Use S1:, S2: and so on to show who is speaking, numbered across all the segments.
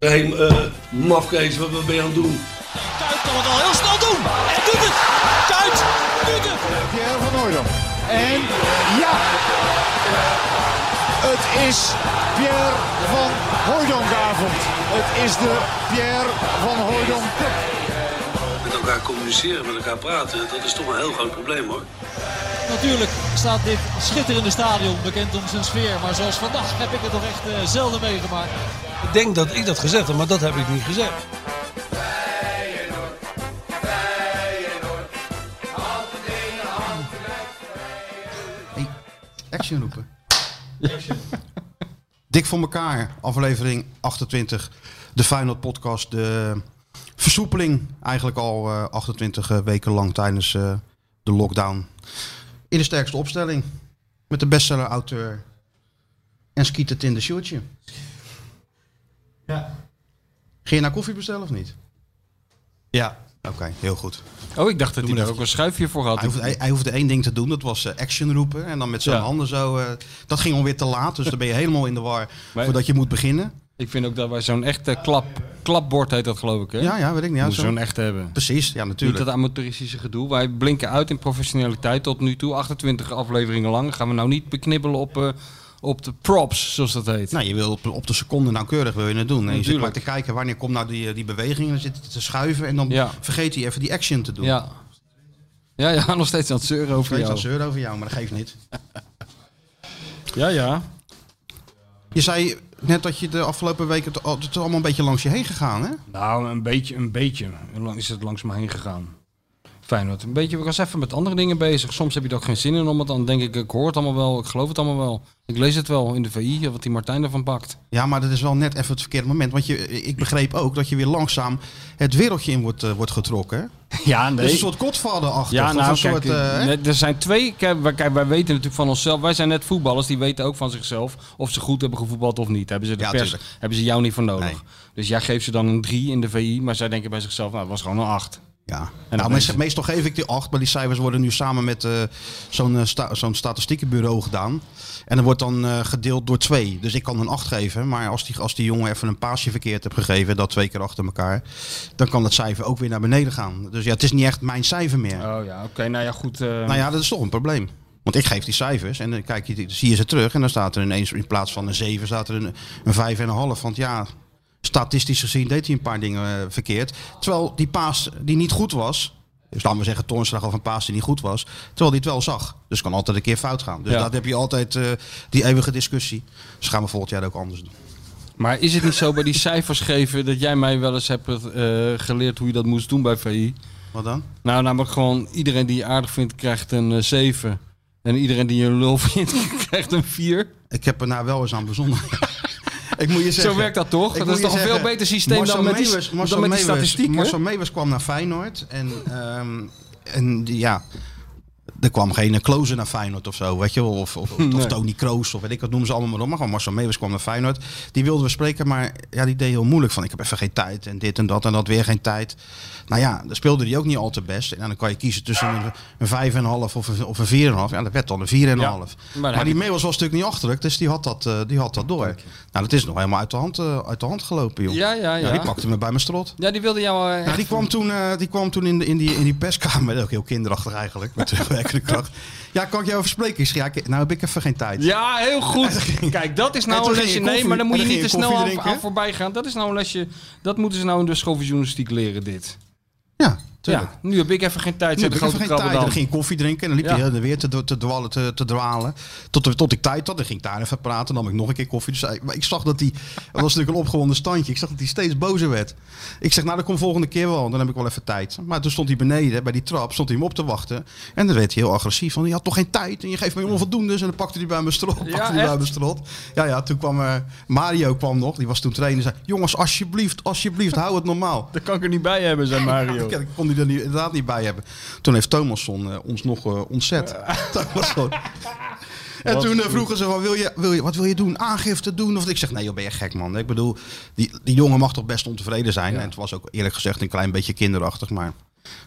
S1: Hé, hey, eh, mafkees, wat wat ben je aan het doen?
S2: Kuit kan het al heel snel doen. En doet het. Kuit doet het.
S3: Pierre van Hooydonk. En ja, het is Pierre van Hooijdonkavond. Het is de Pierre van Hooijdonk Cup.
S1: Met elkaar communiceren, met elkaar praten, dat is toch een heel groot probleem hoor.
S2: Natuurlijk staat dit schitterende stadion bekend om zijn sfeer. Maar zoals vandaag heb ik het nog echt eh, zelden meegemaakt.
S4: Ik denk dat ik dat gezegd heb, maar dat heb ik niet gezegd.
S5: Hey, action roepen. Dik voor elkaar, aflevering 28. De Final Podcast. De versoepeling eigenlijk al eh, 28 weken lang tijdens eh, de lockdown. In de sterkste opstelling. Met de bestseller-auteur. En skiet het in de shirtje.
S6: Ja.
S5: Ging je nou koffie bestellen of niet?
S6: Ja.
S5: Oké, heel goed.
S6: Oh, ik dacht dat
S5: Doe
S6: hij
S5: maar
S6: daar
S5: dat-
S6: ook een schuifje voor had.
S5: Hij hoefde, hij, hij hoefde één ding te doen, dat was eh, action roepen. En dan met zijn
S6: Ja.
S5: handen zo. eh, dat ging alweer te laat, dus dan ben je helemaal in de war
S6: Maar-
S5: voordat je moet beginnen.
S6: Ik vind ook dat wij zo'n echte klap, klapbord heet dat geloof ik, hè?
S5: Ja, ja, weet ik niet. Ja, zo-
S6: Moeten we zo'n echte hebben.
S5: Precies, ja, natuurlijk.
S6: Niet dat amateuristische gedoe. Wij blinken uit in professionaliteit tot nu toe. 28 afleveringen lang. Gaan we nou niet beknibbelen op, eh, op de props, zoals dat heet.
S5: Nou, je wil op, op de seconde nauwkeurig wil je het doen. En je zit maar
S6: Natuurlijk.
S5: te kijken wanneer komt nou die, eh, die beweging. En dan zit het te schuiven en dan
S6: Ja.
S5: vergeet hij even die action te doen.
S6: Ja. Ja, ja, nog steeds aan het zeuren over
S5: Weet je dat
S6: jou.
S5: zeur over jou, maar dat geeft niet.
S6: Ja, ja.
S5: Je zei net dat je de afgelopen weken het, al- het is allemaal een beetje langs je heen gegaan, hè?
S6: Nou, een beetje, een beetje is het langs me heen gegaan. Feyenoord. Een beetje, ik was even met andere dingen bezig. Soms heb je er ook geen zin in om het. Dan denk ik, ik hoor het allemaal wel. Ik geloof het allemaal wel. Ik lees het wel in de VI, wat die Martijn ervan pakt.
S5: Ja, maar dat is wel net even het verkeerde moment. Want je, ik begreep ook dat je weer langzaam het wereldje in wordt, eh, wordt getrokken. hè?
S6: Ja,
S5: Dus een soort godvader achter.
S6: Ja, nou,
S5: een
S6: kijk,
S5: soort, eh, hè?
S6: net- er zijn twee. Kijk, wij- kijk, wij weten natuurlijk van onszelf. Wij zijn net voetballers, die weten ook van zichzelf of ze goed hebben gevoetbald of niet. Hebben ze de
S5: Ja,
S6: pers,
S5: tuurlijk.
S6: hebben ze jou niet voor nodig.
S5: Nee.
S6: Dus jij geeft ze dan een 3 in de VI, maar zij denken bij zichzelf, nou, het was gewoon een 8.
S5: Ja,
S6: dan
S5: nou,
S6: mensen-
S5: meest- meestal geef ik die acht, maar die cijfers worden nu samen met eh, zo'n eh, sta- zo'n statistiekenbureau gedaan. En dat wordt dan eh, gedeeld door twee. Dus ik kan een acht geven, maar als die, als die jongen even een paasje verkeerd hebt gegeven, dat twee keer achter elkaar, dan kan dat cijfer ook weer naar beneden gaan. Dus ja, het is niet echt mijn cijfer meer.
S6: Oh ja, oké, nou ja, goed. eh,
S5: Nou ja, dat is toch een probleem. Want ik geef die cijfers en dan kijk je, dan zie je ze terug en dan staat er ineens in plaats van een 7 staat er een, een 5 en een half. Want ja, statistisch gezien deed hij een paar dingen eh, verkeerd. Terwijl die paas die niet goed was, dus laten we zeggen Toornslag of een paas die niet goed was, terwijl hij het wel zag. Dus kan altijd een keer fout gaan. Dus
S6: Ja.
S5: dat heb je altijd eh, die eeuwige discussie. Dus gaan we volgend jaar ook anders doen.
S6: Maar is het niet zo bij die cijfers geven dat jij mij wel eens hebt eh, geleerd hoe je dat moest doen bij VI?
S5: Wat dan?
S6: Nou, namelijk gewoon iedereen die je aardig vindt krijgt een eh, 7. En iedereen die je lul vindt krijgt een 4.
S5: Ik heb er nou wel eens aan bezonnen. ik moet je zeggen,
S6: Zo werkt dat toch?
S5: Ik
S6: Dat
S5: moet
S6: is
S5: je
S6: toch een
S5: zeggen,
S6: veel beter systeem
S5: Marcel
S6: dan met die-
S5: Meeuwis-
S6: dan
S5: Marcel
S6: met die
S5: Meeuwis-
S6: statistieken?
S5: Marcel Meeuwis kwam naar Feyenoord en, ehm, en die- ja, er kwam geen Klozen naar Feyenoord of zo, weet je wel. Of, of, of Tony Kroos of weet ik wat, noemen ze allemaal maar op. Maar gewoon Marcel Meeuwis kwam naar Feyenoord. Die wilden we spreken, maar ja, die deed heel moeilijk van ik heb even geen tijd en dit en dat en dat weer geen tijd. Nou ja, dan speelde die ook niet al te best. En dan kan je kiezen tussen een, een 5,5 of een, of een 4,5. Ja, dat werd dan een 4,5.
S6: dan
S5: maar
S6: heb
S5: die Meeuwis was natuurlijk niet achterlijk, dus die had dat, eh, die had dat door. Nou, dat is nog helemaal uit de hand, eh, uit de hand gelopen, joh.
S6: Ja, ja, ja.
S5: die pakte me bij mijn strot.
S6: Ja, die wilde jou. eh,
S5: Ja, die kwam toen, eh, die kwam toen in, de, in, die, in die perskamer. Ook heel kinderachtig eigenlijk, met terugwerkende kracht. Ja, kan ik jou even spreken? Ik zeg, ja, ik- nou heb ik even geen tijd.
S6: Ja, heel goed. Kijk, dat is
S5: En
S6: nou
S5: toen
S6: een
S5: ging
S6: lesje.
S5: je
S6: Nee,
S5: koffie-
S6: maar dan moet
S5: en
S6: je
S5: dan
S6: niet te
S5: ging je
S6: snel
S5: koffie
S6: aan,
S5: drinken.
S6: aan voorbij gaan. Dat is nou een lesje. Dat moeten ze nou in de school van journalistiek leren, dit.
S5: Ja, tuurlijk.
S6: Ja, nu heb ik even geen tijd.
S5: Nu
S6: Zet
S5: heb
S6: de
S5: ik even
S6: grote
S5: geen tijd.
S6: krabben
S5: En dan
S6: dan.
S5: ging ik koffie drinken. En dan liep
S6: Ja.
S5: je heel de weer te, te, dwalen, te, te dwalen. Tot, tot ik tijd had. Dan ging ik daar even praten. Dan nam ik nog een keer koffie. Dus hij- maar ik zag dat hij... Het was natuurlijk een opgewonden standje. Ik zag dat hij steeds bozer werd. Ik zeg, nou, dat komt volgende keer wel. Dan heb ik wel even tijd. Maar toen stond hij beneden bij die trap. Stond hij hem op te wachten. En dan werd hij heel agressief. Van, je had toch geen tijd. En je geeft mij onvoldoendes. En dan pakte hij bij mijn strot.
S6: Ja,
S5: pakte hij bij
S6: echt?
S5: mijn strot. Ja, ja. Toen kwam eh, Mario kwam nog. Die was toen trainer. Zei, jongens, alsjeblieft, alsjeblieft. Hou het normaal.
S6: Dat kan ik er niet bij hebben, zei Mario.
S5: Ja, dat kon hij er nu inderdaad niet bij hebben. Toen heeft Thomasson eh, ons nog eh, ontzet. Thomasson. En toen eh, vroegen ze van, wil je, wil je, wat wil je doen? Aangifte doen? Of, ik zeg, nee joh, ben je gek man. Ik bedoel, die, die jongen mag toch best ontevreden zijn. En het was ook eerlijk gezegd een klein beetje kinderachtig. Maar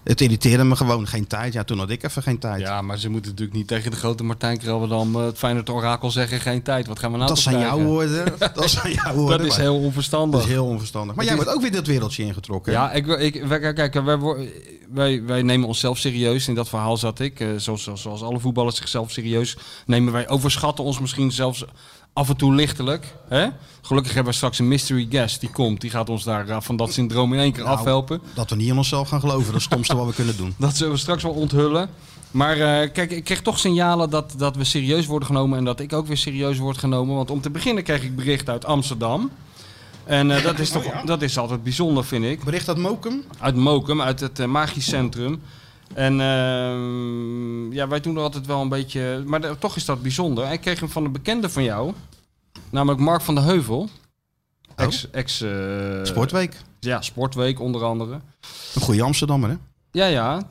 S5: Het irriteerde me gewoon geen tijd. Ja, toen had ik even geen tijd.
S6: Ja, maar ze moeten natuurlijk niet tegen de grote Martijn Krabberdam, eh, het Feyenoord orakel zeggen, geen tijd. Wat gaan we nou
S5: dat
S6: toch
S5: zijn jouw
S6: krijgen?
S5: woorden. Dat zijn jouw woorden.
S6: Dat is
S5: maar-
S6: heel
S5: dat
S6: onverstandig.
S5: is heel onverstandig. Maar
S6: Het
S5: jij
S6: is-
S5: wordt ook weer dat wereldje ingetrokken.
S6: Ja, ik, wil- ik, wij- kijk, wij, wo- wij, wij nemen onszelf serieus. In dat verhaal zat ik. Eh, zoals, zoals, zoals alle voetballers zichzelf serieus nemen. Wij overschatten ons misschien zelfs af en toe lichtelijk. Hè? Gelukkig hebben we straks een mystery guest die komt. Die gaat ons daar eh, van dat syndroom in één keer
S5: Nou,
S6: afhelpen.
S5: Dat we niet in onszelf gaan geloven. Dat is het stomste wat we kunnen doen.
S6: Dat zullen we straks wel onthullen. Maar eh, kijk, ik kreeg toch signalen dat, dat we serieus worden genomen en dat ik ook weer serieus word genomen. Want om te beginnen kreeg ik bericht uit Amsterdam. En eh, dat, is toch, dat is altijd bijzonder, vind ik.
S5: Bericht uit Mokum.
S6: Uit Mokum, uit het eh, Magisch Centrum. En ehm, ja, wij doen er altijd wel een beetje... Maar de- toch is dat bijzonder. Ik kreeg hem van een bekende van jou. Namelijk Mark van de Heuvel. Ex, ex eh,
S5: Sportweek.
S6: Ja, Sportweek onder andere.
S5: Een goede Amsterdammer, hè?
S6: Ja, ja.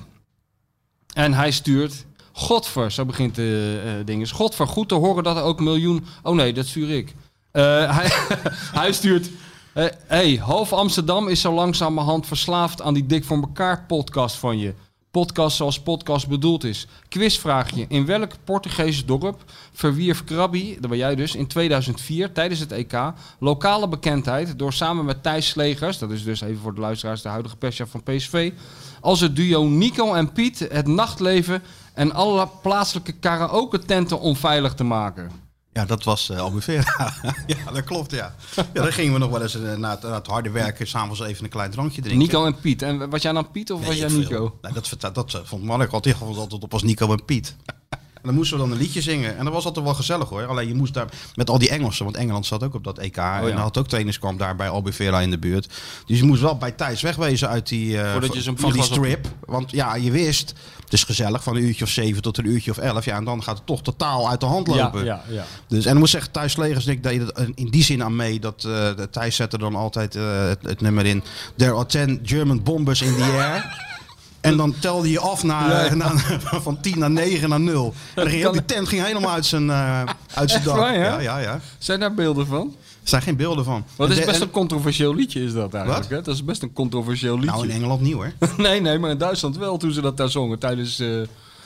S6: En hij stuurt. Godver, zo begint de eh ding. Is Godver, goed te horen dat er ook miljoen. Oh nee, dat stuur ik. Eh, hij, hij stuurt. eh, hey, half Amsterdam is zo langzamerhand verslaafd aan die Dik voor elkaar podcast van je. Podcast zoals podcast bedoeld is. Quizvraagje. In welk Portugees dorp verwierf Krabi, dat ben jij dus, in 2004 tijdens het EK lokale bekendheid door samen met Thijs Slegers, dat is dus even voor de luisteraars de huidige perschef van PSV, als het duo Nico en Piet het nachtleven en alle plaatselijke karaoke tenten onveilig te maken.
S5: Ja, dat was eh Albufeira. ja, dat klopt, ja. ja. Dan gingen we nog wel eens eh, na, het, na het harde werken s'avonds even een klein drankje drinken.
S6: Nico en Piet. En was jij dan Piet of
S5: Nee,
S6: was jij
S5: ik veel.
S6: Nico?
S5: Nee, dat, verta- dat eh, vond Mark altijd, ik vond altijd op als Nico en Piet. En dan moesten we dan een liedje zingen. En dat was altijd wel gezellig hoor. Alleen je moest daar met al die Engelsen, want Engeland zat ook op dat EK. En
S6: Oh, ja.
S5: dan had ook trainingskamp daar bij Albufeira in de buurt. Dus je moest wel bij Thijs wegwezen uit die, eh,
S6: Voordat
S5: van-
S6: je zo'n
S5: van die
S6: bierglas op-
S5: strip. Want ja, je wist, het is gezellig van een uurtje of zeven tot een uurtje of elf. Ja, en dan gaat het toch totaal uit de hand lopen.
S6: ja.
S5: Dus, en ik moet zeggen, Thijs Legers en ik deden er in die zin aan mee. Dat, eh, dat Thijs zette dan altijd eh, het, het nummer in. There are 10 German bombers in the air. En dan telde je af naar, naar- van 10 naar 9 naar 0. En dan ging heel die tent ging helemaal uit zijn, eh uit zijn
S6: Echt
S5: dak.
S6: waar, hè?
S5: ja, ja, ja. Er
S6: Zijn daar beelden van?
S5: zijn geen beelden van.
S6: Want het is
S5: En de-
S6: best
S5: en-
S6: een controversieel liedje is dat eigenlijk.
S5: Wat?
S6: Hè? Dat is best een controversieel liedje.
S5: Nou, in Engeland niet hoor.
S6: nee, nee, maar in Duitsland wel toen ze dat daar zongen. Tijdens, eh,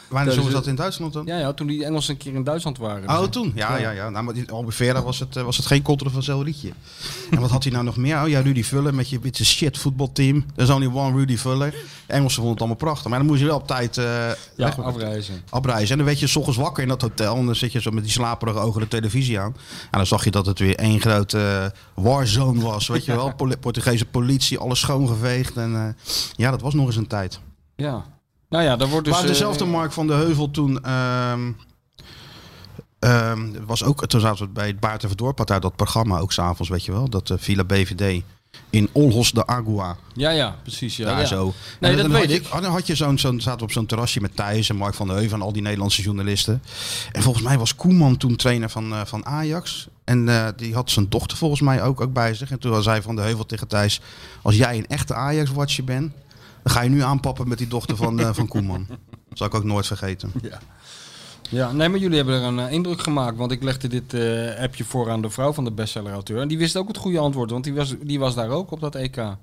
S5: Wanneer zongen ze
S6: het-
S5: dat in Duitsland dan?
S6: ja, ja, toen die Engelsen een keer in Duitsland waren.
S5: Oh, toen? Ja, ja, ja. Nou, maar in Albufeira was het, eh, was het geen controversieel liedje. En wat had hij nou nog meer? Oh ja, Rudy Vuller met je met je shit voetbalteam. There's only one Rudy Vuller. De Engelsen vonden het allemaal prachtig. Maar dan moest je wel op tijd eh,
S6: ja,
S5: weg-
S6: Dus afreizen.
S5: afreizen. En dan werd je s ochtends wakker in dat hotel. En dan zit je zo met die slaperige ogen de televisie aan. En dan zag je dat het weer één grote eh, warzone was. Weet je wel? Poli- Portugese politie, alles schoongeveegd. En eh, ja, dat was nog eens een tijd.
S6: Ja. Nou ja, daar wordt dus...
S5: Maar dezelfde
S6: eh,
S5: Mark van de Heuvel toen. ehm, ehm, was ook, toen zaten we bij het Baart en Verdorp, had daar dat programma ook s'avonds, weet je wel. Dat eh, Villa BVD in Olhos de Agua.
S6: Ja, ja, precies. Ja,
S5: daar
S6: ja.
S5: zo.
S6: Nee,
S5: En
S6: dat
S5: dan
S6: weet
S5: had je- oh,
S6: ik.
S5: Dan had je zo'n, zo'n, zaten we op zo'n terrasje met Thijs en Mark van de Heuvel en al die Nederlandse journalisten. En volgens mij was Koeman toen trainer van, eh, van Ajax. En eh, die had zijn dochter volgens mij ook, ook bij zich. En toen zei Van de Heuvel tegen Thijs, als jij een echte Ajax-watcher bent, dan ga je nu aanpappen met die dochter van, eh, van Koeman. Dat zal ik ook nooit vergeten.
S6: Ja, nee, maar jullie hebben er een eh, indruk gemaakt. Want ik legde dit eh, appje voor aan de vrouw van de bestseller-auteur. En die wist ook het goede antwoord, want die was, die was daar ook op dat EK. voor,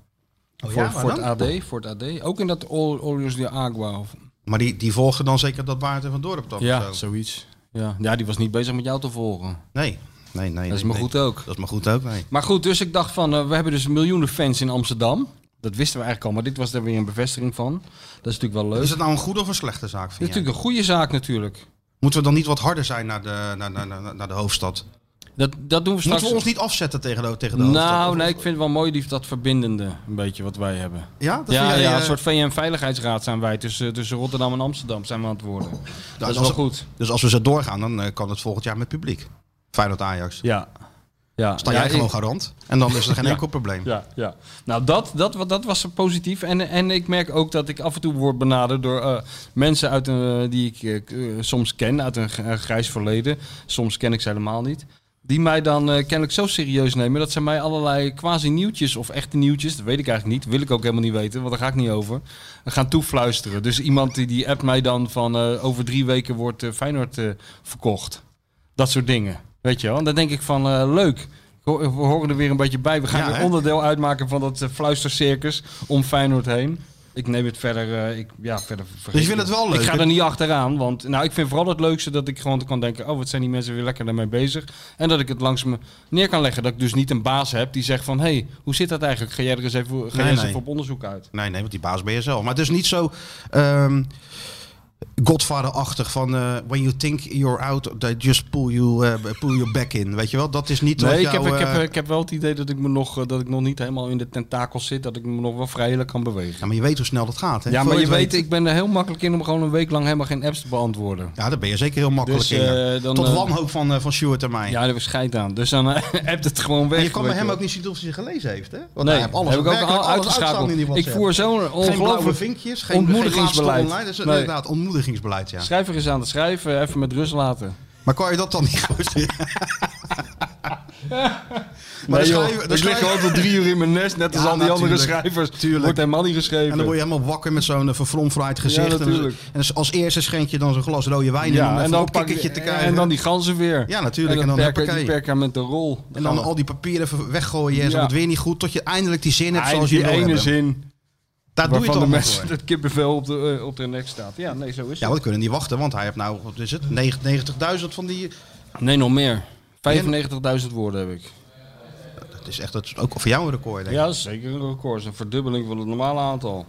S5: waar
S6: voor het
S5: Oh dan?
S6: AD, voor het AD. Ook in dat Ol- Olius de Agua. Of,
S5: Maar die, die volgen dan zeker dat Baart en Van Dorp toch?
S6: ja,
S5: Of zo?
S6: zoiets. Ja. ja, die was niet bezig met jou te volgen.
S5: Nee. Nee, nee.
S6: Dat is
S5: nee,
S6: maar
S5: nee.
S6: goed ook.
S5: Dat is maar goed ook, nee.
S6: Maar goed, dus ik dacht van, eh, we hebben dus miljoenen fans in Amsterdam. Dat wisten we eigenlijk al, maar dit was er weer een bevestiging van. Dat is natuurlijk wel leuk.
S5: Is het nou een goede of een slechte zaak,
S6: Dit
S5: vind
S6: is
S5: jij?
S6: natuurlijk een goede zaak natuurlijk.
S5: Moeten we dan niet wat harder zijn naar de, naar, naar, naar, naar de hoofdstad?
S6: Dat, dat doen we straks.
S5: Moeten we ons niet afzetten tegen de, tegen de hoofdstad?
S6: nou,
S5: Of-
S6: nee, ik vind het wel mooi die, dat verbindende, een beetje wat wij hebben.
S5: Ja, dat
S6: ja,
S5: vind jij,
S6: ja,
S5: eh,
S6: een soort VN-veiligheidsraad zijn wij tussen, tussen Rotterdam en Amsterdam zijn we aan het worden. dat
S5: Nou, als-
S6: is wel
S5: als-
S6: goed.
S5: Dus als we zo doorgaan, dan eh, kan het volgend jaar met publiek. Feyenoord Ajax.
S6: Ja. Ja.
S5: Sta
S6: ja,
S5: jij gewoon
S6: ik-
S5: garant. En dan is er geen enkel probleem.
S6: Ja, ja. Nou, dat, dat, wa- dat was positief. En, en ik merk ook dat ik af en toe word benaderd door eh, mensen uit een, eh, die ik eh, eh, soms ken, uit een g- eh, grijs verleden. Soms ken ik ze helemaal niet. Die mij dan eh, kennelijk zo serieus nemen dat ze mij allerlei quasi-nieuwtjes of echte nieuwtjes, dat weet ik eigenlijk niet, wil ik ook helemaal niet weten, want daar ga ik niet over, gaan toefluisteren. Dus iemand die, die appt mij dan van eh, over drie weken wordt eh, Feyenoord eh, verkocht. Dat soort dingen. Weet je wel? En dan denk ik van eh, leuk. Ho- We horen er weer een beetje bij. We gaan
S5: Ja,
S6: weer
S5: hè?
S6: onderdeel uitmaken van dat eh, fluistercircus om Feyenoord heen. ik neem het verder, eh, ik, ja, verder vergeet
S5: Dus je vindt
S6: ik
S5: het wel leuk,
S6: Ik ga
S5: hè?
S6: er niet achteraan, want nou, ik vind vooral het leukste dat ik gewoon kan denken... oh, wat zijn die mensen weer lekker daarmee bezig. En dat ik het langs me neer kan leggen. Dat ik dus niet een baas heb die zegt van... hé, hey, hoe zit dat eigenlijk? Ga jij er eens even, ga jij
S5: Nee,
S6: eens
S5: nee.
S6: even op onderzoek uit?
S5: Nee, nee, want die baas ben je zelf. Maar het is niet zo ehm Godfather-achtig van... eh, when you think you're out, they just pull you, eh, pull you back in. Weet je wel? Dat is niet
S6: Nee,
S5: wat
S6: ik heb,
S5: jou,
S6: ik, heb,
S5: eh,
S6: ik heb wel het idee dat ik, me nog, eh, dat ik nog niet helemaal in de tentakels zit. Dat ik me nog wel vrijelijk kan bewegen.
S5: ja, maar je weet hoe snel dat gaat. Hè?
S6: Ja,
S5: Voor
S6: maar je
S5: het
S6: weet, ik ben er heel makkelijk in om gewoon een week lang helemaal geen apps te beantwoorden.
S5: Ja, daar ben je zeker heel makkelijk
S6: Dus,
S5: in. ja.
S6: eh, dan,
S5: Tot
S6: eh,
S5: wanhoop van, eh, van Stuart en mij.
S6: Ja, daar was scheid aan. Dus dan eh, hebt het gewoon weg.
S5: en je kan bij
S6: weet
S5: hem
S6: wel.
S5: ook niet zien of hij ze gelezen heeft, hè? Want
S6: Nee,
S5: hij heeft alles,
S6: heb ik ook
S5: werkelijk
S6: al
S5: alles uitstaan in die
S6: uitgeschakeld. Ik
S5: WhatsApp.
S6: voer zo'n
S5: geen blauwe
S6: ongelooflijk...
S5: vinkjes, geen
S6: ontmoedigingsbeleid.
S5: geen laatste online. dus Dat is
S6: Nee.
S5: inderdaad ontmoedigingsbeleid, ja.
S6: Schrijver is aan het schrijven, even met rust laten.
S5: Maar kan je dat dan niet goed zien?
S6: Maar
S5: dan
S6: nee,
S5: schrijven-
S6: joh,
S5: dan
S6: ik lig
S5: schrijven-
S6: gewoon tot drie uur in mijn nest, net als
S5: Ja,
S6: al die andere
S5: natuurlijk.
S6: schrijvers.
S5: Tuurlijk.
S6: Wordt helemaal niet geschreven.
S5: En dan word je helemaal wakker met zo'n eh, verfromfraaid gezicht.
S6: Ja,
S5: En-
S6: natuurlijk.
S5: en als- als eerste schenk je dan zo'n glas rode wijn in om even een
S6: pak-
S5: kikkertje te krijgen.
S6: En dan die ganzen weer.
S5: Ja, natuurlijk.
S6: En
S5: En
S6: dan,
S5: dan
S6: perka- die
S5: huppakee.
S6: perkamenten rol. Dan
S5: en
S6: gaan
S5: dan
S6: we-
S5: al die papieren even weggooien en zo
S6: Ja.
S5: het weer niet goed. Tot je eindelijk die zin hebt zoals
S6: Eindelijk
S5: je
S6: die
S5: wil
S6: ene
S5: hebben.
S6: zin
S5: Daar doe je
S6: waarvan
S5: het
S6: de
S5: allemaal
S6: mensen
S5: voor.
S6: het kippenvel op de, eh, op de nek staat. Ja, nee, zo is
S5: Ja,
S6: het.
S5: want we kunnen niet wachten, want hij heeft nou, wat is het, 90 90.000 van die...
S6: Nee, nog meer. 95.000 woorden heb ik.
S5: Dat is echt, dat is ook voor jou een record, denk ik.
S6: Ja, dat is zeker een record. Dat is Een verdubbeling van het normale aantal.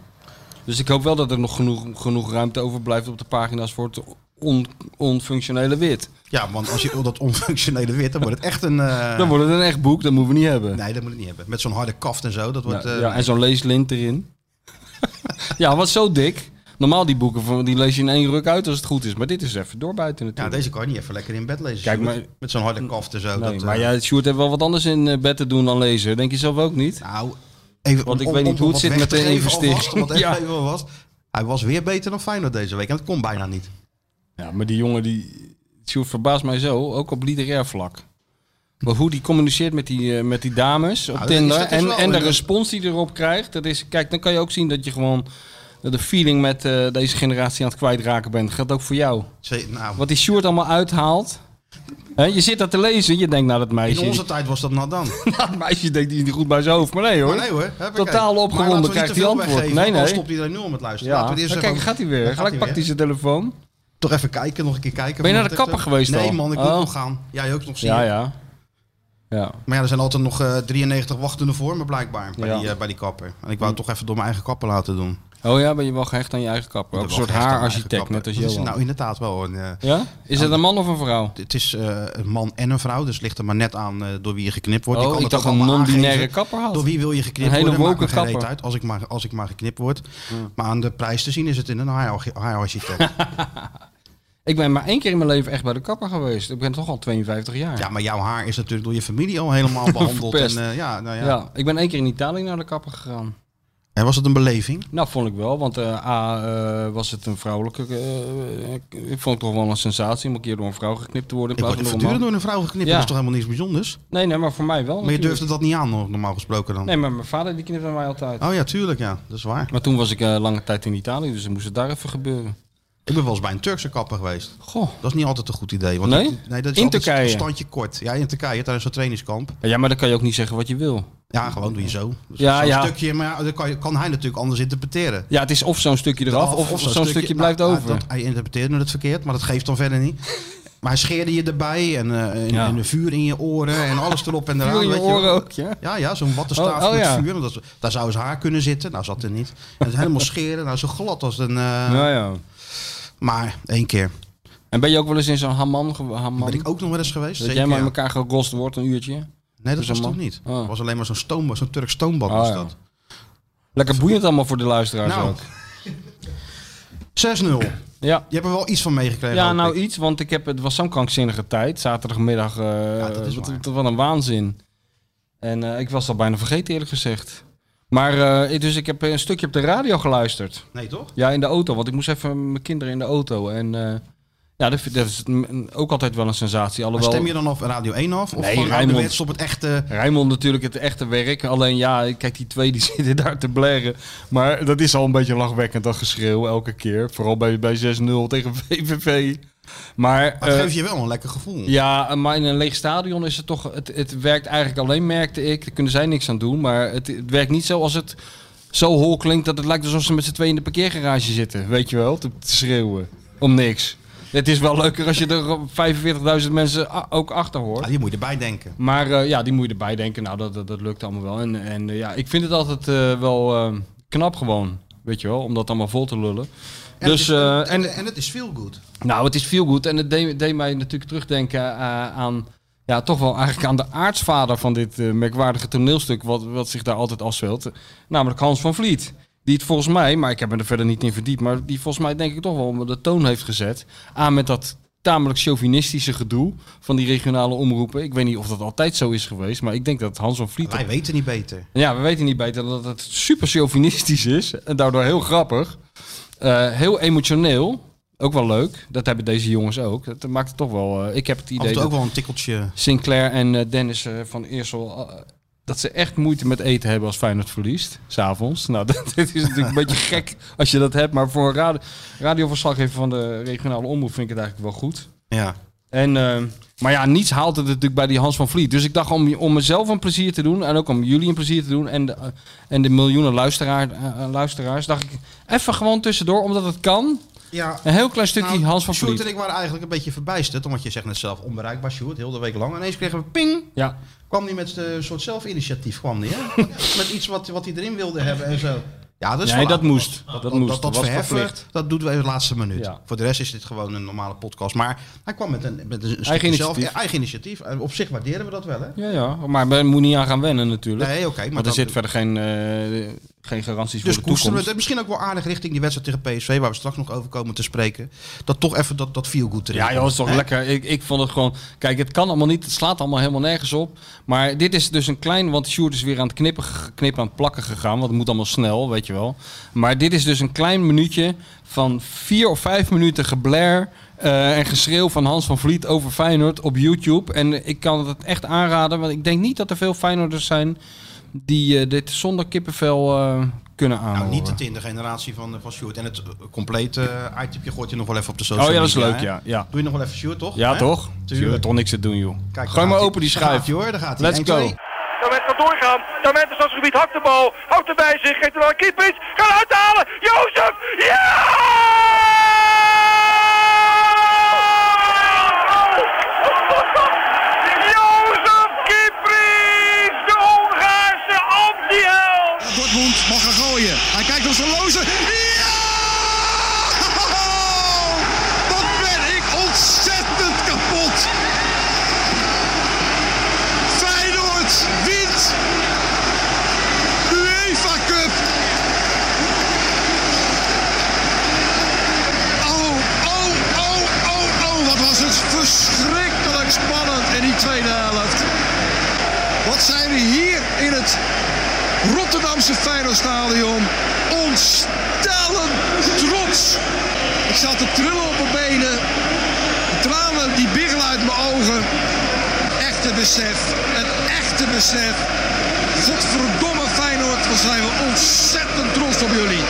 S6: Dus ik hoop wel dat er nog genoeg, genoeg ruimte overblijft op de pagina's voor het on, onfunctionele wit.
S5: Ja, want als je dat onfunctionele wit, dan wordt het echt een... eh,
S6: Dan wordt het een echt boek, dat moeten we niet hebben.
S5: Nee, dat moet het niet hebben. Met zo'n harde kaft en zo, dat wordt...
S6: Nou,
S5: eh,
S6: ja, en zo'n leeslint erin. ja, wat zo dik. Normaal die boeken van, die lees je in één ruk uit als het goed is. Maar dit is even doorbuiten
S5: ja,
S6: natuurlijk.
S5: deze kan je niet even lekker in bed lezen.
S6: Kijk,
S5: Sjoerd.
S6: maar-
S5: Met zo'n harde kaft en zo.
S6: Nee,
S5: dat, eh,
S6: maar ja, Sjoerd heeft wel wat anders in eh, bed te doen dan lezen. Denk je zelf ook niet?
S5: Nou, even,
S6: Want ik weet niet hoe het
S5: wat
S6: zit
S5: weg
S6: met
S5: te
S6: de
S5: geven
S6: investering.
S5: alvast, want
S6: Ja.
S5: even wat was. Hij was weer beter dan Feyenoord deze week. En dat kon bijna niet.
S6: Ja, maar die jongen die... Sjoerd verbaast mij zo, ook op literair vlak. Maar hoe die communiceert met die, eh, met die dames op
S5: Nou, dat is-
S6: Tinder
S5: dat is
S6: en,
S5: wel
S6: en de
S5: een-
S6: respons die hij erop krijgt. Dat is, kijk, dan kan je ook zien dat je gewoon de feeling met eh, deze generatie aan het kwijtraken bent. Geldt ook voor jou.
S5: Ze- nou,
S6: Wat die Sjoerd allemaal uithaalt. Hè, je zit dat te lezen, je denkt, nou dat
S5: in
S6: meisje...
S5: onze tijd was dat nou dan.
S6: dat meisje denkt die is niet goed bij zijn hoofd, maar nee hoor.
S5: Maar nee hoor. huppakee.
S6: Totaal
S5: Maar
S6: opgewonden
S5: laten we
S6: krijgt
S5: niet
S6: hij
S5: te veel
S6: antwoord.
S5: weggeven,
S6: Nee,
S5: want dan
S6: nee.
S5: stopt iedereen nu om het luisteren.
S6: ja.
S5: Laten we eerst
S6: Maar
S5: even-
S6: kijk, gaat hij
S5: Daar
S6: weer.
S5: gaat
S6: Gelijk
S5: hij
S6: pakt hij
S5: weer.
S6: zijn telefoon.
S5: Toch even kijken, nog een keer kijken.
S6: Ben je
S5: Want
S6: naar de
S5: het-
S6: kapper geweest
S5: Nee
S6: al?
S5: man, ik
S6: Oh.
S5: moet nog gaan. Jij ook nog zien.
S6: Ja, ja. Ja,
S5: Maar ja, er zijn altijd nog eh, 93 wachtende voor me blijkbaar bij,
S6: Ja. Hm.
S5: die, eh, bij die kapper. En ik wou het toch even door mijn eigen kapper laten doen.
S6: Oh ja, ben je wel gehecht aan je eigen kapper? Ook
S5: Ik
S6: een
S5: ben
S6: soort
S5: wel gehecht aan mijn eigen
S6: haararchitect,
S5: kapper.
S6: net als
S5: Dat is
S6: Johan.
S5: Nou, inderdaad wel. Een, eh,
S6: Ja? Is dat een man of een vrouw?
S5: Het is eh, een man en een vrouw, dus het ligt er maar net aan eh, door wie je geknipt wordt. Je
S6: Oh,
S5: kan
S6: ik
S5: het
S6: dacht
S5: ook
S6: een
S5: allemaal
S6: non-binaire
S5: aangeven.
S6: kapper had.
S5: Door wie wil je geknipt
S6: Een hele
S5: worden? Maakt me
S6: woke
S5: geen reet
S6: kapper. Hmm.
S5: uit als ik, maar, als ik maar geknipt word. Maar aan de prijs te zien is het in een haararchi- haararchitect.
S6: Ik ben maar één keer in mijn leven echt bij de kapper geweest. Ik ben toch al 52 jaar.
S5: ja, maar jouw haar is natuurlijk door je familie al helemaal behandeld. en,
S6: Verpest.
S5: eh, ja, nou ja.
S6: Ja. ik ben één keer in Italië naar de kapper gegaan.
S5: en was het een beleving?
S6: Nou, vond ik wel, want eh, A, eh, was het een vrouwelijke... eh, ik- ik vond het toch wel een sensatie om een keer door een vrouw geknipt te worden.
S5: Ik
S6: In
S5: word
S6: plaats van door
S5: voortdurend
S6: een man.
S5: door een vrouw geknipt,
S6: Ja.
S5: dat is toch helemaal niks bijzonders?
S6: Nee, nee, maar voor mij wel
S5: Maar je
S6: natuurlijk.
S5: durfde dat niet aan, hoor, normaal gesproken dan?
S6: Nee, maar mijn vader die knipte mij altijd.
S5: Oh ja, tuurlijk ja, dat is waar.
S6: Maar toen was ik eh, lange tijd in Italië, dus dan moest het daar even gebeuren.
S5: Ik ben wel eens bij een Turkse kapper geweest.
S6: Goh.
S5: Dat is niet altijd een goed idee. Want
S6: Nee?
S5: dat- nee dat is
S6: In
S5: altijd
S6: Turkije?
S5: een standje kort. Ja, in Turkije, tijdens zo'n trainingskamp.
S6: Ja, maar dan kan je ook niet zeggen wat je wil.
S5: Ja, gewoon doe je zo. Dus
S6: Ja,
S5: zo'n
S6: ja.
S5: stukje, maar ja, dat kan, je- kan hij natuurlijk anders interpreteren.
S6: Ja, het is of zo'n stukje eraf, of, zo'n stukje, blijft
S5: nou,
S6: over.
S5: dat- hij interpreteerde het verkeerd, maar dat geeft dan verder niet. Maar hij scheerde je erbij en, eh en,
S6: Ja.
S5: en een vuur in je oren en alles erop en eraan.
S6: Vuur in je
S5: weet wel.
S6: oren ook, ja?
S5: Ja, ja, zo'n wattenstaaf
S6: Oh, oh,
S5: met
S6: ja.
S5: vuur. want Dat, daar zou eens haar kunnen zitten. Nou, zat er niet. En het helemaal scheren. Nou, zo glad als een... eh,
S6: ja, Nou ja.
S5: Maar één keer.
S6: En ben je ook wel eens in zo'n haman, ge- haman?
S5: Ben ik ook nog wel eens geweest.
S6: dat
S5: Zeker,
S6: jij maar in
S5: ja.
S6: elkaar gerost wordt een uurtje?
S5: Nee, dat
S6: zo'n
S5: was
S6: man?
S5: toch niet.
S6: Oh.
S5: Het was alleen maar zo'n stoombad, zo'n Turks stoombad
S6: Oh,
S5: was
S6: ja.
S5: dat.
S6: Lekker boeiend allemaal voor de luisteraars
S5: Nou,
S6: ook.
S5: 6-0.
S6: Ja.
S5: Je hebt er wel iets van meegekregen.
S6: Ja,
S5: hoop
S6: nou
S5: ik.
S6: iets, want ik heb, het was zo'n krankzinnige tijd. Zaterdagmiddag, eh
S5: dat is
S6: wat,
S5: waar.
S6: wat een waanzin. En eh, ik was dat bijna vergeten eerlijk gezegd. Maar, eh, dus ik heb een stukje op de radio geluisterd.
S5: Nee, toch?
S6: Ja, in de auto, want ik moest even mijn kinderen in de auto. En eh, ja, dat, vind- dat is mm, ook altijd wel een sensatie.
S5: Maar
S6: Alhoewel,
S5: stem je dan op Radio 1 af? Of
S6: Nee,
S5: gewoon
S6: Rijnmond.
S5: ouderwets op het echte...
S6: Rijnmond natuurlijk het echte werk. Alleen ja, kijk, die twee die zitten daar te blaren. Maar dat is al een beetje lachwekkend, dat geschreeuw elke keer. Vooral bij, bij 6-0 tegen VVV. Maar,
S5: Maar het
S6: eh,
S5: geeft je wel een lekker gevoel.
S6: ja, maar in een leeg stadion is het toch... Het, het werkt eigenlijk alleen, merkte ik. Daar kunnen zij niks aan doen. Maar het, het werkt niet zoals het zo hol klinkt dat het lijkt alsof ze met z'n tweeën in de parkeergarage zitten. Weet je wel, te, te schreeuwen. Om niks. Het is wel leuker als je er 45.000 mensen a- ook achter hoort.
S5: Ja, die moet je erbij denken.
S6: Maar eh, ja, die moet je erbij denken. Nou, dat, dat, dat lukt allemaal wel. En, en eh, ja, ik vind het altijd eh, wel eh, knap gewoon. Weet je wel, om dat allemaal vol te lullen. dus, eh,
S5: en,
S6: en,
S5: het is- en het is veel goed.
S6: nou, het is veel goed. En het deed, deed mij natuurlijk terugdenken eh, aan. Ja, toch wel eigenlijk aan de aartsvader van dit eh, merkwaardige toneelstuk. Wat, wat zich daar altijd afspeelt. Namelijk Hans van Vliet. Die het volgens mij, maar ik heb me er verder niet in verdiept. Maar die volgens mij, denk ik, toch wel de toon heeft gezet. Aan met dat tamelijk chauvinistische gedoe van die regionale omroepen. Ik weet niet of dat altijd zo is geweest. Maar ik denk dat Hans van Vliet.
S5: Wij weten niet beter.
S6: Ja, we weten niet beter dan dat het super chauvinistisch is. En daardoor heel grappig. Eh, heel emotioneel. Ook wel leuk. Dat hebben deze jongens ook. Dat maakt het toch wel... eh, ik heb het
S5: Af en
S6: idee
S5: toe ook
S6: dat
S5: wel een tikkeltje.
S6: Sinclair en eh, Dennis eh, van Eersel... eh, dat ze echt moeite met eten hebben als Feyenoord verliest. S'avonds. Nou, dat, dit is natuurlijk een beetje gek als je dat hebt. Maar voor een radio, radioverslaggever van de regionale omroep vind ik het eigenlijk wel goed.
S5: Ja.
S6: En, eh, maar ja, niets haalt het natuurlijk bij die Hans van Vliet. Dus ik dacht om, om mezelf een plezier te doen en ook om jullie een plezier te doen en de, eh, en de miljoenen luisteraar, eh, eh, luisteraars, dacht ik even gewoon tussendoor, omdat het kan.
S5: ja.
S6: Een heel klein stukje
S5: Nou,
S6: Eh, Hans van
S5: Sjoerd
S6: Vliet.
S5: en ik waren eigenlijk een beetje verbijsterd. Omdat je zegt net zelf onbereikbaar, Sjoerd, heel de week lang. Ineens kregen we ping.
S6: Ja,
S5: Kwam die met eh, een soort zelfinitiatief, kwam die, hè? met iets wat, wat hij erin wilde hebben en zo. Ja, dat is
S6: nee,
S5: wel-
S6: dat moest. Dat,
S5: Ah, Dat,
S6: moest.
S5: dat, dat
S6: was
S5: verheffen,
S6: verplicht.
S5: dat doen we in de laatste minuut.
S6: Ja.
S5: Voor de rest is dit gewoon een normale podcast. Maar hij kwam met een, met een stukje
S6: Eigen
S5: zelf-
S6: initiatief.
S5: eigen initiatief. En Op zich waarderen we dat wel, hè?
S6: Ja, ja, maar men moet niet aan gaan wennen natuurlijk.
S5: Nee, oké. maar
S6: maar er
S5: dat-
S6: zit verder geen, eh, geen garanties
S5: dus
S6: voor de
S5: koesteren we
S6: toekomst.
S5: het. Misschien ook wel aardig richting die wedstrijd tegen PSV, waar we straks nog over komen te spreken. Dat toch even dat, dat feel good erin.
S6: Ja, joh,
S5: komt.
S6: is toch lekker. Ik, ik vond het gewoon. Kijk, het kan allemaal niet. Het slaat allemaal helemaal nergens op. Maar dit is dus een klein. Want Sjoerd is weer aan het knippen, ge- knippen aan het plakken gegaan. Want het moet allemaal snel, weet je wel. Maar dit is dus een klein minuutje van vier of vijf minuten geblair. eh, en geschreeuw van Hans van Vliet over Feyenoord op YouTube. En ik kan het echt aanraden. Want ik denk niet dat er veel Feyenoorders zijn die eh, dit zonder kippenvel eh, kunnen aanhoren.
S5: Nou, niet de tiende generatie van, eh, van Sjoerd. En het eh, complete uh, itemje gooit je nog wel even op de social
S6: Oh ja, dat is
S5: media,
S6: leuk,
S5: hè?
S6: ja. Ja,
S5: Doe je nog wel even Sjoerd, toch?
S6: ja
S5: Hè?
S6: toch?
S5: Tuurlijk.
S6: Tuurlijk. Toch niks te doen, joh.
S5: Kijk, daar
S6: Gooi maar
S5: gaat-ie.
S6: open die
S5: Daar
S6: schijf.
S5: gaat-ie, hoor, daar gaat hij.
S6: Let's go.
S7: Daarmee kan doorgaan. Daarmee het stadsgebied hakt de bal. Houdt erbij zich. Geeft er aan Kiepits. Gaat uithalen. Jozef. Ja! Jozef Kiepits. De Hongaarse antiheld.
S8: Dortmund mag gaan gooien. Hij kijkt op zijn lozen. Ja! Wat ben ik ontzettend kapot. Feyenoord wint de UEFA Cup. Oh, oh, oh, oh, oh. Wat was het verschrikkelijk spannend in die tweede helft. Wat zijn we hier in het Rotterdamse Feyenoordstadion. Ontstellend trots. Ik zat te trillen op mijn benen. De tranen die biggen uit mijn ogen. Echte besef. Een echte besef. Godverdomme Feyenoord, wat zijn we ontzettend trots op jullie.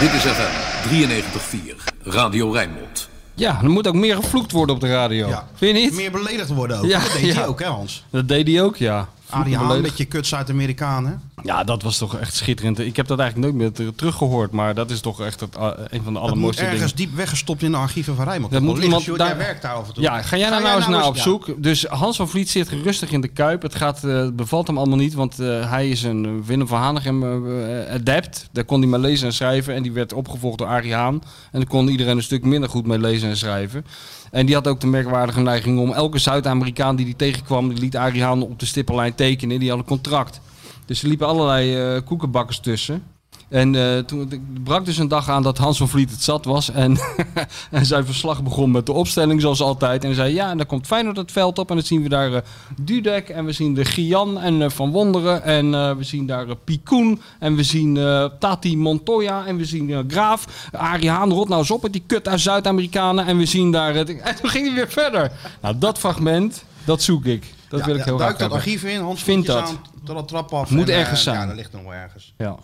S9: Dit is FM 93.4, Radio Rijnmond.
S6: Ja, er moet ook meer gevloekt worden op de radio.
S5: Ja.
S6: Vind je niet?
S5: Meer beledigd worden ook.
S6: Ja,
S5: dat deed
S6: ja.
S5: hij ook, hè Hans?
S6: Dat deed hij ook, ja.
S5: Arie Haan,
S6: Beledigd.
S5: met je kuts Zuid-Amerikanen.
S6: Ja, dat was toch echt schitterend. Ik heb dat eigenlijk nooit meer ter- teruggehoord, maar dat is toch echt het, eh, een van de
S5: Dat moet
S6: allermooiste
S5: ergens
S6: dingen.
S5: diep weggestopt in de archieven van Rijnmond.
S6: Dat
S5: Dat
S6: moet
S5: moet liggen,
S6: iemand
S5: Sjoerd.
S6: daar-
S5: Jij werkt daar af en toe.
S6: Ja, ga jij daar
S5: jij
S6: nou eens naar op
S5: ja.
S6: zoek? Dus Hans van Vliet zit rustig in de kuip. Het gaat, eh, het bevalt hem allemaal niet, want eh, hij is een eh, Willem van Hanegem eh, eh, adept. Daar kon hij maar lezen en schrijven en die werd opgevolgd door Arie Haan. En daar kon iedereen een stuk minder goed mee lezen en schrijven. En die had ook de merkwaardige neiging om elke Zuid-Amerikaan die die tegenkwam, die liet Arie Haan op de stippenlijn tekenen. Die had een contract. Dus er liepen allerlei eh, koekenbakkers tussen. En eh, toen het brak dus een dag aan dat Hans van Vliet het zat was. En, en zijn verslag begon met de opstelling zoals altijd. En hij zei, ja, en dan komt Feyenoord het veld op. En dan zien we daar eh, Dudek en we zien de Gian en eh, Van Wonderen. En eh, we zien daar eh, Picoen en we zien eh, Tati Montoya en we zien eh, Graaf. Arie Haan rot nou eens op met die kut uit Zuid-Amerikanen. En we zien daar... het- en toen ging hij weer verder. Nou, dat fragment, dat zoek ik. Dat
S5: Ja,
S6: wil ik
S5: ja,
S6: heel
S5: duik dat
S6: graag hebben.
S5: archief in, Hans
S6: Vind
S5: vindt dat.
S6: dat.
S5: Aan, tot dat trap af.
S6: Moet
S5: en, eh,
S6: ergens zijn.
S5: Ja, dat ligt nog wel ergens.
S6: Ja.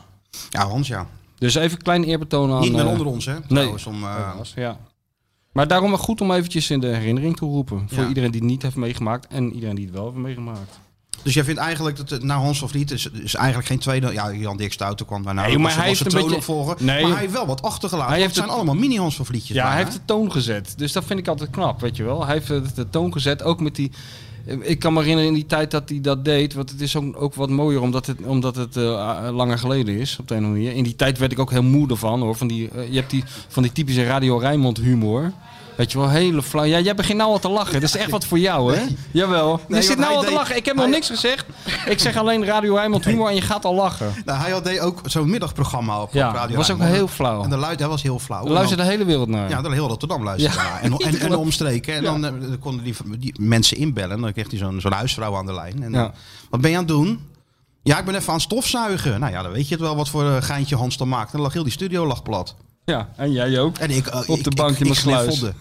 S5: Ja, Hans, ja.
S6: Dus even een klein eerbetoon aan...
S5: Niet meer
S6: eh,
S5: onder ons, hè? Trouwens, om, eh,
S6: Helaas, ja. Maar daarom wel goed om eventjes in de herinnering te roepen. Voor
S5: Ja.
S6: iedereen die het niet heeft meegemaakt en iedereen die het wel heeft meegemaakt.
S5: Dus jij vindt eigenlijk dat het nou Hans of niet is, is eigenlijk geen tweede. Ja, Jan Dirk Stouten kwam daarna.
S6: Nee,
S5: ook
S6: maar
S5: als-
S6: hij
S5: als
S6: heeft
S5: de
S6: een beetje-
S5: troonopvolger.
S6: Nee.
S5: Maar hij heeft wel wat achtergelaten.
S6: Hij
S5: want het
S6: heeft
S5: zijn
S6: het-
S5: allemaal mini Hans of liedjes.
S6: Ja,
S5: bijna,
S6: hij
S5: hè?
S6: heeft de toon gezet. Dus dat vind ik altijd knap, weet je wel. Hij heeft de, de toon gezet, ook met die... eh, Ik kan me herinneren in die tijd dat hij dat deed. Want het is ook, ook wat mooier, omdat het, omdat het eh, langer geleden is, op de een of andere manier. In die tijd werd ik ook heel moe ervan, hoor. Van die, eh, je hebt die, van die typische Radio Rijnmond humor. Weet je wel, hele flauw. Ja, jij begint nou al te lachen. Dat is echt wat voor jou, hè? Jawel.
S5: Nee,
S6: je zit
S5: want
S6: nou
S5: hij
S6: al te
S5: deed-
S6: lachen. Ik heb nog niks gezegd. Ik zeg alleen Radio Rijnmond humor en je gaat al lachen.
S5: Nou, hij had deed ook zo'n middagprogramma op
S6: Ja,
S5: op Radio
S6: was ook
S5: Rijnmond.
S6: heel flauw.
S5: En de luid, hij was heel flauw.
S6: Daar luistert de
S5: En
S6: hele wereld naar.
S5: dan- ja, dan heel Rotterdam luisterde
S6: Ja.
S5: naar. En, en, en de omstreken. En dan, eh, dan konden die, die mensen inbellen. En dan kreeg hij zo'n zo'n huisvrouw aan de lijn. En dan,
S6: Ja.
S5: Wat ben je aan het doen? Ja, ik ben even aan het stofzuigen. Nou ja, dan weet je het wel wat voor eh, geintje Hans dan maakt. En dan lag heel die studio lag plat.
S6: ja, en jij ook.
S5: En ik, eh,
S6: Op
S5: ik-
S6: de bank
S5: ik,
S6: in
S5: ik
S6: mijn sluis.
S5: gniffelde.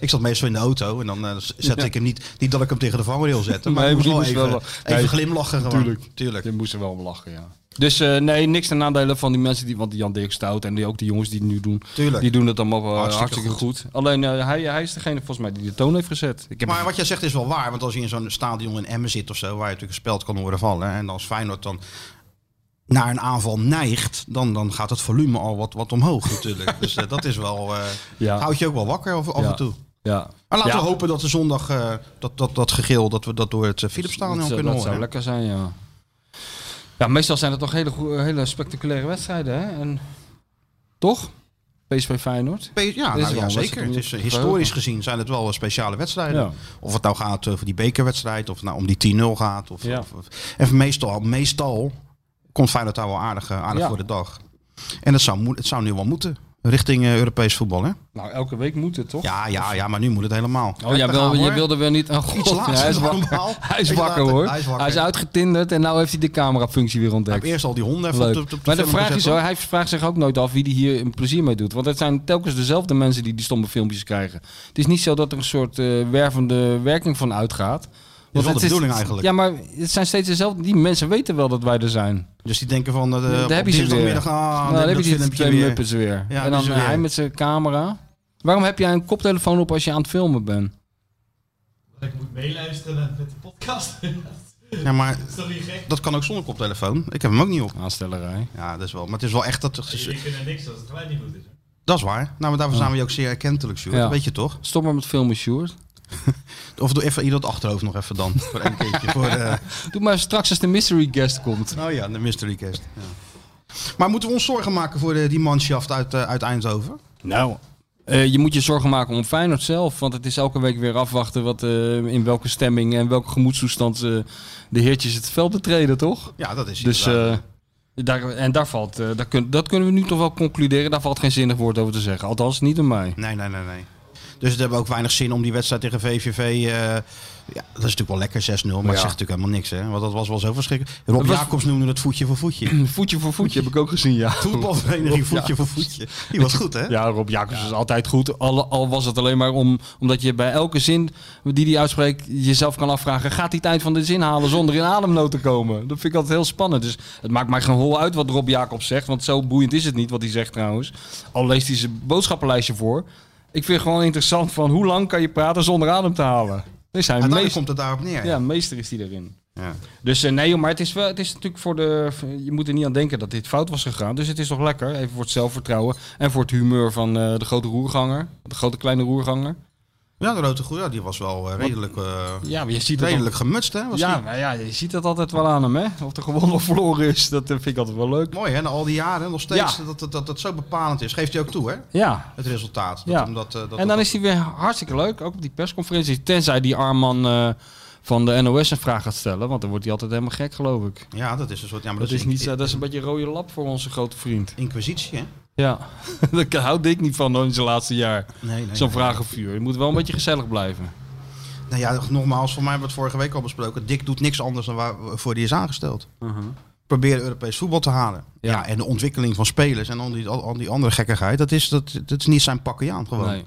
S5: Ik zat meestal in de auto en dan eh, zette
S6: Ja.
S5: ik hem niet. Niet dat ik hem tegen de vangrail zette, maar
S6: Nee,
S5: ik moest
S6: maar
S5: wel
S6: die
S5: even,
S6: moest wel wel-
S5: even
S6: Nee,
S5: glimlachen gewoon.
S6: tuurlijk. Je moest er wel om lachen, ja. Dus eh, nee, niks ten nadele van die mensen die, want die Jan Dirk Stout en die, ook die jongens die het nu doen,
S5: Tuurlijk.
S6: die doen het allemaal wel, eh,
S5: Hartstikke
S6: hartstikke, goed. Alleen eh, hij, hij is degene volgens mij die de toon heeft gezet. Ik heb
S5: Maar wat jij zegt is wel waar, want als je in zo'n stadion in Emmen zit of zo, waar je natuurlijk gespeld kan horen vallen, en als Feyenoord dan naar een aanval neigt, dan, dan gaat het volume al wat, wat omhoog natuurlijk. Dus eh, dat is wel, eh
S6: Ja.
S5: houdt je ook wel wakker af, af
S6: Ja.
S5: en toe.
S6: ja.
S5: Maar laten
S6: Ja.
S5: we hopen dat de zondag, eh, dat, dat, dat gegil, dat we dat door het eh,
S6: dat,
S5: Philipsstadion
S6: zou-
S5: kunnen
S6: dat
S5: horen.
S6: zou lekker zijn, ja. Ja, meestal zijn het toch hele, goe- eh, hele spectaculaire wedstrijden, hè? En, toch? PSV Feyenoord.
S5: P- Ja,
S6: Dit is
S5: nou,
S6: wel
S5: ja
S6: een
S5: zeker.
S6: wedstrijd om
S5: Het is,
S6: je
S5: eh,
S6: te
S5: historisch
S6: verheugen.
S5: gezien zijn het wel eh, speciale wedstrijden.
S6: Ja.
S5: Of het nou gaat eh, voor die bekerwedstrijd, of het nou om die 10-0 gaat. Of,
S6: Ja.
S5: of, of- en meestal, meestal komt Feyenoord daar wel aardig, eh, aardig
S6: Ja.
S5: voor de dag. En het zou, moe- het zou nu wel moeten. Richting eh, Europees voetbal, hè?
S6: Nou, elke week moet het, toch?
S5: Ja, ja, ja, maar nu moet het helemaal.
S6: Oh ja,
S5: Daar
S6: wel,
S5: gaan we,
S6: je
S5: hoor.
S6: wilde weer niet... Oh,
S5: Iets
S6: god,
S5: later
S6: hij is
S5: dan
S6: wakker.
S5: normaal.
S6: Hij is
S5: Iets
S6: wakker,
S5: later.
S6: hoor.
S5: Hij is wakker.
S6: Hij is uitgetinderd en nou heeft hij de camerafunctie weer
S5: Ik
S6: ontdekt.
S5: heb eerst al die honden even
S6: Leuk.
S5: op de, op de
S6: maar de
S5: film
S6: vraag
S5: gezet,
S6: is, hoor,
S5: hoor.
S6: hij vraagt zich ook nooit af wie die hier een plezier mee doet. Want het zijn telkens dezelfde mensen die die stomme filmpjes krijgen. Het is niet zo dat er een soort eh, wervende werking van uitgaat.
S5: wel
S6: Want
S5: de
S6: het
S5: bedoeling eigenlijk.
S6: Ja, maar het zijn steeds dezelfde. Die mensen weten wel dat wij er zijn.
S5: Dus die denken van, eh
S6: daar
S5: op
S6: heb je ze weer.
S5: dinsdagmiddag, ah,
S6: nou, dan heb je die
S5: filmpje
S6: twee
S5: weer.
S6: muppets weer.
S5: Ja,
S6: en
S5: die
S6: dan
S5: is er weer.
S6: hij met zijn camera. Waarom heb jij een koptelefoon op als je aan het filmen bent?
S10: Dat ik moet meeluisteren met de podcast. dat
S5: Ja, maar
S10: is toch niet gek?
S5: dat kan ook zonder koptelefoon. Ik heb hem ook niet op.
S6: Aanstellerij.
S5: Ja, dat is wel. Maar het is wel echt dat...
S10: Jullie kunnen niks als het geluid niet goed is. hè?
S5: Dat is waar. Nou, maar daarvoor zijn we je ook zeer erkentelijk, Sjoerd.
S6: Ja.
S5: Dat weet je toch?
S6: Stop maar met filmen, Sjoerd.
S5: Of doe even ieder het achterhoofd nog even dan. Voor een keertje. Voor, eh,
S6: Doe maar straks als de mystery guest komt.
S5: nou ja, de mystery cast. Ja. Maar moeten we ons zorgen maken voor de, die manschaft uit, eh, uit Eindhoven?
S6: Nou, eh, je moet je zorgen maken om Feyenoord zelf. Want het is elke week weer afwachten wat, eh, in welke stemming en welke gemoedstoestand eh, de heertjes het veld betreden, toch?
S5: Ja, dat is
S6: Dus,
S5: inderdaad-
S6: eh, daar, en daar valt, eh, daar kun- dat kunnen we nu toch wel concluderen. Daar valt geen zinnig woord over te zeggen. Althans, niet door mij.
S5: Nee, nee, nee, nee. Dus het hebben ook weinig zin om die wedstrijd tegen VVV... eh, ja, dat is natuurlijk wel lekker 6-0, maar het zegt natuurlijk helemaal niks. Hè? Want dat was wel zo verschrikkelijk. Rob
S6: was-
S5: Jacobs noemde het voetje voor voetje.
S6: Voetje voor voetje heb ik ook gezien, ja.
S5: Voetbalvereniging voetje voor voetje. Die was goed, hè?
S6: Ja, Rob Jacobs is altijd goed. Al, al was het alleen maar om, omdat je bij elke zin die hij uitspreekt jezelf kan afvragen... gaat hij het eind van de zin halen zonder in ademnood te komen? Dat vind ik altijd heel spannend. Dus het maakt mij geen hol uit wat Rob Jacobs zegt. Want zo boeiend is het niet wat hij zegt trouwens. Al leest hij zijn boodschappenlijstje voor. Ik vind het gewoon interessant van hoe lang kan je praten zonder adem te halen? Dat is hij
S5: Uiteindelijk
S6: meest...
S5: komt het daarop neer.
S6: Ja,
S5: Ja.
S6: meester is hij erin.
S5: Ja.
S6: Dus eh, nee, joh, maar het is, wel, het is natuurlijk voor de. Je moet er niet aan denken dat dit fout was gegaan. Dus het is toch lekker. Even voor het zelfvertrouwen. En voor het humeur van eh, de grote roerganger. De grote kleine roerganger.
S5: Ja, de Rote Groen, ja, die was wel eh, redelijk, eh,
S6: Ja, maar je ziet het
S5: redelijk gemutst, hè? Was
S6: ja,
S5: die?
S6: maar ja, je ziet dat altijd wel aan hem, hè? Of er gewonnen of verloren is. Dat eh, vind ik altijd wel leuk.
S5: Mooi hè, na al die jaren nog steeds
S6: Ja.
S5: dat, dat, dat dat zo bepalend is. Geeft hij ook toe hè,
S6: Ja.
S5: het resultaat. Dat
S6: Ja.
S5: omdat, eh, dat,
S6: En dan
S5: dat-
S6: is hij weer hartstikke leuk. Ook op die persconferentie. Tenzij die Arman eh, van de NOS een vraag gaat stellen. Want dan wordt hij altijd helemaal gek, geloof ik.
S5: Ja, dat is een soort... Ja, maar
S6: Dat is,
S5: in-
S6: niet, zo- dat is een beetje rode lap voor onze grote vriend.
S5: Inquisitie hè?
S6: Ja, daar houd ik niet van hoor, in zijn laatste jaar.
S5: Nee, nee.
S6: Zo'n vragenvuur. Je moet wel een beetje gezellig blijven.
S5: Nou ja, nogmaals, voor mij hebben we het vorige week al besproken. Dick doet niks anders dan waar, voor die is aangesteld. Proberen Europees voetbal te halen. Ja.
S6: Uh-huh. Ja.
S5: en de ontwikkeling van spelers en al die, al, al die andere gekkigheid. Dat is, dat, dat is niet zijn pakje aan gewoon.
S6: Nee.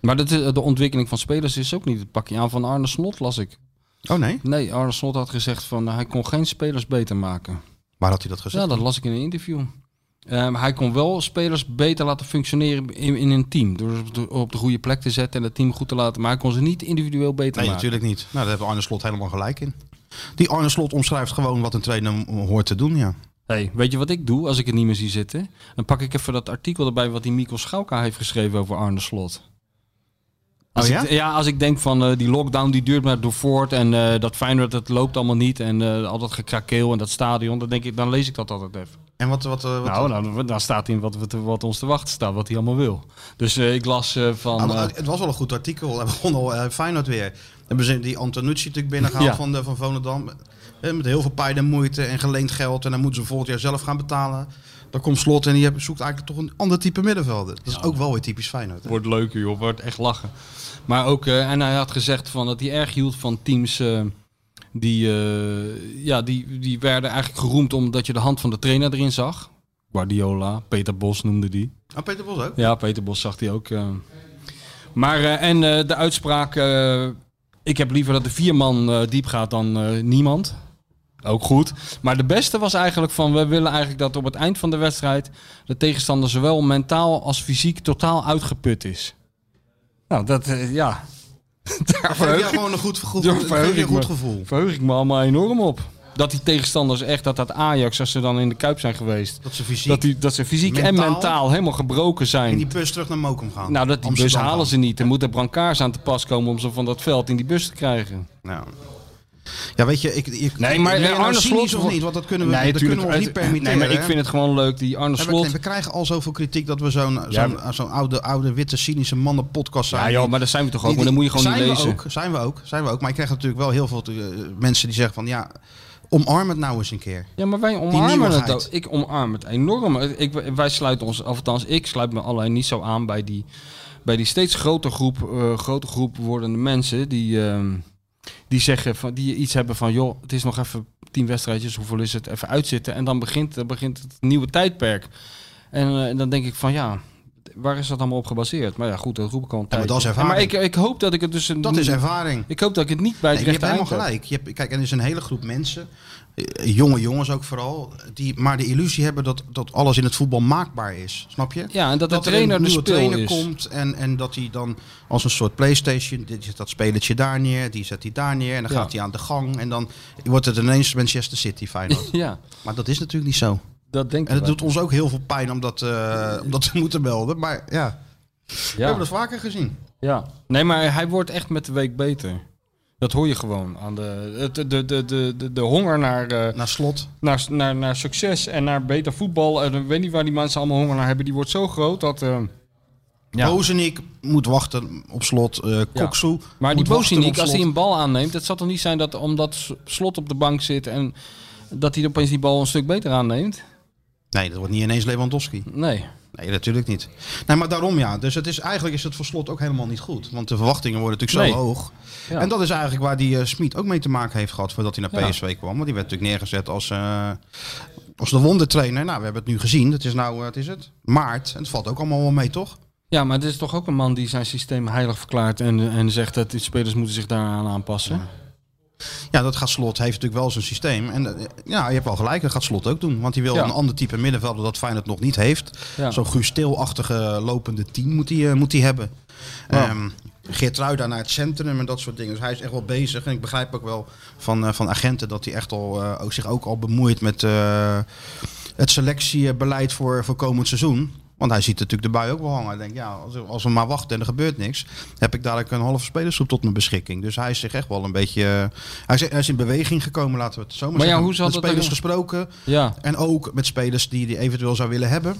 S6: Maar dat is, eh, de ontwikkeling van spelers is ook niet het pakje aan van Arne Slot, las ik.
S5: Oh nee?
S6: Nee, Arne eh, Slot had gezegd van hij kon geen spelers beter maken. Nou,
S5: Waar had hij dat gezegd?
S6: Ja, dat las ik in een interview. Ehm, hij kon wel spelers beter laten functioneren in, in een team. Door ze op de- op de goede plek te zetten en het team goed te laten. Maar hij kon ze niet individueel beter
S5: Nee,
S6: maken.
S5: natuurlijk niet. Nou, daar hebben Arne Slot helemaal gelijk in. Die Arne Slot omschrijft gewoon wat een trainer m- hoort te doen, ja.
S6: Hey, weet je wat ik doe als ik het niet meer zie zitten? Dan pak ik even dat artikel erbij wat die Mikkel Schauka heeft geschreven over Arne Slot. Als
S5: Oh ja?
S6: Ik, ja, als ik denk van eh, die lockdown die duurt maar door voort en eh dat Feyenoord dat loopt allemaal niet en eh, al dat gekrakeel en dat stadion, dan, denk ik, dan lees ik dat altijd even.
S5: En wat... wat, eh, wat
S6: nou, dan, dan staat in wat, we te- wat ons te wachten staat, wat hij allemaal wil. Dus eh, ik las eh, van...
S5: Ah,
S6: eh,
S5: maar het was wel een goed artikel. Hij begon al eh, Feyenoord weer. Hebben ze die Antonucci natuurlijk binnengehaald
S6: Ja.
S5: van, de, van Volendam. Eh, Met heel veel pijn en moeite en geleend geld. En dan moeten ze volgend jaar zelf gaan betalen. Dan komt Slot en die heb- zoekt eigenlijk toch een ander type middenvelder. Dat is ook wel weer typisch Feyenoord. hè.
S6: Wordt leuker, joh. Wordt echt lachen. Maar ook, eh, en hij had gezegd van dat hij erg hield van teams eh, die, eh, ja, die, die werden eigenlijk geroemd omdat je de hand van de trainer erin zag. Guardiola, Peter Bos noemde die.
S5: Ah, Peter Bos ook.
S6: Ja, Peter Bos zag die ook. eh. Maar, eh, en eh, de uitspraak, eh, ik heb liever dat de vier man eh, diep gaat dan eh, niemand. Ook goed. Maar de beste was eigenlijk van, we willen eigenlijk dat op het eind van de wedstrijd de tegenstander zowel mentaal als fysiek totaal uitgeput is. Nou, dat, eh, ja. Daar
S5: Geef
S6: verheug
S5: jou gewoon een goed, goed,
S6: Ja,
S5: geef je
S6: verheug
S5: een
S6: ik
S5: goed
S6: me.
S5: gevoel.
S6: verheug ik me allemaal enorm op. Dat die tegenstanders echt, dat dat Ajax, als ze dan in de Kuip zijn geweest,
S5: Dat ze fysiek
S6: dat, die, dat ze fysiek
S5: Mentaal.
S6: en mentaal helemaal gebroken zijn.
S5: in die bus terug naar Mokum gaan.
S6: Nou, dat die bus
S5: Amsterdam
S6: halen
S5: gaan.
S6: ze niet. Er moeten brancards aan te pas komen om ze van dat veld in die bus te krijgen.
S5: Ja. Ja, weet je, ik, ik
S6: Nou. Nee, maar eh,
S5: ben je nou
S6: Arne
S5: cynisch
S6: Slot-
S5: of niet, want dat kunnen we, dat
S6: tuurlijk,
S5: kunnen we ons niet
S6: het-
S5: permitteren.
S6: Nee, maar ik
S5: hè.
S6: vind het gewoon leuk. Die Arne
S5: Ja, maar
S6: Slot...
S5: we krijgen al zoveel kritiek dat we zo'n
S6: Ja,
S5: zo'n zo'n oude, oude, witte, cynische mannen podcast zijn.
S6: Ja joh, maar daar zijn we toch ook. Maar dan moet je gewoon
S5: zijn
S6: niet
S5: we
S6: lezen.
S5: Ook, zijn we ook, zijn we ook. Maar ik krijg natuurlijk wel heel veel eh, mensen die zeggen van ja, omarm het nou eens een keer.
S6: Ja, maar wij omarmen het
S5: nieuwigheid.
S6: ook. Ik omarm het enorm. Ik, wij sluiten ons, of althans, ik sluit me alleen niet zo aan bij die, bij die steeds groter groep, eh groter groep wordende mensen die, ehm, die zeggen van die iets hebben van joh, het is nog even tien wedstrijdjes, hoeveel is het? Even uitzitten. En dan begint, dan begint het nieuwe tijdperk. En, eh, en dan denk ik van ja. Waar is dat allemaal op gebaseerd? Maar ja, goed, dat roep ik al een
S5: Ja, maar
S6: tijdje.
S5: dat is ervaring.
S6: maar ik, ik hoop dat ik het dus... een-
S5: Dat is ervaring.
S6: Ik hoop dat ik het niet bij het
S5: Nee, je hebt
S6: rechte
S5: helemaal
S6: eind heb.
S5: gelijk. Je hebt, kijk, en er is een hele groep mensen, eh, jonge jongens ook vooral, die maar de illusie hebben dat, dat alles in het voetbal maakbaar is. Snap je?
S6: Ja, en dat, de
S5: er een
S6: trainer de
S5: nieuwe
S6: speel
S5: trainer
S6: is.
S5: komt en, en dat hij dan als een soort PlayStation, dit zet dat spelertje daar neer, die zet hij daar neer en dan
S6: Ja.
S5: gaat hij aan de gang en dan wordt het ineens Manchester City Feyenoord.
S6: Ja,
S5: maar dat is natuurlijk niet zo.
S6: dat denk ik
S5: En het
S6: wel.
S5: doet ons ook heel veel pijn om dat, eh, om dat te moeten melden, maar ja, we
S6: ja.
S5: hebben dat vaker gezien.
S6: Ja, nee, maar hij wordt echt met de week beter. Dat hoor je gewoon aan de, het- de, de, de, de, de honger naar, eh,
S5: Naar slot.
S6: naar, naar, naar succes en naar beter voetbal. En ik weet niet waar die mensen allemaal honger naar hebben. Die wordt zo groot dat. eh, ja.
S5: Bozenik moet wachten op slot. eh Koksu
S6: maar die
S5: moet wachten op
S6: Bozinik, als
S5: slot.
S6: hij een bal aanneemt, het zal toch niet zijn dat omdat S- slot op de bank zit en dat hij opeens die bal een stuk beter aanneemt?
S5: Nee, dat wordt niet ineens Lewandowski.
S6: Nee.
S5: Nee, natuurlijk niet. Nee, maar daarom ja. Dus het is, eigenlijk is het voor slot ook helemaal niet goed. Want de verwachtingen worden natuurlijk zo
S6: Nee.
S5: hoog.
S6: Ja.
S5: En dat is eigenlijk waar die eh Smit ook mee te maken heeft gehad voordat hij naar
S6: Ja.
S5: PSV kwam. Want die werd natuurlijk neergezet als, eh, als de wondertrainer. Nou, we hebben het nu gezien. Het is nou, eh, het is het, maart. En het valt ook allemaal wel mee, toch?
S6: Ja, maar dit is toch ook een man die zijn systeem heilig verklaart en, en zegt dat die spelers moeten zich daaraan aanpassen.
S5: Ja, dat gaat Slot, heeft natuurlijk wel zijn systeem. En eh, ja, je hebt wel gelijk, dat gaat Slot ook doen. Want hij wil
S6: Ja.
S5: een ander type middenvelder dat Feyenoord nog niet heeft.
S6: Ja.
S5: Zo'n Guus Til-achtige lopende team moet hij, eh, moet hij hebben.
S6: Ja.
S5: Ehm Geert naar het centrum en dat soort dingen. Dus hij is echt wel bezig. En ik begrijp ook wel van, eh, van agenten dat hij echt al, eh, ook, zich ook al bemoeit met eh, het selectiebeleid voor, voor komend seizoen. Want hij ziet natuurlijk de bui ook wel hangen. Hij denkt, ja, als, als we maar wachten en er gebeurt niks, heb ik dadelijk een halve spelersgroep tot mijn beschikking. Dus hij is zich echt wel een beetje... eh, hij, is, hij is in beweging gekomen, laten we het zo maar,
S6: Maar ja,
S5: zeggen.
S6: hoe zal
S5: met
S6: dat
S5: spelers
S6: dan-
S5: gesproken
S6: Ja.
S5: en ook met spelers die hij eventueel zou willen hebben.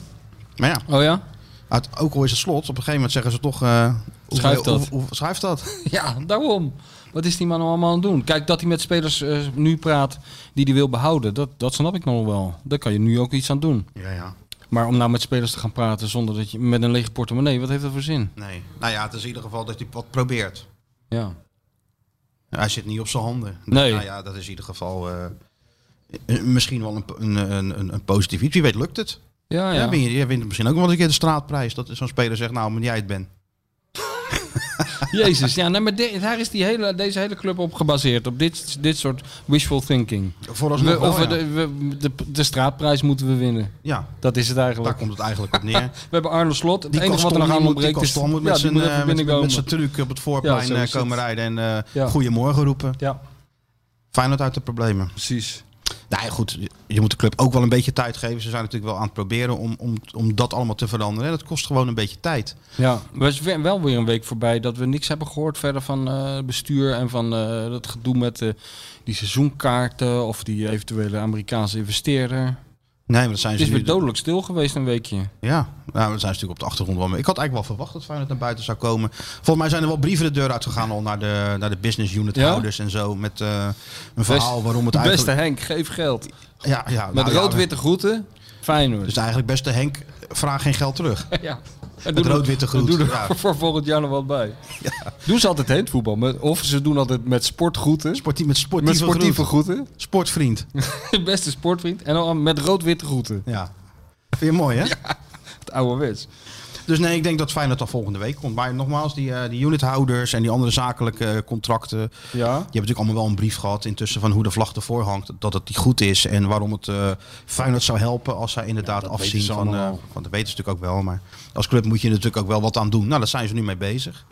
S5: Maar ja,
S6: Oh ja?
S5: uit, ook al is het slot, op een gegeven moment zeggen ze toch... eh, hoe-
S6: Schuift dat.
S5: hoe- hoe- schuift dat.
S6: Ja, daarom. Wat is die man nou allemaal aan het doen? Kijk, dat hij met spelers eh, nu praat die hij wil behouden, dat, dat snap ik nog wel. Daar kan je nu ook iets aan doen.
S5: Ja, ja.
S6: Maar om nou met spelers te gaan praten zonder dat je met een lege portemonnee, wat heeft dat voor zin?
S5: Nee. Nou ja, het is in ieder geval dat hij wat probeert.
S6: Ja.
S5: Hij zit niet op zijn handen.
S6: Nee.
S5: Nou ja, dat is in ieder geval eh, eh, misschien wel een, po- een, een, een, een positief iets. Wie weet lukt het.
S6: Ja,
S5: Ja,
S6: ja.
S5: ben je, je wint misschien ook wel eens een keer de straatprijs. Dat zo'n speler zegt, nou, maar jij het bent.
S6: Jezus, ja, nee, maar di- daar is die hele, deze hele club op gebaseerd. Op dit, dit soort wishful thinking.
S5: Vooralsnog
S6: We,
S5: wel,
S6: of we
S5: ja.
S6: de, we- de, de straatprijs moeten we winnen.
S5: ja,
S6: Dat is het eigenlijk.
S5: daar komt het eigenlijk op neer.
S6: We hebben Arne Slot. Het
S5: Die
S6: enige wat er nog aan
S5: die
S6: ontbreekt is...
S5: Kaston moet
S6: ja,
S5: met
S6: die
S5: zijn
S6: moet
S5: eh,
S6: even
S5: met- met-
S6: binnenkomen.
S5: met zijn truc op het
S6: Ja,
S5: voorplein
S6: zo
S5: eh,
S6: is het.
S5: komen rijden en eh,
S6: Ja.
S5: goedemorgen roepen.
S6: Ja,
S5: Feyenoord uit de problemen.
S6: precies.
S5: Nou ja, goed, je- je moet de club ook wel een beetje tijd geven. Ze zijn natuurlijk wel aan het proberen om, om, om dat allemaal te veranderen. En dat kost gewoon een beetje tijd.
S6: Ja, er is we- wel weer een week voorbij dat we niks hebben gehoord verder van eh, bestuur en van eh, dat gedoe met eh, die seizoenkaarten of die eventuele Amerikaanse investeerder.
S5: Nee, maar dat zijn
S6: Het
S5: ze
S6: is
S5: nu-
S6: weer dodelijk stil geweest een weekje.
S5: Ja, nou, dat zijn ze natuurlijk op de achtergrond wel mee. Ik had eigenlijk wel verwacht dat Feyenoord naar buiten zou komen. Volgens mij zijn er wel brieven de deur uitgegaan al naar de, naar de business unit
S6: Ja?
S5: houders en zo. Met eh, een verhaal waarom het eigenlijk...
S6: Beste Henk, geef geld.
S5: ja, ja,
S6: Met
S5: nou ja,
S6: rood-witte groeten. Feyenoord.
S5: Dus eigenlijk beste Henk, vraag geen geld terug.
S6: ja. En doe er-
S5: rood-witte
S6: en
S5: groet,
S6: Doe er
S5: ja.
S6: voor volgend jaar nog wat bij. Doen ze altijd heen het voetbal. Met, of ze doen altijd met sportgroeten.
S5: Sportief, met sportieve,
S6: met sportieve
S5: groet.
S6: groeten.
S5: Sportvriend.
S6: Beste sportvriend. En dan met rood-witte groeten.
S5: Ja. Vind je mooi, hè?
S6: Het ouderwets.
S5: Dus nee, ik denk dat Feyenoord al volgende week komt. Maar nogmaals, die, eh, die unithouders en die andere zakelijke eh, contracten. Die hebben
S6: Ja.
S5: natuurlijk allemaal wel een brief gehad intussen van hoe de vlag ervoor hangt. Dat het die goed is en waarom het eh Feyenoord zou helpen als zij inderdaad afzien
S6: weten ze
S5: van... eh
S6: allemaal
S5: want dat weten ze natuurlijk ook wel. Maar als club moet je er natuurlijk ook wel wat aan doen. Nou, daar zijn ze nu mee bezig.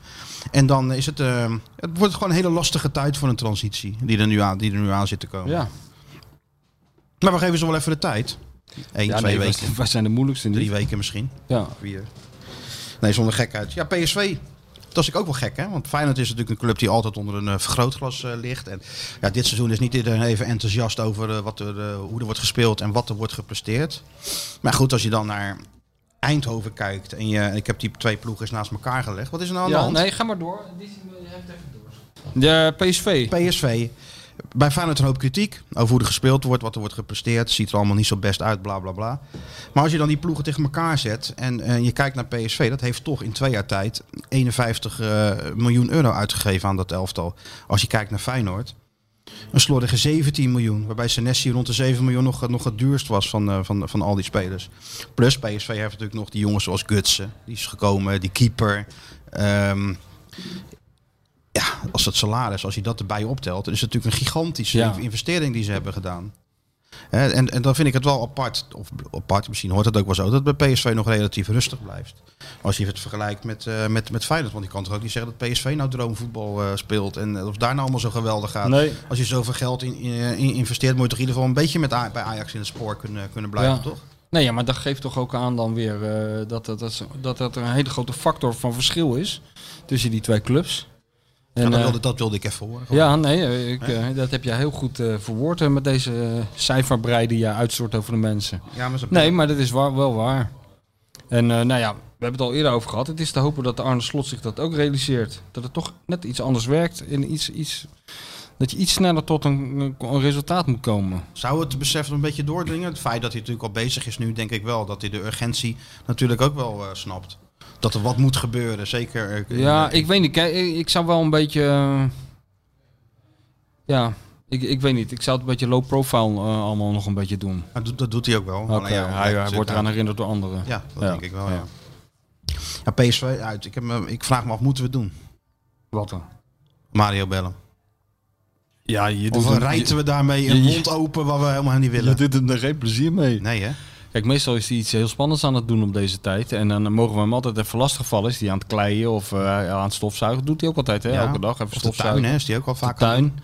S5: En dan is het... eh, het wordt gewoon een hele lastige tijd voor een transitie die er nu aan, die er nu aan zit te komen.
S6: Ja.
S5: Maar we geven ze wel even de tijd. Eén,
S6: Ja,
S5: twee
S6: nee, wij-
S5: weken.
S6: Wij zijn de moeilijkste niet.
S5: Drie weken misschien.
S6: Ja.
S5: Vier. Nee, zonder gekheid. Ja, PSV. Dat is ook wel gek, hè? Want Feyenoord is natuurlijk een club die altijd onder een eh, vergrootglas eh, ligt. En ja, dit seizoen is niet iedereen even enthousiast over eh, wat er, eh, hoe er wordt gespeeld en wat er wordt gepresteerd. Maar goed, als je dan naar Eindhoven kijkt en je, ik heb die twee ploegen eens naast elkaar gelegd. Wat is er nou aan
S6: ja,
S5: de hand?
S6: nee, ga maar door. De PSV.
S5: PSV. Bij Feyenoord een hoop kritiek over hoe er gespeeld wordt, wat er wordt gepresteerd. Ziet er allemaal niet zo best uit, bla bla bla. Maar als je dan die ploegen tegen elkaar zet en eh, je kijkt naar PSV, dat heeft toch in twee jaar tijd 51 eh, miljoen euro uitgegeven aan dat elftal. Als je kijkt naar Feyenoord, een slordige 17 miljoen. Waarbij Senesi rond de 7 miljoen nog, nog het duurst was van, eh, van, van al die spelers. Plus PSV heeft natuurlijk nog die jongens zoals Gutsen, die is gekomen, die keeper. Ehm, ja, als dat salaris, als je dat erbij optelt, dan is het natuurlijk een gigantische
S6: Ja.
S5: in- investering die ze hebben gedaan. Hè, En, en dan vind ik het wel apart, of b- apart, misschien hoort het ook wel zo, dat het bij PSV nog relatief rustig blijft. Als je het vergelijkt met, eh, met, met Feyenoord, want ik kan toch ook niet zeggen dat PSV nou droomvoetbal eh, speelt en eh, of daar nou allemaal zo geweldig gaat.
S6: Nee.
S5: Als je zoveel geld in, in- in investeert, moet je toch in ieder geval een beetje met A- bij Ajax in het spoor kunnen, eh, kunnen blijven,
S6: Ja.
S5: toch?
S6: Nee, ja, maar dat geeft toch ook aan dan weer eh, dat, dat, dat, dat dat er een hele grote factor van verschil is tussen die twee clubs. En,
S5: En, dat,
S6: eh,
S5: wilde, dat wilde ik even horen. gewoon.
S6: ja, nee, eh, ik, eh, dat heb je heel goed eh, verwoord eh, met deze eh, cijferbrei die je uitstort over de mensen.
S5: Ja, maar ze-
S6: Nee, maar dat is waar, wel waar. En eh, nou ja, we hebben het al eerder over gehad. Het is te hopen dat de Arne Slot zich dat ook realiseert. Dat het toch net iets anders werkt. En iets, iets, dat je iets sneller tot een, een resultaat moet komen.
S5: Zou het besef nog een beetje doordringen? Het feit dat hij natuurlijk al bezig is nu, denk ik wel. Dat hij de urgentie natuurlijk ook wel eh, snapt. Dat er wat moet gebeuren, zeker. eh, in-
S6: Ja, ik weet niet. Kijk, ik, ik zou wel een beetje... eh, ja, ik, ik weet niet. Ik zou het een beetje low profile eh, allemaal nog een beetje doen.
S5: dat, doet- dat doet hij ook wel.
S6: Oké,
S5: Alleen ja,
S6: hij, hij
S5: zit
S6: wordt
S5: daar-
S6: eraan herinnerd door anderen.
S5: Ja, dat
S6: Ja,
S5: denk ik wel,
S6: ja.
S5: ja. ja. PSV uit. Ik, heb, me- ik vraag me af, moeten we het doen?
S6: Wat dan?
S5: Mario bellen.
S10: Ja, je
S5: Of rijden we daarmee een
S6: je-
S5: mond open waar we helemaal niet willen?
S10: doet hem er geen plezier mee.
S5: Nee, hè?
S6: Kijk, meestal is hij iets heel spannends aan het doen op deze tijd. En dan mogen we hem altijd even lastigvallen. Is hij aan het kleien of eh, aan het stofzuigen? Doet hij ook altijd, hè?
S5: Ja.
S6: Elke dag even
S5: Of de tuin,
S6: stofzuigen.
S5: hè? Is die ook al
S6: De
S5: vaak
S6: tuin.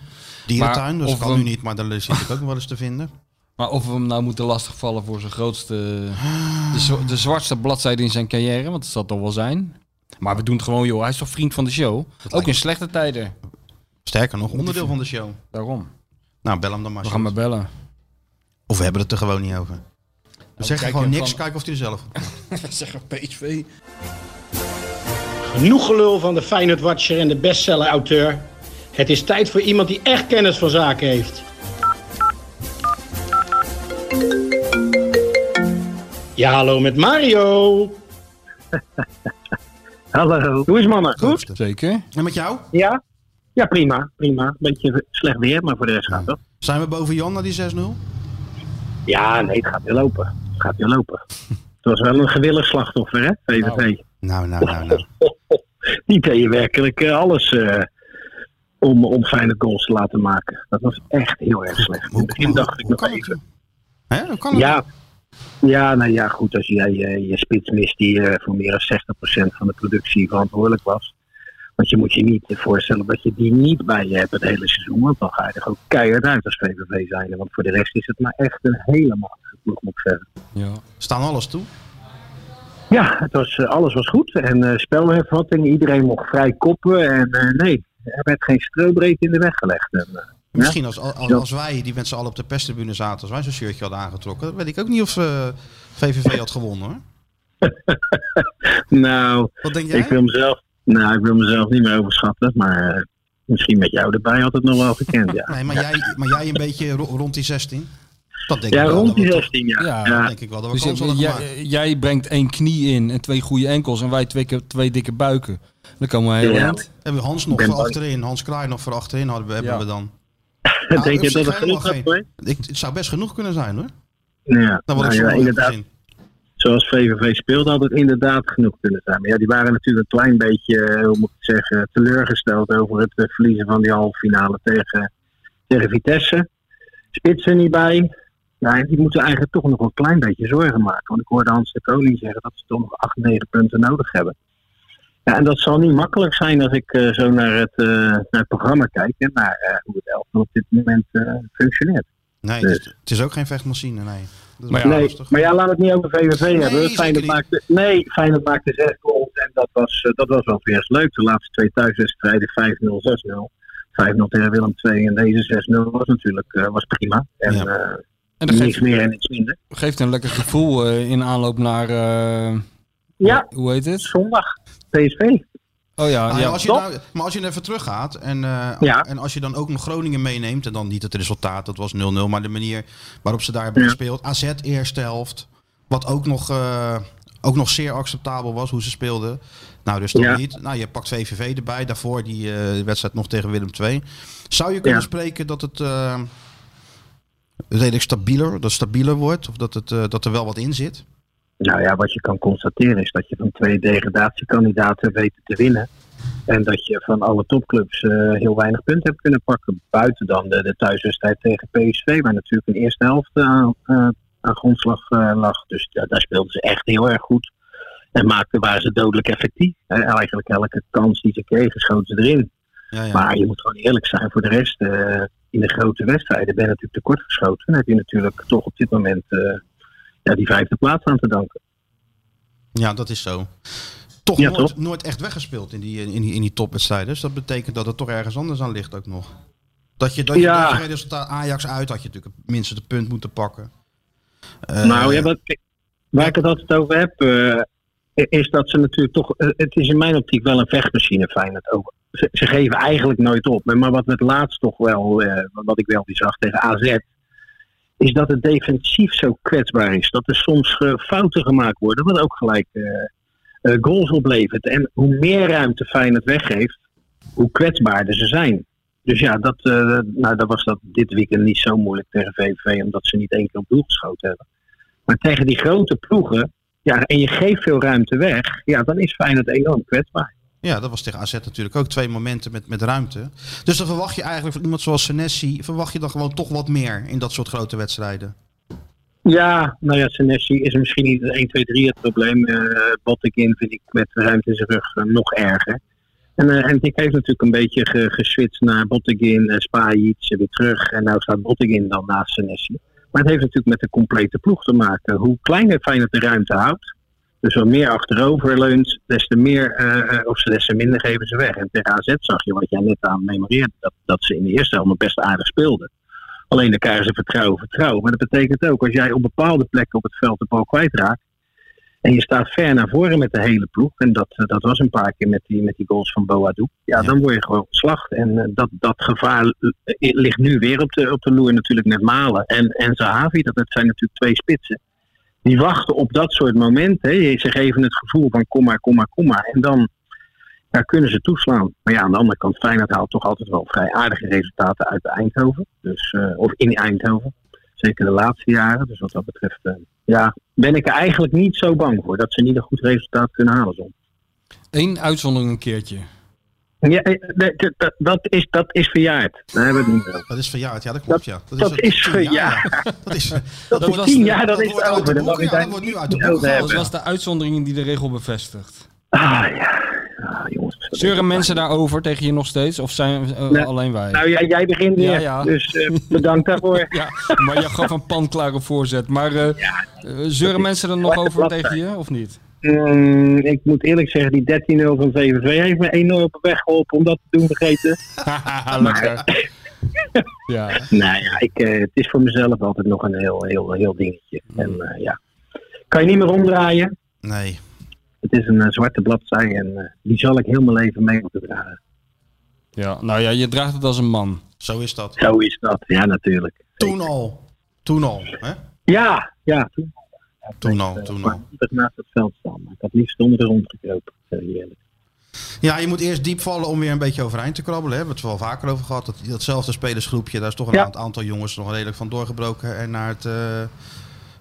S5: Dierentuin,
S6: Maar
S5: dus
S6: of
S5: kan
S6: we-
S5: nu niet, maar daar zit ik ook nog wel eens te vinden.
S6: Maar of we hem nou moeten lastigvallen voor zijn grootste... De, zwa- de zwartste bladzijde in zijn carrière, want dat zal toch wel zijn. Maar we doen het gewoon, joh. Hij is toch vriend van de show? ook in slechte tijden.
S5: Sterker nog, onderdeel van de show.
S6: Daarom.
S5: Nou, bel hem dan maar.
S6: We gaan maar bellen.
S5: Of we hebben het er gewoon niet over. We zeggen
S6: Oh, kijk
S5: gewoon
S6: hem
S5: niks,
S6: van-
S5: kijken of hij er zelf
S6: Zeggen PSV.
S11: Genoeg gelul van de Feyenoord Watcher en de bestseller auteur. Het is tijd voor iemand die echt kennis van zaken heeft. Ja, hallo met Mario.
S7: Hallo.
S11: Hoe is mannen? Goed?
S6: Zeker.
S5: En met jou?
S11: Ja? Ja, prima. Prima. Beetje slecht weer, maar voor de rest gaat het.
S5: Zijn we boven Jan naar die 6-0?
S11: Ja, nee, het gaat weer lopen. Het gaat weer lopen. Het was wel een gewillig slachtoffer, hè? VVV.
S5: Nou, nou, nou, nou.
S12: Niet dat je werkelijk eh, alles eh, om, om fijne goals te laten maken. Dat was echt heel erg slecht. In het begin dacht ik nog even. ja, ja, nou ja, goed. Als jij je, je spits mist die eh, voor meer dan 60% van de productie verantwoordelijk was. Want je moet je niet voorstellen dat je die niet bij je hebt het hele seizoen. Want dan ga je er gewoon keihard uit als VVV zijn. Want voor de rest is het maar echt een hele machtige ploeg, moet ik zeggen.
S6: Ja.
S5: Staan alles toe?
S12: Ja, het was, eh, alles was goed. En eh spelhervatting, iedereen mocht vrij koppen. En eh, nee, er werd geen streubreedte in de weg gelegd. En, eh,
S5: Misschien
S12: ja.
S5: als, als,
S12: Ja.
S5: als wij, die met z'n allen op de perstribune zaten, als wij zo'n shirtje hadden aangetrokken, weet ik ook niet of eh, VVV had gewonnen hoor.
S12: Nou,
S5: jij?
S12: Ik wil, mezelf, nou, ik wil mezelf niet meer overschatten. Maar eh, misschien met jou erbij had het nog wel gekend, ja.
S5: Nee, maar jij, maar jij een beetje ro- rond die 16? Dat denk
S12: Ja,
S5: ik wel.
S12: rond
S5: dat we
S12: die
S5: toch-
S12: 16, ja.
S5: Ja,
S12: Ja.
S5: dat denk ik wel. Dat we
S6: Dus
S5: kans hadden
S6: jij-
S5: gemaakt.
S6: jij brengt één knie in en twee goede enkels en wij twee, keer- twee dikke buiken. Dan komen we heel
S5: Ja.
S6: eind.
S5: Hebben we Hans
S6: Ik
S5: nog
S6: ben
S5: voor
S6: bang.
S5: achterin, Hans Kraai nog voor achterin hadden we, hebben
S6: Ja.
S5: we dan.
S12: Denk je
S5: UFC
S12: dat het
S5: helemaal
S12: genoeg gaat
S5: geen- Ik, het zou best genoeg kunnen zijn hoor.
S12: Ja,
S5: Dan wordt
S12: nou
S5: het
S12: ja,
S5: zondag weer
S12: inderdaad.
S5: gezien.
S12: Zoals VVV speelde had het inderdaad genoeg kunnen zijn. Maar ja, die waren natuurlijk een klein beetje, eh, hoe moet ik het zeggen, teleurgesteld over het eh, verliezen van die halve finale tegen, tegen Vitesse. Spitsen niet bij. Ja, en die moeten eigenlijk toch nog een klein beetje zorgen maken. Want ik hoorde Hans de Koning zeggen dat ze toch nog 8, 9 punten nodig hebben. Ja, en dat zal niet makkelijk zijn als ik eh, zo naar het, eh, naar het programma kijk en naar eh, hoe het elftal op dit moment eh, functioneert.
S5: Nee,
S12: Dus-
S5: Het is ook geen vechtmachine, nee. Dat is wel
S12: nee,
S5: lastig.
S12: maar ja, laat het niet over VVV hebben.
S5: zeker
S12: Feyenoord
S5: niet.
S12: maakte, nee, Feyenoord maakte zes goals en dat was, eh, dat was wel weer eens leuk. De laatste twee thuiswedstrijden 5-0, 6-0. 5-0 tegen Willem II en deze 6-0 was natuurlijk eh, was prima. En, eh
S6: En dat geeft-
S12: niks meer en niks minder.
S6: Geeft een lekker gevoel eh, in aanloop naar. eh,
S12: Ja,
S6: hoe heet het?
S12: Zondag. PSV.
S6: Oh ja,
S5: Nou ja,
S6: ja.
S5: als je nou- maar als je even teruggaat en, eh,
S6: Ja.
S5: en als je dan ook nog Groningen meeneemt en dan niet het resultaat, dat was 0-0, maar de manier waarop ze daar hebben
S12: Ja.
S5: gespeeld. AZ eerste helft, wat ook nog, eh, ook nog zeer acceptabel was hoe ze speelden. Nou, dus toch
S12: Ja.
S5: niet. Nou, je pakt VVV erbij, daarvoor die eh, wedstrijd nog tegen Willem II. Zou je kunnen
S12: Ja.
S5: spreken dat het eh, redelijk stabieler, dat het stabieler wordt of dat, het, eh, dat er wel wat in zit?
S12: Nou ja, wat je kan constateren is dat je van twee degradatiekandidaten weet te winnen. En dat je van alle topclubs eh, heel weinig punten hebt kunnen pakken. Buiten dan de, de thuiswedstrijd tegen PSV, waar natuurlijk in de eerste helft eh, aan- eh, aan grondslag eh, lag. Dus ja, daar speelden ze echt heel erg goed. En maakten, waren ze dodelijk effectief. Eh, eigenlijk elke kans die ze kregen, schoten ze erin. Maar je moet gewoon eerlijk zijn voor de rest. eh, in de grote wedstrijden ben je natuurlijk tekortgeschoten. Dan heb je natuurlijk toch op dit moment eh, ja, die vijfde plaats aan te danken.
S5: Ja, dat is zo. Toch
S12: Ja,
S5: nooit,
S12: toch?
S5: nooit echt weggespeeld in die, in die, in die topwedstrijden. Dus dat betekent dat het toch ergens anders aan ligt ook nog. Dat je, dat je,
S12: Ja.
S5: dat je resultaat Ajax uit had je natuurlijk minstens het punt moeten pakken. Eh,
S12: nou ja, wat, kijk, waar ik het altijd over heb, eh, is dat ze natuurlijk toch. eh, het is in mijn optiek wel een vechtmachine, Feyenoord ook. Ze, ze geven eigenlijk nooit op. Maar wat we het laatst toch wel, eh, wat ik wel die zag tegen AZ, is dat het defensief zo kwetsbaar is. Dat er soms eh, fouten gemaakt worden, wat ook gelijk eh, eh, goals oplevert. En hoe meer ruimte Feyenoord weggeeft, hoe kwetsbaarder ze zijn. Dus ja, dat, eh, nou, dat was dat dit weekend niet zo moeilijk tegen VVV, omdat ze niet één keer op doel geschoten hebben. Maar tegen die grote ploegen, ja, en je geeft veel ruimte weg, ja, dan is Feyenoord enorm kwetsbaar.
S5: ja, dat was tegen AZ natuurlijk ook twee momenten met, met ruimte. Dus dan verwacht je eigenlijk van iemand zoals Senesi, verwacht je dan gewoon toch wat meer in dat soort grote wedstrijden.
S12: Ja, nou ja, Senesi is misschien niet het 1, 2, 3 het probleem. Eh Bottekin vind ik met ruimte in zijn rug eh, nog erger. En, eh en Dick heeft natuurlijk een beetje ge, geswitst naar Bottekin, en Spajic eh, weer terug. En nou staat Bottekin dan naast Senesi. Maar het heeft natuurlijk met de complete ploeg te maken. Hoe kleiner Feyenoord de ruimte houdt, dus hoe meer achterover leunt, des te meer, eh, eh, of ze des te minder geven ze weg. En tegen AZ zag je, wat jij net aan memoreerde, dat, dat ze in de eerste helft nog best aardig speelden. Alleen dan krijgen ze vertrouwen, vertrouwen. Maar dat betekent ook, als jij op bepaalde plekken op het veld de bal kwijtraakt. En je staat ver naar voren met de hele ploeg. En dat, eh, dat was een paar keer met die, met die goals van Boadu. Ja, dan word je gewoon geslacht. En eh, dat, dat gevaar eh, ligt nu weer op de, op de loer natuurlijk met Malen. En, en Zahavi, dat, dat zijn natuurlijk twee spitsen. Die wachten op dat soort momenten. hè. Ze geven het gevoel van kom maar, kom maar, kom maar. En dan ja, kunnen ze toeslaan. Maar ja, aan de andere kant, Feyenoord haalt toch altijd wel vrij aardige resultaten uit Eindhoven. Dus, eh, of in Eindhoven. Zeker de laatste jaren. Dus wat dat betreft eh, ja, ben ik er eigenlijk niet zo bang voor dat ze niet een goed resultaat kunnen halen. Zon.
S6: Eén uitzondering een keertje.
S12: Ja, eh, nee, dat- dat- dat, is, dat is verjaard. Daar hebben we het niet over.
S5: Dat is verjaard, ja, dat klopt. Ja.
S12: Dat, is verjaard.
S5: Dat is,
S12: dat
S6: Dat
S12: voor
S6: was-
S12: tien jaar, dat,
S6: dat
S12: is
S6: wordt uit de
S12: over. Dat
S6: boeken,
S12: mag je
S6: ja, dat
S12: daar
S6: wordt
S12: niet
S6: nu uit de
S12: over
S6: boeken gehaald.
S12: hebben.
S6: Dat was de uitzondering die de regel bevestigt.
S12: Ah ja. Ah,
S6: Zeuren mensen daarover tegen je nog steeds? Of zijn eh,
S12: Nee.
S6: alleen wij?
S12: Nou, jij, jij begint weer.
S6: Ja, ja.
S12: Dus eh, bedankt daarvoor.
S6: ja, maar je gaf een panklare voorzet. Maar eh, eh, zeuren mensen er nog
S12: Wat-
S6: over
S12: wat
S6: tegen
S12: zijn.
S6: je, of niet?
S12: Mm, ik moet eerlijk zeggen, die 13-0 van VVV heeft me enorm op weg geholpen om dat te doen vergeten.
S6: lekker. ja.
S12: Nou ja, ik, eh, het is voor mezelf altijd nog een heel, heel, heel dingetje. En eh, ja, kan je niet meer omdraaien.
S5: Nee.
S12: Het is een eh, zwarte bladzij en eh, die zal ik heel mijn leven mee moeten dragen.
S6: ja, nou ja, je draagt het als een man.
S5: Zo is dat.
S12: Zo is dat, ja natuurlijk.
S5: Toen al. Toen al. Hè?
S12: Ja, ja. Toen,
S5: Toen
S12: eh,
S5: al, toen al.
S12: ik naast het veld staan. maar Ik had liefst onder de rond gekropen. eh, zeg ik eerlijk.
S5: Ja, je moet eerst diep vallen om weer een beetje overeind te krabbelen. Hè. We hebben het wel vaker over gehad. Dat, datzelfde spelersgroepje, daar is toch een
S12: Ja.
S5: aant- aantal jongens nog redelijk van doorgebroken en naar het, eh,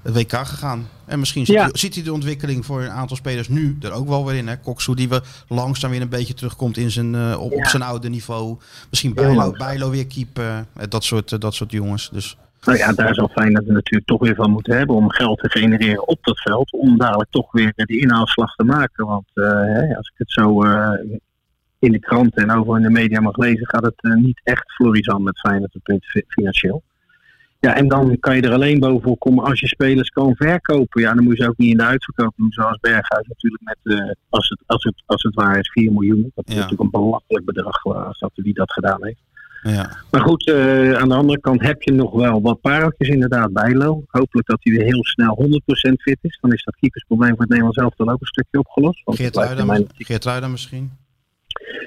S5: het WK gegaan. En misschien ziet,
S12: Ja.
S5: hij, ziet hij de ontwikkeling voor een aantal spelers nu er ook wel weer in. Hè. Koksu die we langzaam weer een beetje terugkomt in zijn, eh, op, op
S12: Ja.
S5: zijn oude niveau. Misschien
S12: Heel
S5: Bijlo,
S12: langzaam.
S5: Bijlo weer keeper. Eh, Dat soort, eh, dat soort jongens. Dus
S12: Nou ja, daar is al fijn dat we natuurlijk toch weer van moeten hebben om geld te genereren op dat veld. Om dadelijk toch weer eh, die inhaalslag te maken. Want eh, hè, als ik het zo eh, in de krant en over in de media mag lezen, gaat het eh, niet echt florissant met Feyenoord op het fi- financieel. Ja, en dan kan je er alleen bovenop komen als je spelers kan verkopen. Ja, dan moet je ze ook niet in de uitverkoop doen, zoals Berghuis natuurlijk met, eh, als, het, als, het, als het waar is, 4 miljoen. Dat is
S5: Ja.
S12: natuurlijk een belachelijk bedrag eh, als dat wie dat gedaan heeft.
S5: nou ja.
S12: Maar goed, eh, aan de andere kant heb je nog wel wat pareltjes inderdaad Bijlo. Hopelijk dat hij weer heel snel 100% fit is. Dan is dat keepersprobleem voor het Nederlands elftal ook een stukje opgelost. Want het
S5: Geert
S12: blijft in mijn-
S5: Ruida, Geert Ruida misschien.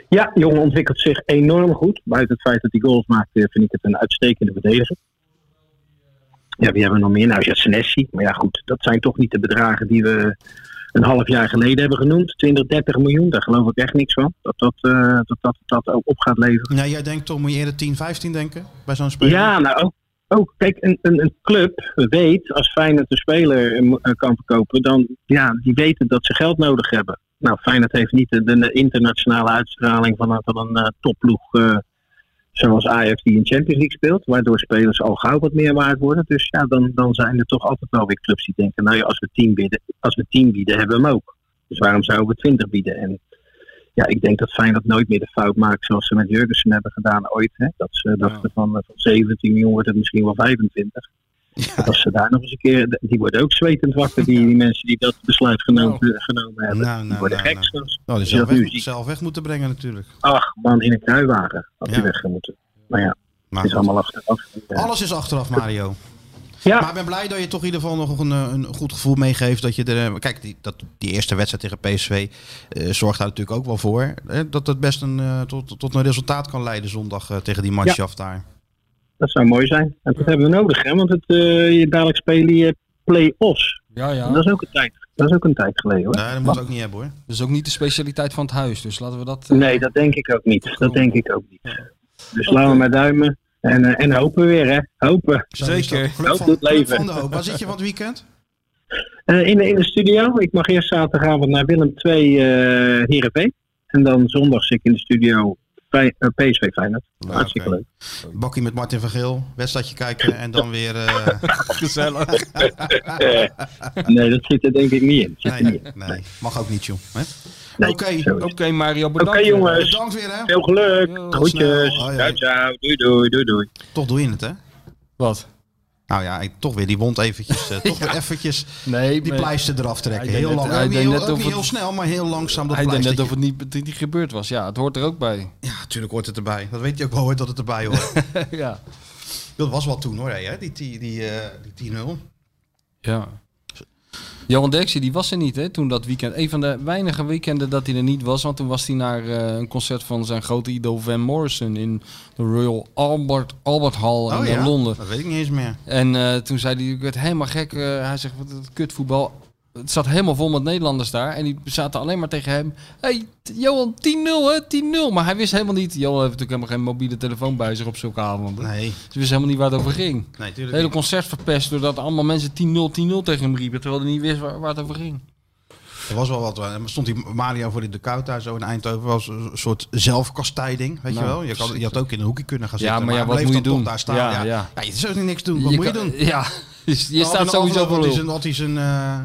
S12: Ja, de jongen ontwikkelt zich enorm goed. Buiten het feit dat hij goals maakt, eh, vind ik het een uitstekende verdediger. Ja, wie hebben we nog meer? Nou, Jasnessi. Maar ja, goed, dat zijn toch niet de bedragen die we een half jaar geleden hebben genoemd. 20, 30 miljoen, daar geloof ik echt niks van. Dat dat, eh, dat, dat, dat ook op gaat leveren.
S5: Nou, jij denkt toch, moet je eerder 10, 15 denken bij zo'n speler?
S12: Ja, nou ook. ook kijk, een, een, een club weet als Feyenoord een speler eh, mo- eh, kan verkopen, dan ja, die weten dat ze geld nodig hebben. Nou, Feyenoord heeft niet de, de internationale uitstraling van, een- van een eh, topploeg eh, zoals Ajax die in Champions League speelt, waardoor spelers al gauw wat meer waard worden. Dus ja, dan, dan zijn er toch altijd wel weer clubs die denken, nou ja, als we 10 bieden, als we 10 bieden hebben we hem ook. Dus waarom zouden we 20 bieden? En ja, ik denk dat Feyenoord nooit meer de fout maakt zoals ze met Jurgensen hebben gedaan ooit. Hè? Dat ze dachten van, eh, van 17 miljoen wordt het misschien wel 25. Dat als ze daar nog eens een keer, die worden ook zwetend wakker, die, die mensen die dat besluit genomen, genomen hebben.
S5: Nou,
S12: die
S5: nou,
S12: worden
S5: nou,
S12: gek
S5: nou.
S12: straks.
S5: Nou, die
S12: Als je
S5: zelf
S12: dat nu
S5: weg,
S12: ziet,
S5: zelf weg moeten brengen natuurlijk.
S12: ach man, in een kruiwagen had die weg moeten. Maar ja,
S5: Maar
S12: het is
S5: goed.
S12: allemaal achteraf. Ja.
S5: Alles is achteraf, Mario.
S12: Ja.
S5: Maar ik ben blij dat je toch in ieder geval nog een, eh, een goed gevoel meegeeft. Dat je er, eh, kijk, die, dat, die eerste wedstrijd tegen PSV eh, zorgt daar natuurlijk ook wel voor. Hè, dat het best een, eh, tot, tot een resultaat kan leiden zondag eh, tegen die manschaft daar.
S12: Dat zou mooi zijn. En dat hebben we nodig, hè? want het, eh, je dadelijk spelen je play-offs.
S6: Ja, ja.
S12: En Dat, is ook een tijd, dat is ook een tijd geleden hoor.
S5: Nee, Eh, dat moet je ook niet hebben hoor.
S6: Dat is ook niet de specialiteit van het huis, dus laten we dat... eh,
S12: Nee, dat denk ik ook niet. Dat denk ik ook niet. Dus
S6: Oké.
S12: laten we maar duimen. En, eh, en hopen weer, hè? Hopen.
S6: Zeker.
S5: Geluk
S12: Hoop
S5: van,
S12: doet
S5: geluk
S12: leven.
S5: van de hoop. Waar zit je van het weekend?
S12: Eh, in, de, in de studio. Ik mag eerst zaterdagavond naar Willem 2 eh Heerenveen. En dan zondag zit ik in de studio bij eh, PSV Feyenoord. Hartstikke
S5: Nou, Ah, oké.
S12: leuk.
S5: Bakkie met Martin van Geel. Wedstrijdje kijken en dan weer... eh,
S6: Gezellig.
S12: Nee, dat zit er denk ik niet in. Zit er
S5: nee,
S12: niet in.
S5: nee, mag ook niet joh. hè?
S12: Nee,
S5: Oké.
S12: zo is
S6: Oké
S12: het.
S6: Mario,
S12: Oké
S6: bedankt.
S12: jongens,
S5: Bedankt weer hè.
S12: veel geluk.
S6: Tot
S12: Groetjes.
S5: snel. Oh, Hoi, hoi.
S12: Ciao, ciao. Doei, doei, doei, doei.
S5: Toch doe je het hè.
S6: Wat?
S5: Nou ja, ik- toch weer die wond eventjes. eh, toch weer eventjes
S6: Nee,
S5: die
S6: maar-
S5: pleister eraf trekken.
S6: Hij deed
S5: Heel
S6: net-
S5: lang.
S6: hij
S5: Ook niet
S6: deed
S5: heel,
S6: net
S5: ook
S6: of
S5: niet
S6: het-
S5: heel snel, maar heel langzaam dat
S6: Hij deed net
S5: pleistertje.
S6: of het niet, niet gebeurd was. Ja, het hoort er ook bij.
S5: Ja, natuurlijk hoort het erbij. Dat weet je ook wel hoort dat het erbij hoort.
S6: ja.
S5: dat was wat toen hoor, hè, die, die, die, eh, die 10-0.
S6: Ja. Johan Derksen, die was er niet hè, toen dat weekend. Een van de weinige weekenden dat hij er niet was. Want toen was hij naar eh, een concert van zijn grote idool Van Morrison in de Royal Albert, Albert Hall in eh, Londen.
S5: Oh Dat weet ik niet eens meer.
S6: En eh, toen zei hij, ik werd helemaal gek. Eh, hij zegt, wat een kutvoetbal. Het zat helemaal vol met Nederlanders daar. En die zaten alleen maar tegen hem. hey, t- Johan, 10-0 hè, 10-0. Maar hij wist helemaal niet. Johan heeft natuurlijk helemaal geen mobiele telefoon bij zich op zulke avonden.
S5: Nee,
S6: Dus hij wist helemaal niet waar het over ging.
S5: nee,
S6: Het
S5: tuurlijk
S6: hele
S5: niet.
S6: concert verpest doordat allemaal mensen 10-0, 10-0 tegen hem riepen. Terwijl hij niet wist waar, waar het over ging.
S5: Er was wel wat. eh, maar Stond die Mario voor in de kou daar zo in Eindhoven. was een soort zelfkastijding, weet
S6: Nou,
S5: je wel. Je, kan, je had ook in een hoekje kunnen gaan
S6: Ja,
S5: zitten.
S6: maar ja,
S5: hij
S6: wat
S5: bleef
S6: moet je
S5: dan toch
S6: doen?
S5: Daar staan.
S6: Ja,
S5: Ja, ja.
S6: ja.
S5: je zou er niks doen. Wat
S6: Je
S5: moet
S6: kan-
S5: je doen? Nou,
S6: ja, dus je staat sowieso voor
S5: wel.
S6: lul.
S5: Had hij zijn, eh,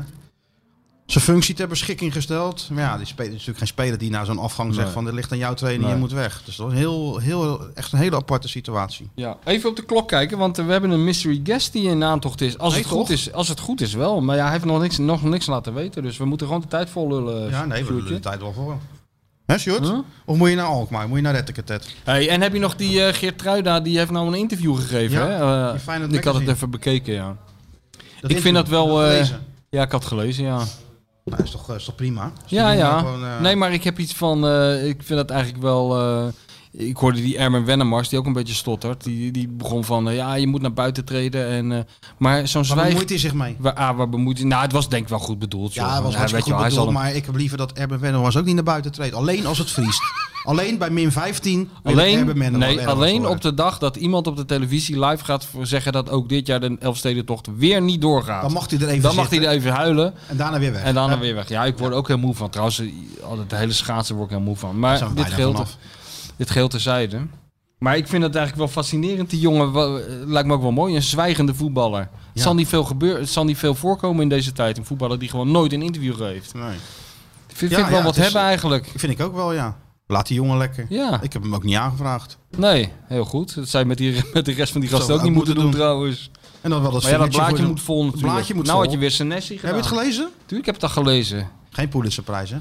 S5: zijn functie ter beschikking gesteld? Maar ja, die speler is natuurlijk geen speler die na zo'n afgang zegt
S6: Nee.
S5: van... dit ligt aan jouw trainer,
S6: Nee.
S5: je moet weg. Dus dat was heel, heel, echt een hele aparte situatie.
S6: Ja, even op de klok kijken, want eh, we hebben een mystery guest die in aantocht is. Als,
S5: Nee,
S6: het goed
S5: toch?
S6: is als het goed is wel, maar ja, hij heeft nog niks, nog niks laten weten. Dus we moeten gewoon de tijd vol lullen.
S5: Ja, nee, we
S6: Sjoerdje.
S5: lullen de tijd wel voor. Hè, Sjoerd? Of moet je naar Alkmaar? Moet je naar Rettekatet?
S6: Hey, en heb je nog die eh Geert Truida, die heeft nou een interview gegeven.
S5: Ja,
S6: hè? Eh,
S5: die Feyenoord
S6: ik had het
S5: magazine.
S6: even bekeken, ja. ik
S5: interview,
S6: vind dat wel.
S5: heb je
S6: eh,
S5: gelezen?
S6: ja, ik had het gelezen, ja.
S5: Nou, is toch, is toch prima? Dus die
S6: ja,
S5: doen
S6: ja.
S5: daar gewoon, eh,
S6: Nee, maar ik heb iets van. eh, ik vind dat eigenlijk wel. eh, ik hoorde die Ermen Wennemars, die ook een beetje stottert. Die, die begon van, eh, ja, je moet naar buiten treden. En, eh, maar zo'n
S5: Waar
S6: zwijg...
S5: bemoeit hij zich mee?
S6: Waar, ah, waar bemoeit hij... Nou, het was denk ik wel goed bedoeld. joh.
S5: Ja, hij was hartstikke
S6: weet je wel,
S5: goed
S6: hij zal
S5: bedoeld,
S6: hem-
S5: maar ik heb liever dat Erben Wennemars ook niet naar buiten treedt. Alleen als het vriest. alleen bij min 15 wil ik Erben
S6: Alleen,
S5: Wennemars
S6: nee,
S5: ergens
S6: alleen
S5: horen.
S6: op de dag dat iemand op de televisie live gaat voor- zeggen dat ook dit jaar de Elfstedentocht weer niet doorgaat.
S5: Dan mag hij er even
S6: Dan mag hij
S5: zitten.
S6: er even huilen.
S5: En daarna weer weg.
S6: En daarna
S5: Ja.
S6: weer weg. Ja, ik word er ook heel moe van. Trouwens, altijd de hele schaatsen word ik heel moe van.
S5: Zijn
S6: Maar
S5: we
S6: dit
S5: bijna
S6: geldt,
S5: vanaf.
S6: dit geldt terzijde. Maar ik vind het eigenlijk wel fascinerend. Die jongen wa- eh, lijkt me ook wel mooi. Een zwijgende voetballer. Het,
S5: Ja.
S6: zal niet veel gebeuren, het zal niet veel voorkomen in deze tijd. Een voetballer die gewoon nooit een interview geeft.
S5: Nee.
S6: Ik vind,
S5: Ja,
S6: vind ik wel
S5: ja,
S6: wat
S5: het is-
S6: hebben eigenlijk.
S5: Vind ik ook wel, ja. Laat die jongen lekker.
S6: Ja.
S5: Ik heb hem ook niet aangevraagd.
S6: Nee, heel goed. Dat zijn met, die, met de rest van die
S5: Zou
S6: gasten ook
S5: we
S6: niet
S5: ook
S6: moeten doen,
S5: moeten doen.
S6: trouwens.
S5: En dan wel dat
S6: Maar ja, dat
S5: vingertje
S6: blaadje
S5: voor
S6: moet
S5: de-
S6: vol natuurlijk.
S5: blaadje moet
S6: nou
S5: vol.
S6: had je weer Senesi gedaan.
S5: Heb je het gelezen?
S6: Tuurlijk heb ik dat gelezen.
S5: Geen Pulitzerprijs, hè?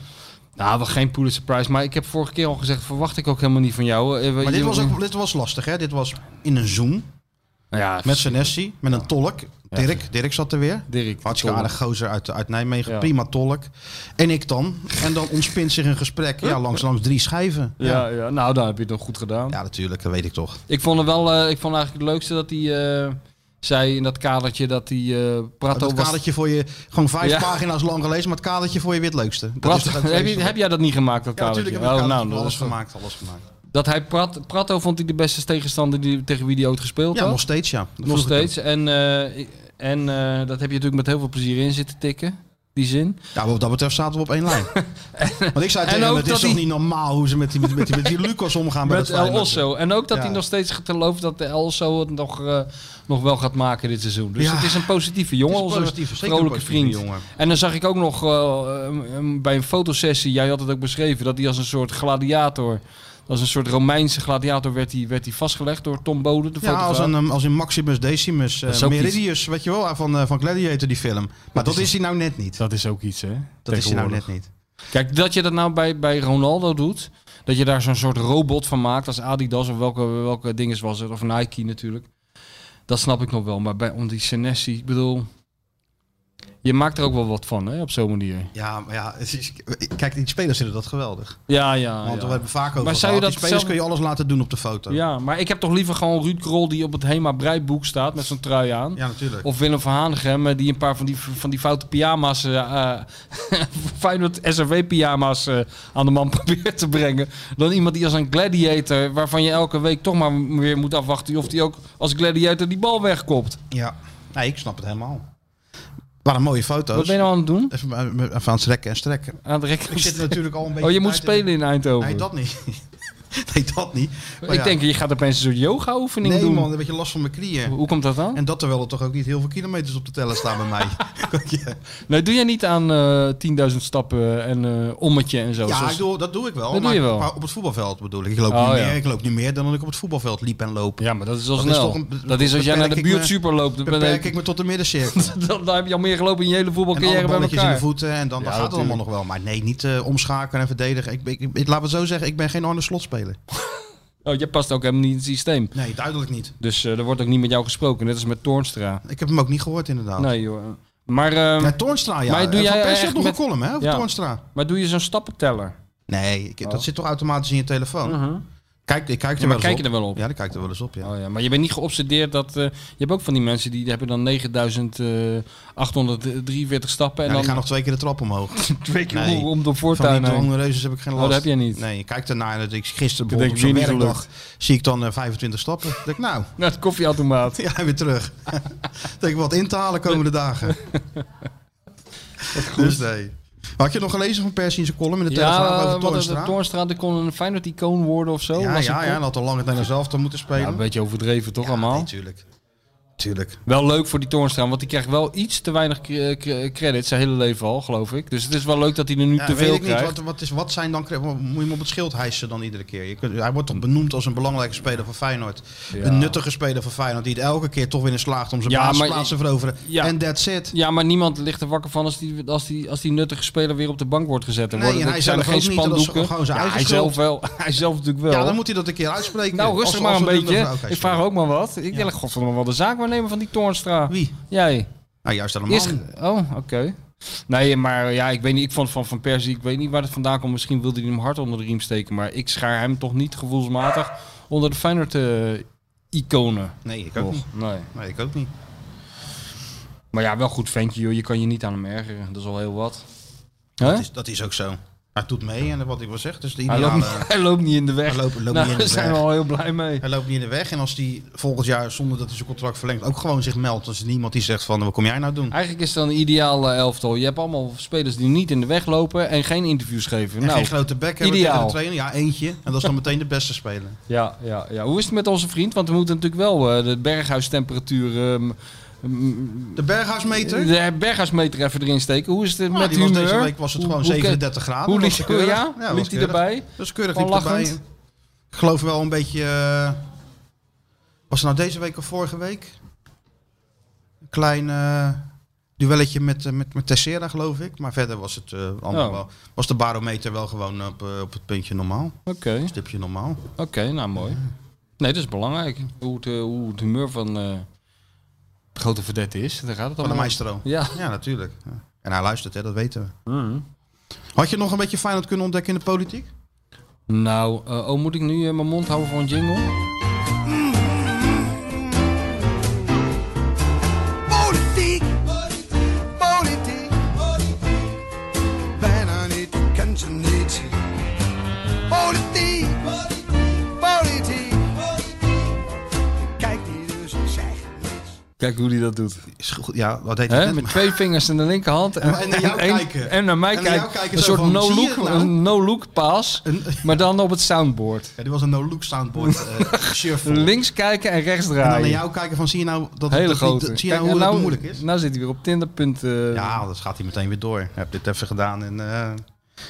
S6: Nou, wel geen Pulitzer Prize. Maar ik heb vorige keer al gezegd, verwacht ik ook helemaal niet van jou. Eh,
S5: Maar dit
S6: je-
S5: was, ook, dit was lastig, hè? Dit was in een Zoom.
S6: Ja,
S5: Met Senesi, met een tolk. Dirk, Dirk zat er weer.
S6: Dirk, de
S5: Hartstikke
S6: tolk.
S5: aardig gozer uit, uit Nijmegen.
S6: Ja.
S5: Prima tolk. En ik dan. En dan ontspint zich een gesprek ja, langs, langs drie schijven.
S6: Ja, ja, nou, dan heb je het nog goed gedaan.
S5: Ja, natuurlijk. Dat weet ik toch.
S6: Ik vond het wel, eh, ik vond eigenlijk het leukste dat hij eh, zei in dat kadertje dat hij eh Prato
S5: dat
S6: was...
S5: kadertje voor je... Gewoon vijf
S6: Ja.
S5: pagina's lang gelezen, maar het kadertje voor je weer het leukste. Dat
S6: Prato-
S5: is toch ook
S6: heb, je,
S5: vreselijk?
S6: heb jij dat niet gemaakt, dat
S5: Ja,
S6: kadertje?
S5: natuurlijk heb ik het kadertje
S6: Oh, nou,
S5: van
S6: dat
S5: alles
S6: is toch-
S5: gemaakt, alles gemaakt.
S6: Dat hij Prat, Prato vond hij de beste tegenstander die, tegen wie hij ooit gespeeld
S5: Ja,
S6: had.
S5: nog steeds, ja. Dat
S6: Nog
S5: vroeg ik hem.
S6: steeds. En, eh, ik- en eh, dat heb je natuurlijk met heel veel plezier in zitten tikken. Die zin.
S5: Ja, wat dat betreft zaten we op één lijn. Want ik zei
S6: En
S5: tegen hem,
S6: ook
S5: het
S6: dat
S5: is toch
S6: hij-
S5: niet normaal hoe ze met die, met die, met die, met die Lucas omgaan bij
S6: Met
S5: dat
S6: El
S5: Feyenoord.
S6: Osso. En ook dat
S5: Ja.
S6: hij nog steeds gelooft dat de El Osso het nog, eh, nog wel gaat maken dit seizoen. Dus
S5: Ja.
S6: het is een positieve jongen,
S5: Het is een
S6: onze
S5: positieve, zeker een
S6: vrolijke
S5: positieve
S6: vriend.
S5: jongen.
S6: En dan zag ik ook nog eh, eh, eh, bij een fotosessie, jij had het ook beschreven, dat hij als een soort gladiator, als een soort Romeinse gladiator werd hij, werd hij vastgelegd door Tom Bode, de
S5: Ja, als
S6: fotograaf.
S5: een, ehm, als in Maximus Decimus, eh,
S6: Dat is ook
S5: Meridius, weet je wel, van, eh, van Gladiator die film. Maar dat
S6: is-
S5: is hij nou net niet.
S6: Dat is ook iets, hè?
S5: Dat is hij nou net niet.
S6: Kijk, dat je dat nou bij, bij Ronaldo doet. Dat je daar zo'n soort robot van maakt. Als Adidas of welke, welke dinges was het. Of Nike natuurlijk. Dat snap ik nog wel. Maar bij, om die Senesi, ik bedoel... Je maakt er ook wel wat van, hè? Op zo'n manier.
S5: Ja, maar ja, het is, kijk, die spelers vinden dat geweldig.
S6: Ja, ja,
S5: Want
S6: Oh, ja.
S5: we hebben vaak over
S6: Maar
S5: maar
S6: zou je
S5: die
S6: dat
S5: spelers
S6: zelf-
S5: kun je alles laten doen op de foto. Ja,
S6: Ja, maar ik heb toch liever gewoon Ruud Krol die op het Hema Breiboek staat met zo'n trui aan.
S5: natuurlijk.
S6: Of Willem van Hanegem eh, die een paar van die, van die foute pyjama's, eh eh, Feyenoord SRW pyjama's eh, aan de man probeert te brengen. Dan iemand die als een gladiator, waarvan je elke week toch maar weer moet afwachten of die ook als gladiator die bal wegkopt.
S5: Ja, nee, ik snap het helemaal. Waren mooie foto's.
S6: Wat ben je nou aan het doen?
S5: Even, eh, even aan het strekken en strekken.
S6: Aan het rekken.
S5: Ik zit natuurlijk al een beetje...
S6: Oh, je moet
S5: tijd in-
S6: spelen in Eindhoven.
S5: Nee, dat niet. nee, dat niet. Maar
S6: ik
S5: oh ja.
S6: denk, je gaat opeens een soort yoga oefening
S5: Nee
S6: doen.
S5: man, een beetje last van mijn knieën.
S6: Hoe komt dat dan?
S5: En dat terwijl er toch ook niet heel veel kilometers op de teller staan bij mij. Kijk, ja.
S6: Nee, doe jij niet aan eh 10.000 stappen en eh, ommetje en zo?
S5: Ja,
S6: zoals-
S5: ik doe, dat doe ik wel.
S6: Dat doe
S5: maar
S6: je wel.
S5: maar op het voetbalveld bedoel ik. Ik loop,
S6: Oh,
S5: niet
S6: ja.
S5: meer, ik loop niet meer dan dat ik op het voetbalveld liep en loop.
S6: Ja, maar dat is al
S5: Dat is
S6: snel.
S5: toch een-
S6: dat is als jij naar de
S5: beperk ik
S6: buurt
S5: me-
S6: super loopt. dan ben
S5: Beperk
S6: ik-
S5: ik me tot de middencirkel.
S6: dan, dan heb je al meer gelopen in je hele
S5: En alle
S6: voetbalcarrière bij
S5: balletjes in de
S6: elkaar.
S5: voeten en dan,
S6: Ja,
S5: dan gaat het allemaal
S6: natuurlijk.
S5: nog wel. Maar nee, niet eh, omschakelen en verdedigen. Ik, ben- ik, ik- laat me het zo zeggen, ik ben geen Arne Slot speler.
S6: Oh, jij past ook helemaal niet in het systeem.
S5: Nee, duidelijk niet.
S6: Dus eh, er wordt ook niet met jou gesproken, net als met Toornstra.
S5: Ik heb hem ook niet gehoord inderdaad.
S6: Nee, joh. Maar, ehm,
S5: Ja, Toornstra, ja.
S6: Maar doe
S5: Eh,
S6: jij
S5: Van Persie
S6: echt
S5: had nog
S6: met-
S5: een column, hè, over
S6: Ja.
S5: Toornstra.
S6: maar doe je zo'n stappenteller?
S5: Nee, ik- dat zit toch automatisch in je telefoon? Kijk, ik kijk er
S6: Mhm. Ja, maar
S5: wel
S6: kijk
S5: eens
S6: je
S5: op.
S6: er wel op?
S5: Ja, ik kijk er wel eens op, ja.
S6: Oh, ja. Maar je bent niet geobsedeerd dat... eh, je hebt ook van die mensen die hebben dan 9843 stappen. En
S5: Ja,
S6: dan
S5: die gaan nog twee keer de trap omhoog.
S6: twee keer
S5: Nee.
S6: om- om de
S5: Van
S6: voortuin
S5: die
S6: heen.
S5: dwangreuzes heb ik geen
S6: Oh,
S5: last.
S6: dat heb jij niet.
S5: Nee, je kijkt ernaar. en dat Ik, gisteren
S6: Dan
S5: bijvoorbeeld
S6: denk
S5: op
S6: ik,
S5: zo'n
S6: weer niet
S5: werkdag zie ik dan eh, 25 stappen. Dan denk ik, nou,
S6: Naar het koffieautomaat.
S5: ja, weer terug. Dan denk ik, wat in te halen komende dagen. Dus nee. Maar Had je nog gelezen van Persie in zijn column in de
S6: eh,
S5: Telegraaf
S6: wat
S5: over
S6: het-
S5: Toornstra?
S6: Toornstra die kon een Feyenoord-icoon worden of zo.
S5: Ja,
S6: Was
S5: ja,
S6: een
S5: ja,
S6: kop.
S5: en had al lang het Nederlands zelf te moeten spelen.
S6: Ja, een beetje overdreven toch allemaal?
S5: Tuurlijk. Tuurlijk.
S6: Wel leuk voor die Toornstra, want die krijgt wel iets te weinig cre- cre- credit zijn hele leven al, geloof ik. Dus het is wel leuk dat hij er nu
S5: Ja,
S6: te
S5: weet
S6: veel
S5: ik niet.
S6: krijgt.
S5: Wat, wat, is, wat zijn dan... Moet je hem op het schild hijsen dan iedere keer? Je kunt, hij wordt toch benoemd als een belangrijke speler van Feyenoord.
S6: Ja.
S5: Een nuttige speler van Feyenoord. Die het elke keer toch weer in slaagt om zijn
S6: Ja, maar-
S5: basisplaats te veroveren.
S6: Ja.
S5: En that's it.
S6: Ja, maar niemand ligt er wakker van als die, als die, als die nuttige speler weer op de bank wordt gezet.
S5: Nee,
S6: Er worden,
S5: en
S6: er
S5: hij
S6: zijn er
S5: zelf
S6: geen
S5: ook niet, en dat is
S6: spandoeken.
S5: gewoon zijn
S6: Ja,
S5: eigen
S6: hij
S5: schuld.
S6: zelf wel. Hij zelf natuurlijk wel.
S5: Ja, dan moet hij dat een keer uitspreken.
S6: nou, rustig
S5: Als-
S6: maar
S5: als
S6: een
S5: we doen,
S6: beetje.
S5: mevrouw. Oké,
S6: ik
S5: sorry.
S6: vraag ook maar wat. Ik wil godverdomme wel de zaak waarnemen van die Toornstra.
S5: Wie?
S6: Jij.
S5: Nou, juist helemaal
S6: Eerst,
S5: niet.
S6: oh, oké. Nee, maar ja, ik weet niet. Ik vond van Van Persie, ik weet niet waar het vandaan komt. Misschien wilde hij hem hard onder de riem steken. Maar ik schaar hem toch niet gevoelsmatig onder de Feyenoord-iconen.
S5: Nee, ik ook niet.
S6: Nee.
S5: Nee, ik ook niet.
S6: Maar ja, wel goed ventje, joh. Je kan je niet aan hem ergeren. Dat is al heel wat. Hè?
S5: Dat is, dat is ook zo. Hij doet mee en wat ik wil zeggen, dus de
S6: Hij
S5: ideale...
S6: loopt, niet, hij loopt niet in de weg.
S5: Hij loopt, loopt
S6: Nou,
S5: niet in de
S6: daar zijn
S5: weg.
S6: we al heel blij mee.
S5: Hij loopt niet in de weg. En als hij volgend jaar, zonder dat hij zijn contract verlengt, ook gewoon zich meldt. Als er niemand die zegt van, wat kom jij nou doen?
S6: Eigenlijk is het dan een ideaal eh, elftal. Je hebt allemaal spelers die niet in de weg lopen en geen interviews geven.
S5: En
S6: nou,
S5: geen grote bek hebben tegen
S6: ideaal.
S5: de trainer. Ja, eentje. En dat is dan meteen de beste speler.
S6: Ja, ja, ja. Hoe is het met onze vriend? Want we moeten natuurlijk wel eh, de berghuistemperatuur... ehm, mm,
S5: De Berghuismeter?
S6: de berghuismeter even erin steken. Hoe is het
S5: Nou,
S6: met
S5: die was
S6: humeur?
S5: deze week was het
S6: Hoe-
S5: gewoon
S6: hoe-
S5: 37 graden.
S6: Hoe
S5: Dat
S6: liet
S5: was
S6: hij
S5: keurig.
S6: ja?
S5: Ja, dat was
S6: liet hij
S5: keurig.
S6: erbij?
S5: Dat is keurig
S6: Gewoon
S5: liep erbij.
S6: lachend.
S5: Ik geloof wel een beetje... eh, was het nou deze week of vorige week? Een klein eh, duelletje met, eh, met, met Tessera, geloof ik. Maar verder was, het, eh, allemaal
S6: Oh.
S5: wel, was de barometer wel gewoon op, eh, op het puntje normaal.
S6: Oké,
S5: Stipje normaal.
S6: oké. nou mooi. Nee, dat is belangrijk. Hoe het, eh, hoe het humeur van eh, de grote verdette is. Daar gaat
S5: Van
S6: het
S5: de
S6: allemaal.
S5: maestro.
S6: Ja.
S5: Ja, natuurlijk. Ja. En hij luistert, hè, dat weten we.
S6: Mm.
S5: Had je nog een beetje Feyenoord kunnen ontdekken in de politiek?
S6: Nou, eh, oh, moet ik nu eh, mijn mond houden voor een jingle?
S13: Politiek, politiek, politiek. Bijna niet, kan ze niet. Politiek, politiek, Kijk die dus, zeg niets.
S6: Kijk hoe hij dat doet.
S5: Is goed, ja, dat heet
S6: Hè?
S5: het
S6: Met twee vingers in de linkerhand. En,
S5: En naar jou
S6: en-
S5: kijken.
S6: En naar mij
S5: En naar jou
S6: kijken.
S5: kijken,
S6: Een
S5: zo
S6: soort
S5: van, zie je
S6: no-look
S5: het nou?
S6: een no-look paas. Maar dan op het soundboard.
S5: Ja, dit was een no-look soundboard eh shuffle.
S6: Links kijken en rechts
S5: En dan
S6: draaien.
S5: naar jou kijken van, zie je nou dat
S6: Hele
S5: dat, niet-
S6: grote.
S5: zie je nou
S6: Kijk,
S5: hoe
S6: en
S5: dat
S6: nou-
S5: moeilijk is?
S6: Nou zit hij weer op Tinderpunt. eh,
S5: Ja, dat gaat hij meteen weer door. Heb dit even gedaan en... eh,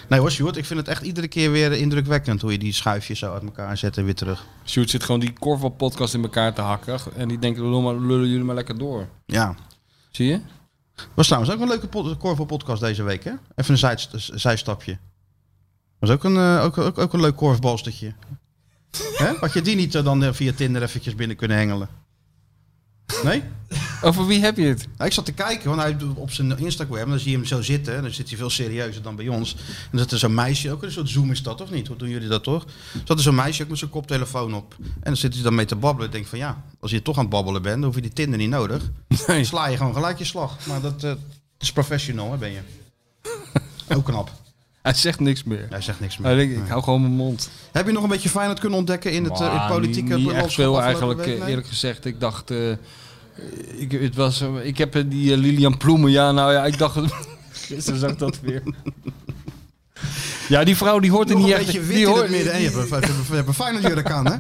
S5: Nee hoor, Sjoerd, ik vind het echt iedere keer weer indrukwekkend hoe je die schuifjes zo uit elkaar zet en weer terug.
S6: Sjoerd zit gewoon die korfbalpodcast in elkaar te hakken. En die denkt, lul maar, lullen jullie maar lekker door.
S5: Ja.
S6: Zie je?
S5: Was trouwens ook een leuke pod Corvo podcast deze week, hè? Even een zijst- zijstapje. Was ook een, eh, ook, ook, ook een leuk korfbalstertje. Hè? Had je die niet eh, dan eh, via Tinder eventjes binnen kunnen hengelen? Nee?
S6: Over wie heb je het?
S5: Nou, ik zat te kijken, want hij doet op zijn Instagram, dan zie je hem zo zitten. En dan zit hij veel serieuzer dan bij ons. En dat er zo'n meisje, ook een soort Zoom is dat, of niet? Hoe doen jullie dat toch? Zat er zo'n meisje ook met zijn koptelefoon op. En dan zit hij dan mee te babbelen. Ik denk van ja, als je toch aan het babbelen bent, dan hoef je die Tinder niet nodig. Dan sla je gewoon gelijk je slag. Maar dat eh, is professional, hè, ben je. Ook knap.
S6: Hij zegt niks meer.
S5: Hij zegt niks meer.
S6: Hij denkt, ik
S5: Nee.
S6: hou gewoon mijn mond.
S5: Heb je nog een beetje Feyenoord kunnen ontdekken in het, eh, in het
S6: Maar
S5: politieke
S6: Ah, niet, niet echt
S5: landschap
S6: veel
S5: afgelopen
S6: eigenlijk,
S5: week?
S6: eh,
S5: Nee?
S6: eerlijk gezegd. Ik dacht, eh, ik, het was, eh, ik heb eh, die eh, Lilian Ploemen, ja, nou ja, ik dacht, gisteren zag ik dat weer. Ja, die vrouw die hoort er
S5: Nog
S6: niet
S5: een
S6: echt
S5: beetje wit
S6: die
S5: in
S6: hoort-
S5: het midden. En je hebt een, je hebt een- je hebt een Feyenoordjurk aan, hè?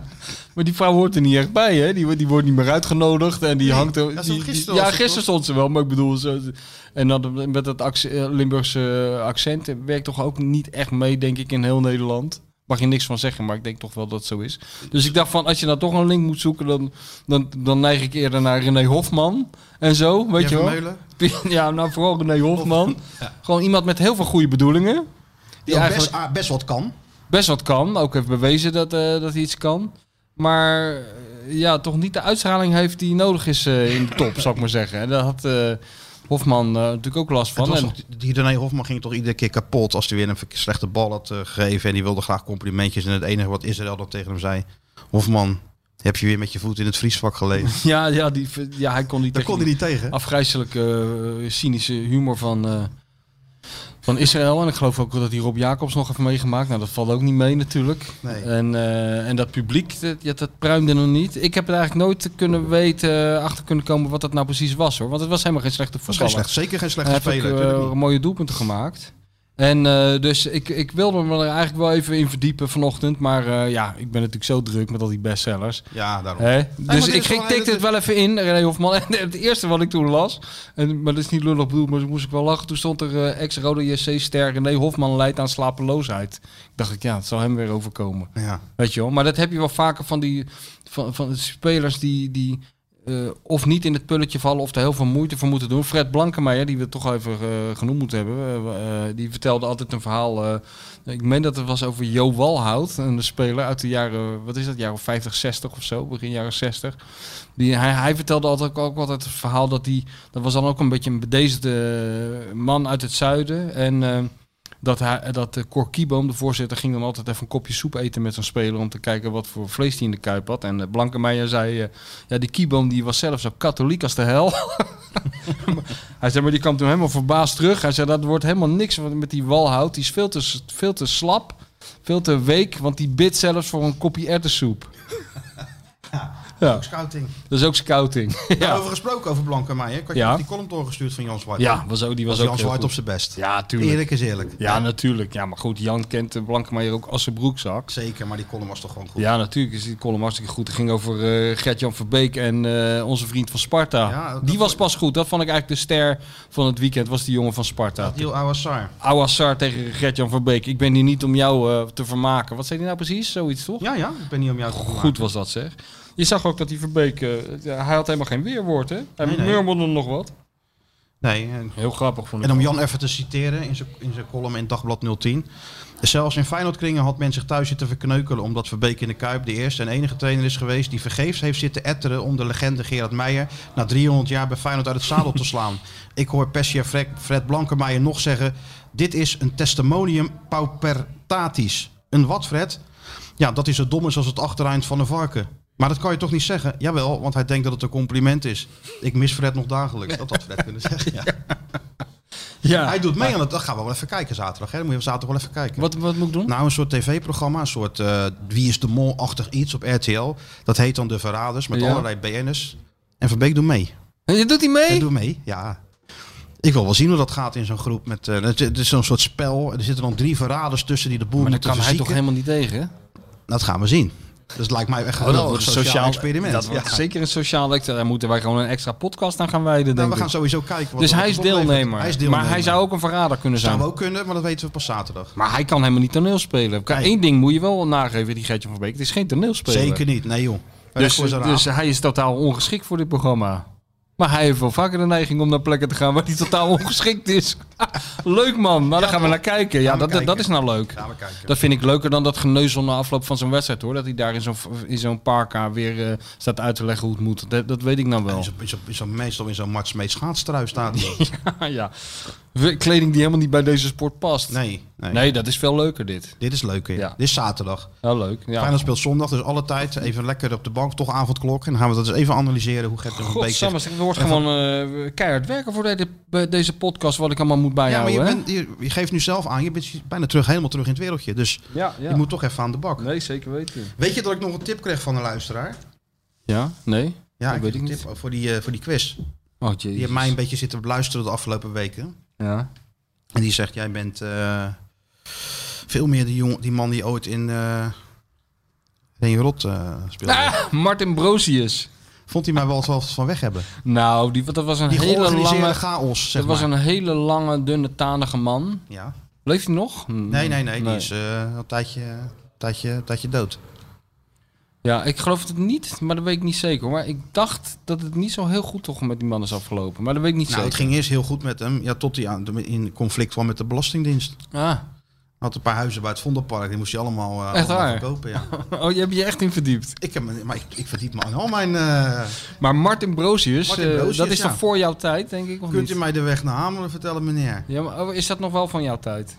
S6: Maar die vrouw hoort er niet echt bij, hè? Die, wordt- die wordt niet meer uitgenodigd en die
S5: Nee,
S6: hangt er.
S5: dat stond
S6: die- die-
S5: gisteren
S6: ja,
S5: al, toch?
S6: gisteren stond ze wel, maar ik bedoel. Ze, en dan met dat acc- eh, Limburgse accent werkt toch ook niet echt mee, denk ik, in heel Nederland. Mag je niks van zeggen, maar ik denk toch wel dat het zo is. Dus ik dacht van, als je nou toch een link moet zoeken, dan, dan, dan neig ik eerder naar René Hofman en zo, weet
S5: Jeff
S6: je wel.
S5: Meulen?
S6: Ja, nou vooral René Hofman. Gewoon iemand met heel veel goede bedoelingen.
S5: Die ook best,
S6: eigenlijk-
S5: ah, best wat kan.
S6: best wat kan. Ook heeft bewezen dat, eh, dat hij iets kan. Maar eh, ja, toch niet de uitstraling heeft die nodig is eh, in de top, zou ik maar zeggen. En daar had eh, Hofman eh, natuurlijk ook last
S5: Het
S6: van.
S5: was
S6: En,
S5: toch- die René Hofman ging toch iedere keer kapot als hij weer een verk- slechte bal had eh, gegeven. En die wilde graag complimentjes. En het enige wat Israël dan tegen hem zei... Hofman, heb je weer met je voet in het vriesvak gelegen?
S6: ja, ja, die, ja, hij kon die
S5: Daar kon hij niet tegen. hè?
S6: afgrijzelijke, eh, cynische humor van, eh, van Israël. En ik geloof ook dat hij Rob Jacobs nog heeft meegemaakt. Nou, dat valt ook niet mee natuurlijk.
S5: Nee.
S6: En, eh, en dat publiek, dat, ja, dat pruimde nog niet. Ik heb er eigenlijk nooit kunnen weten, eh, achter kunnen komen wat dat nou precies was hoor. Want het was helemaal geen slechte
S5: Was geen
S6: voetballer.
S5: slecht, zeker geen
S6: Hij
S5: slechte
S6: heeft ook,
S5: speler.
S6: eh,
S5: natuurlijk niet.
S6: mooie doelpunten gemaakt. En eh, dus ik, ik wilde me er eigenlijk wel even in verdiepen vanochtend. Maar eh, ja, ik ben natuurlijk zo druk met al die bestsellers.
S5: Ja, daarom.
S6: Hè?
S5: maar
S6: Dus
S5: dit
S6: ik
S5: is
S6: ging,
S5: wel-
S6: tikte
S5: dit-
S6: het wel even in, René Hofman. En het eerste wat ik toen las, en, maar dat is niet lullig bedoeld, maar toen moest ik wel lachen. Toen stond er eh, ex-Rode JC-ster René Hofman leidt aan slapeloosheid. Dacht ik, ja, het zal hem weer overkomen.
S5: Ja.
S6: Weet je wel, maar dat heb je wel vaker van die van, van de spelers die, die eh, of niet in het pulletje vallen of er heel veel moeite voor moeten doen. Fred Blankenmeijer, die we toch even eh, genoemd moeten hebben, eh, eh, die vertelde altijd een verhaal. eh, ik meen dat het was over Jo Walhout, een speler uit de jaren, wat is dat, jaren 50, 60 of zo, begin jaren 60. Die, hij, hij vertelde altijd ook altijd het verhaal dat hij, dat was dan ook een beetje een bedeesde man uit het zuiden. En eh, dat, hij, dat eh, Cor Kieboom, de voorzitter, ging dan altijd even een kopje soep eten met zo'n speler om te kijken wat voor vlees hij in de kuip had. En eh, Blankenmeijer zei, eh, ja die Kieboom die was zelf zo katholiek als de hel. hij zei, maar die kwam toen helemaal verbaasd terug. Hij zei, dat wordt helemaal niks met die walhout. Die is veel te, s- veel te slap, veel te week, want die bidt zelfs voor een kopje erwtensoep. Ja,
S5: Ook scouting.
S6: dat is ook scouting.
S5: Daarover gesproken over Blankenmeijer. Ik had je
S6: Ja.
S5: nog die column doorgestuurd van Jan Zwart.
S6: Ja, was ook, die was, ook
S5: Jan
S6: heel
S5: Zwart
S6: goed.
S5: op zijn best.
S6: Ja, tuurlijk.
S5: Eerlijk is eerlijk.
S6: Ja, natuurlijk. Ja, maar goed, Jan kent de Blankenmeijer ook als zijn broekzak.
S5: Zeker, maar die column was toch gewoon goed.
S6: Ja, natuurlijk is die column hartstikke goed. Het ging over eh Gert-Jan Verbeek en eh, onze vriend van Sparta.
S5: Ja, dat
S6: die was pas goed. Dat vond ik eigenlijk de ster van het weekend, was die jongen van Sparta.
S5: Heel Awassar.
S6: Awassar tegen Gert-Jan Verbeek. Ik ben hier niet om jou eh, te vermaken. Wat zei hij nou precies? Zoiets toch?
S5: Ja, ja. Ik ben niet om jou te vermaken.
S6: Goed was dat zeg. Je zag ook dat die Verbeek, eh, ja, hij had helemaal geen weerwoord hè? Hij
S5: Nee, nee.
S6: murmelde nog wat.
S5: Nee, en-
S6: Heel grappig vond ik.
S5: En om Jan even te citeren in zijn, in zijn column in Dagblad 010. Zelfs in Feyenoordkringen had men zich thuis zitten verkneukelen omdat Verbeek in de Kuip de eerste en enige trainer is geweest die vergeefs heeft zitten etteren om de legende Gerard Meijer na 300 jaar bij Feyenoord uit het zadel te slaan. Ik hoor Pessia Fred, Fred Blankenmeijer nog zeggen, dit is een testimonium paupertatis. Een wat Fred? Ja, dat is zo dom is als het achtereind van een varken. Maar dat kan je toch niet zeggen? Jawel, want hij denkt dat het een compliment is. Ik mis Fred nog dagelijks. Dat had Fred kunnen zeggen, ja.
S6: Ja.
S5: Hij doet mee aan het. Dat gaan we wel even kijken zaterdag. Hè? Dan moet je zaterdag wel even kijken.
S6: Wat, wat moet ik doen?
S5: Nou, een soort tv-programma, een soort eh, Wie is de Mol-achtig iets op RTL. Dat heet dan De Verraders met
S6: Ja.
S5: allerlei BN'ers. En Van Beek doet mee.
S6: En je doet hij mee?
S5: Nou, Hij doet mee, ja. Ik wil wel zien hoe dat gaat in zo'n groep. Met, eh, het, het is zo'n soort spel. Er zitten dan drie verraders tussen die de boel
S6: maar daar
S5: moeten
S6: kan hij toch
S5: verzieken.
S6: helemaal niet tegen hè?
S5: dus Dat gaan we zien. Dus het lijkt mij echt een
S6: Oh,
S5: geweldig sociaal, experiment.
S6: Dat wordt
S5: Ja.
S6: zeker een sociaal experiment. Daar moeten wij gewoon een extra podcast aan gaan wijden.
S5: Nou,
S6: denk
S5: we gaan
S6: ik.
S5: sowieso kijken. Wat
S6: dus
S5: dat
S6: hij is,
S5: oplevert.
S6: deelnemer.
S5: hij is deelnemer.
S6: Maar hij zou ook een verrader kunnen zijn.
S5: Zou we ook kunnen, maar dat weten we pas zaterdag.
S6: Maar hij kan helemaal niet toneel spelen. Eén ding moet je wel nageven, die Gertje van Beek. Het is geen toneelspeler.
S5: Zeker niet. Nee joh.
S6: Dus,
S5: Recht voor zijn raap.
S6: dus hij is totaal ongeschikt voor dit programma. Maar hij heeft wel vaker de neiging om naar plekken te gaan waar hij totaal ongeschikt is. leuk man, nou, daar gaan we naar kijken. Ja,
S5: Gaan we
S6: dat, dat is
S5: kijken.
S6: nou leuk.
S5: Gaan we kijken.
S6: Dat vind ik leuker dan dat geneuzel na afloop van zo'n wedstrijd hoor. Dat hij daar in zo'n, in zo'n parka weer eh, staat uit te leggen hoe het moet. Dat, dat weet ik nou wel.
S5: Is, is, is, is meestal in zo'n Mats Meets schaatstrui staat. hij.
S6: Ah, ja. We- Kleding die helemaal niet bij deze sport past.
S5: Nee, nee.
S6: Nee, dat is veel leuker dit.
S5: Dit is leuk. hè?
S6: Ja.
S5: Dit is zaterdag.
S6: Ja, leuk. Ja.
S5: Feyenoord speelt zondag, dus alle tijd even lekker op de bank, toch avondklok. En dan gaan we dat eens even analyseren hoe Gert een beetje
S6: Godsamme, er wordt gewoon eh, keihard werken voor de- bij deze podcast wat ik allemaal moet
S5: Ja, maar
S6: bijhouden.
S5: je,
S6: hè?
S5: bent, je, je geeft nu zelf aan, je bent bijna terug, helemaal terug in het wereldje. Dus
S6: Ja, ja.
S5: je moet toch even aan de bak.
S6: Nee, zeker weten.
S5: Weet je dat ik nog een tip kreeg van een luisteraar?
S6: Ja? Nee?
S5: Ja, ik
S6: dat weet ik
S5: kreeg een
S6: niet.
S5: tip voor die, eh, voor die quiz.
S6: Oh, jee.
S5: Die heeft mij een beetje zitten beluisteren de afgelopen weken.
S6: Ja.
S5: En die zegt, jij bent eh, veel meer die, jong, die man die ooit in eh Ren Rot eh, speelde.
S6: Ah, Martin Brosius.
S5: Vond hij mij wel wat van weg hebben.
S6: Nou, die, dat was een
S5: Die
S6: hele
S5: georganiseerde
S6: lange...
S5: chaos, zeg
S6: dat was
S5: maar.
S6: een hele lange, dunne, tanige man.
S5: Ja.
S6: Leeft hij nog? Hm,
S5: Nee, nee, nee. Die is eh, al een tijdje, een tijdje, een tijdje dood. Nou,
S6: Ja, ik geloof het niet, maar dat weet ik niet zeker. hoor. Maar ik dacht dat het niet zo heel goed toch met die man is afgelopen. Maar dat weet ik niet
S5: Nou, het
S6: zeker.
S5: ging eerst heel goed met hem. Ja, tot hij aan, in conflict kwam met de Belastingdienst.
S6: Ah,
S5: Hij had een paar huizen bij het Vondelpark. Die moest hij allemaal, eh
S6: Echt
S5: allemaal
S6: waar?
S5: verkopen. Ja.
S6: oh, je hebt je echt in verdiept.
S5: Ik, heb, me- maar ik, ik verdiep me aan al mijn... eh,
S6: Maar Martin Brosius,
S5: Martin
S6: eh,
S5: Brosius,
S6: dat is
S5: ja.
S6: toch voor jouw tijd, denk ik? Of
S5: kunt
S6: niet?
S5: u mij de weg naar Hamelen vertellen, meneer?
S6: Ja, maar oh, is dat nog wel van jouw tijd?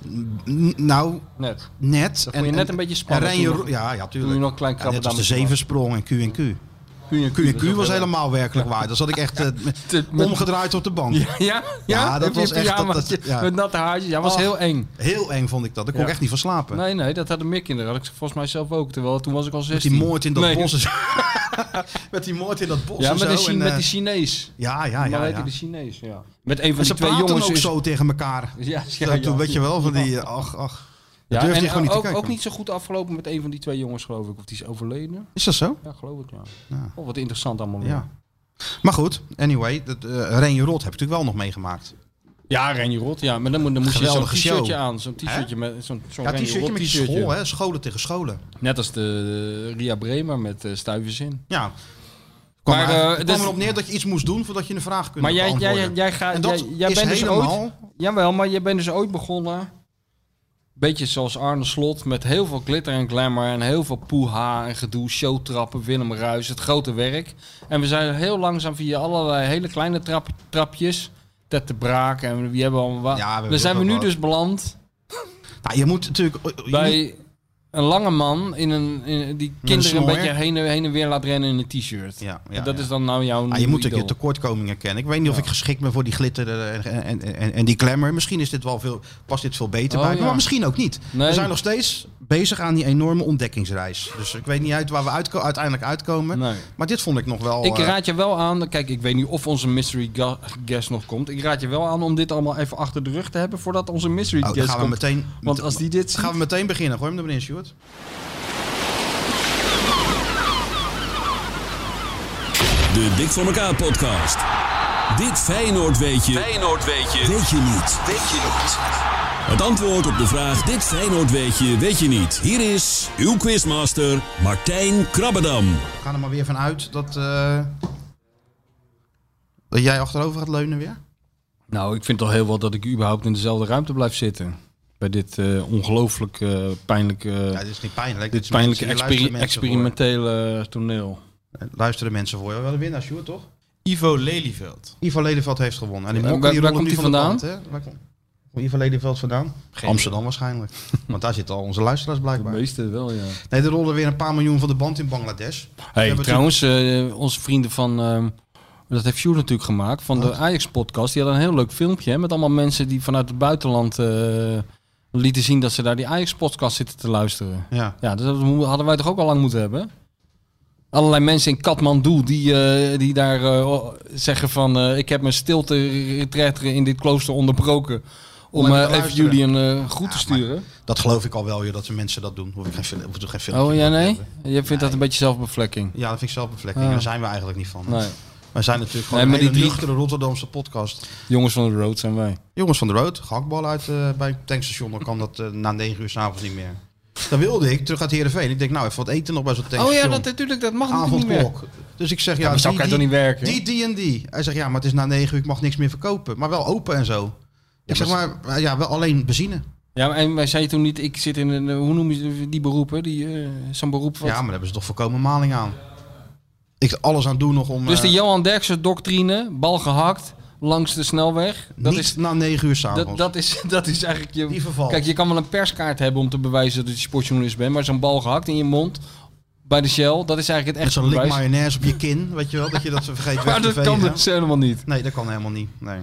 S5: N- nou,
S6: Net.
S5: net.
S6: Dat vond je net een beetje spannend
S5: En Ren
S6: toen nog-
S5: Ro- ja, ja,
S6: Toen je
S5: tuurlijk.
S6: nog een klein
S5: Ja,
S6: krabben
S5: net als de zevensprong en Q en Q.
S6: Q&Q.
S5: Q&Q was helemaal werkelijk waar. Daar zat ik echt eh,
S6: met-
S5: omgedraaid op de bank.
S6: Ja, ja, ja,
S5: dat
S6: heb je
S5: was echt... Dat, dat,
S6: pyjamaatje
S5: ja.
S6: Met natte haartjes. Ja, was
S5: Ach,
S6: heel eng.
S5: Heel eng vond ik dat. Daar kon
S6: Ja.
S5: ik echt niet van slapen.
S6: Nee, nee, dat hadden meer kinderen. Had ik volgens mij zelf ook. Terwijl toen was ik al 16.
S5: die moord in dat
S6: Nee. dus-
S5: bos en zo. met die moord in dat bos
S6: Ja,
S5: en
S6: met,
S5: zo.
S6: de Chi-
S5: en, eh,
S6: met die Chinees.
S5: Ja, ja, ja.
S6: Maar heet
S5: ja.
S6: die de Chinees, ja. Met een
S5: En
S6: van die
S5: ze
S6: twee
S5: praten
S6: jongens.
S5: ook
S6: is-
S5: zo tegen elkaar.
S6: Ja, ja,
S5: Dat-
S6: ja.
S5: Weet je wel, van die... eh, Ach, ach.
S6: Ja,
S5: Dat durfde
S6: en
S5: je gewoon niet te
S6: ook,
S5: kijken.
S6: ook niet zo goed afgelopen met een van die twee jongens, geloof ik. Of die is overleden.
S5: Is dat zo?
S6: Ja, geloof ik, ja. Oh, wat interessant allemaal. weer.
S5: Ja. Maar goed, anyway, dat, eh Renje Rot heb ik natuurlijk wel nog meegemaakt.
S6: Ja, Rennie Rot. Ja, maar dan, moet- dan moest je zo'n
S5: Geweldige
S6: t-shirtje
S5: show.
S6: aan. Zo'n t-shirtje met zo'n zo'n
S5: Ja,
S6: Rennie
S5: t-shirtje
S6: Rot
S5: met die
S6: t-shirtje.
S5: school, hè? Scholen tegen scholen.
S6: Net als de eh, Ria Bremer met eh stuivers in.
S5: Ja. Kwam
S6: Maar,
S5: maar,
S6: eh,
S5: er,
S6: dus-
S5: kwam erop neer dat je iets moest doen voordat je een vraag kunt
S6: Maar jij,
S5: beantwoorden.
S6: jij, jij, gaat,
S5: en dat
S6: jij, jij
S5: is
S6: bent dus
S5: helemaal...
S6: ooit... Jawel, maar jij bent dus ooit begonnen... Beetje zoals Arne Slot, met heel veel glitter en glamour... en heel veel poeha en gedoe, showtrappen, Willem Ruis, het grote werk. En we zijn heel langzaam via allerlei hele kleine trap, trapjes... Ted te braak en wie hebben we allemaal... wat.
S5: Ja, we hebben
S6: Daar zijn we
S5: heel
S6: nu
S5: wat.
S6: dus beland
S5: Nou, je moet natuurlijk... je moet-
S6: bij een lange man... In een, in- die kinderen een
S5: snor.
S6: beetje heen en, heen en weer laat rennen in een t-shirt.
S5: Ja, ja,
S6: en dat
S5: ja.
S6: is dan nou jouw
S5: Ah, je
S6: nieuwe
S5: moet natuurlijk je
S6: idool.
S5: tekortkomingen kennen. Ik weet niet of
S6: Ja.
S5: ik geschikt ben voor die glitter eh, en, en, en, en die glamour. Misschien is dit wel veel, past dit veel beter
S6: Oh,
S5: bij me,
S6: ja.
S5: maar misschien ook niet.
S6: Nee.
S5: We zijn nog steeds bezig aan die enorme ontdekkingsreis. Dus ik weet niet uit waar we uitko- uiteindelijk uitkomen.
S6: Nee.
S5: Maar dit vond ik nog wel...
S6: Ik
S5: eh,
S6: raad je wel aan, kijk, ik weet niet of onze mystery ga- guest nog komt. Ik raad je wel aan om dit allemaal even achter de rug te hebben voordat onze mystery
S5: oh, dan
S6: guest
S5: gaan we
S6: komt.
S5: meteen...
S6: Want als die dit
S5: Gaan we meteen beginnen, gooi hem er maar in, Stuart.
S14: De Dik voor elkaar podcast. Dit Feyenoord weet je. Feyenoord weet je. Weet je niet. Weet je niet. Het antwoord op de vraag dit Feyenoord weet je, weet je niet. Hier is uw quizmaster Martijn Krabbedam.
S5: We gaan er maar weer van uit dat... eh, dat jij achterover gaat leunen weer.
S6: Nou, ik vind al heel wat dat ik überhaupt in dezelfde ruimte blijf zitten. Bij dit eh, ongelooflijk eh, pijnlijke,
S5: Ja, dit is niet pijnlijk.
S6: dit
S5: is-
S6: pijnlijke
S5: hier
S6: experi-
S5: luisteren mensen voor. Eh,
S6: experimentele toneel.
S5: Luisteren mensen voor. We hebben de winnaar, Stuart, toch?
S10: Ivo Lelyveld.
S5: Ivo Lelyveld heeft gewonnen. En die
S6: Ja,
S5: mokken
S6: Eh,
S5: die
S6: waar- waar
S5: rollen
S6: komt
S5: nu
S6: hij
S5: van de
S6: vandaan?
S5: band, hè? Waar komt komt Ivo Lelyveld vandaan?
S6: Geen
S5: Amsterdam waarschijnlijk. Want daar zitten al onze luisteraars
S6: De
S5: blijkbaar.
S6: meeste wel, ja.
S5: Nee, er rollen weer een paar miljoen van de band in Bangladesh. We
S6: Hey,
S5: hebben
S6: trouwens, eh, onze vrienden van... ehm, dat heeft Sjoerd natuurlijk gemaakt, van de Ajax-podcast. Die hadden een heel leuk filmpje hè, met allemaal mensen die vanuit het buitenland eh, lieten zien dat ze daar die Ajax-podcast zitten te luisteren.
S5: Ja.
S6: dus dat mo- hadden wij toch ook al lang moeten hebben? Allerlei mensen in Kathmandu die, eh, die daar eh, o- zeggen van... eh, ik heb mijn stilte retreat in dit klooster onderbroken... om
S5: Om even
S6: eh,
S5: te
S6: even
S5: luisteren.
S6: jullie een eh, groet te sturen.
S5: natuurlijk- Dat geloof ik al wel, joh, dat de mensen dat doen. Hoef ik geen, fil- hoef ik geen filmpje
S6: Oh,
S5: voor
S6: ja,
S5: te
S6: nee? Je
S5: hebben.
S6: vindt dat een beetje zelfbevlekking?
S5: Ja, dat vind ik zelfbevlekking.
S6: Ah.
S5: Daar zijn we eigenlijk niet van.
S6: Nee.
S5: Wij zijn natuurlijk gewoon
S6: Nee, maar
S5: een hele
S6: die drie-
S5: nuchtere Rotterdamse podcast.
S6: Jongens van de road zijn wij.
S5: Jongens van de Rood, gehaktbal uit eh, bij het tankstation. Dan kan dat eh, na 9 uur s'avonds niet meer. Dan wilde ik terug uit Heerenveen. Ik denk, nou, even wat eten nog bij zo'n
S6: Oh ja,
S5: tankstation.
S6: dat, natuurlijk, dat mag natuurlijk niet meer.
S5: avondklok. Dus ik zeg, ja,
S6: maar zo kan het toch niet werken?
S5: Die, die en die. Hij zegt, ja, maar het is na negen uur, ik mag niks meer verkopen. Maar wel open en zo. ik zeg, maar, maar eh, ja, wel alleen benzine.
S6: Ja, maar en wij zei toen niet, ik zit in een, eh, hoe noem je die beroepen? Die, eh, Zo'n beroep wat...
S5: Ja, maar daar hebben ze toch volkomen maling aan. Ik er alles aan doen nog om...
S6: dus de
S5: eh,
S6: Johan Derksen doctrine, bal gehakt, langs de snelweg. Dat
S5: niet
S6: is...
S5: na negen uur
S6: Dat,
S5: s'avonds.
S6: dat, is, dat is eigenlijk je...
S5: Die vervalt.
S6: Kijk, je kan wel een perskaart hebben om te bewijzen dat je sportjournalist bent, maar zo'n bal gehakt in je mond bij de Shell, dat is eigenlijk het
S5: Met
S6: echte
S5: zo'n lik
S6: bewijs.
S5: mayonaise op je kin, weet je wel, dat je dat vergeet weg
S6: Maar
S5: te
S6: dat kan
S5: vegen.
S6: dus helemaal niet.
S5: Nee, dat kan helemaal niet. Nee.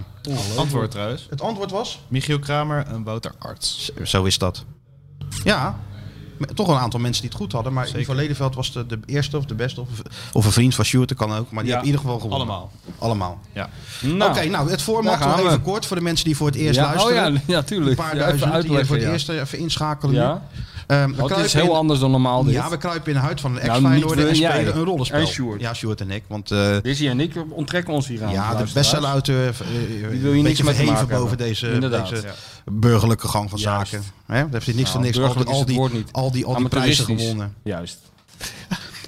S10: Antwoord trouwens.
S5: Het antwoord was?
S10: Michiel Kramer en Wouter Arts.
S5: Zo is dat. Ja, maar toch een aantal mensen die het goed hadden. Maar
S10: Zeker.
S5: Ivo Lelyveld was de, de eerste of de beste. Of, of een vriend van Sjoerd, dat kan ook. Maar die
S10: Ja,
S5: hebben in ieder geval gewonnen.
S10: allemaal.
S5: Allemaal.
S10: Ja.
S6: Nou,
S5: Oké, nou het
S6: daar
S5: format
S6: gaan
S5: nog even
S6: we.
S5: kort voor de mensen die voor het eerst
S6: Ja, oh
S5: luisteren.
S6: ja, ja, tuurlijk.
S5: Een
S6: Ja,
S5: paar
S6: even
S5: duizend die hier voor het
S6: uitleggen,
S5: eerst eh, even inschakelen
S6: Ja.
S5: nu. Ehm, we
S6: Want het is
S5: kruipen
S6: heel
S5: in-
S6: anders dan normaal dit.
S5: Ja, we kruipen in de huid van een
S6: Nou,
S5: ex feyenoorder
S6: niet
S5: en
S6: we, jij.
S5: spelen een rollenspel.
S6: En Sjoerd.
S5: Ja, Sjoerd en ik. Want eh,
S6: Dizzy en ik onttrekken ons hier aan.
S5: ja, de
S6: luisteraars.
S5: bestsellerauteur eh,
S6: hier
S5: een beetje
S6: niks mee te
S5: verheven
S6: maken
S5: boven
S6: hebben.
S5: deze,
S6: Inderdaad.
S5: deze
S6: Ja.
S5: burgerlijke gang van
S6: Juist.
S5: zaken. Hè? Daar heeft hij niks
S6: Nou,
S5: van niks. Al die,
S6: burgerlijk is
S5: al
S6: het
S5: die,
S6: woord niet.
S5: al die, al die prijzen
S6: Amateuristisch.
S5: gewonnen.
S6: Juist.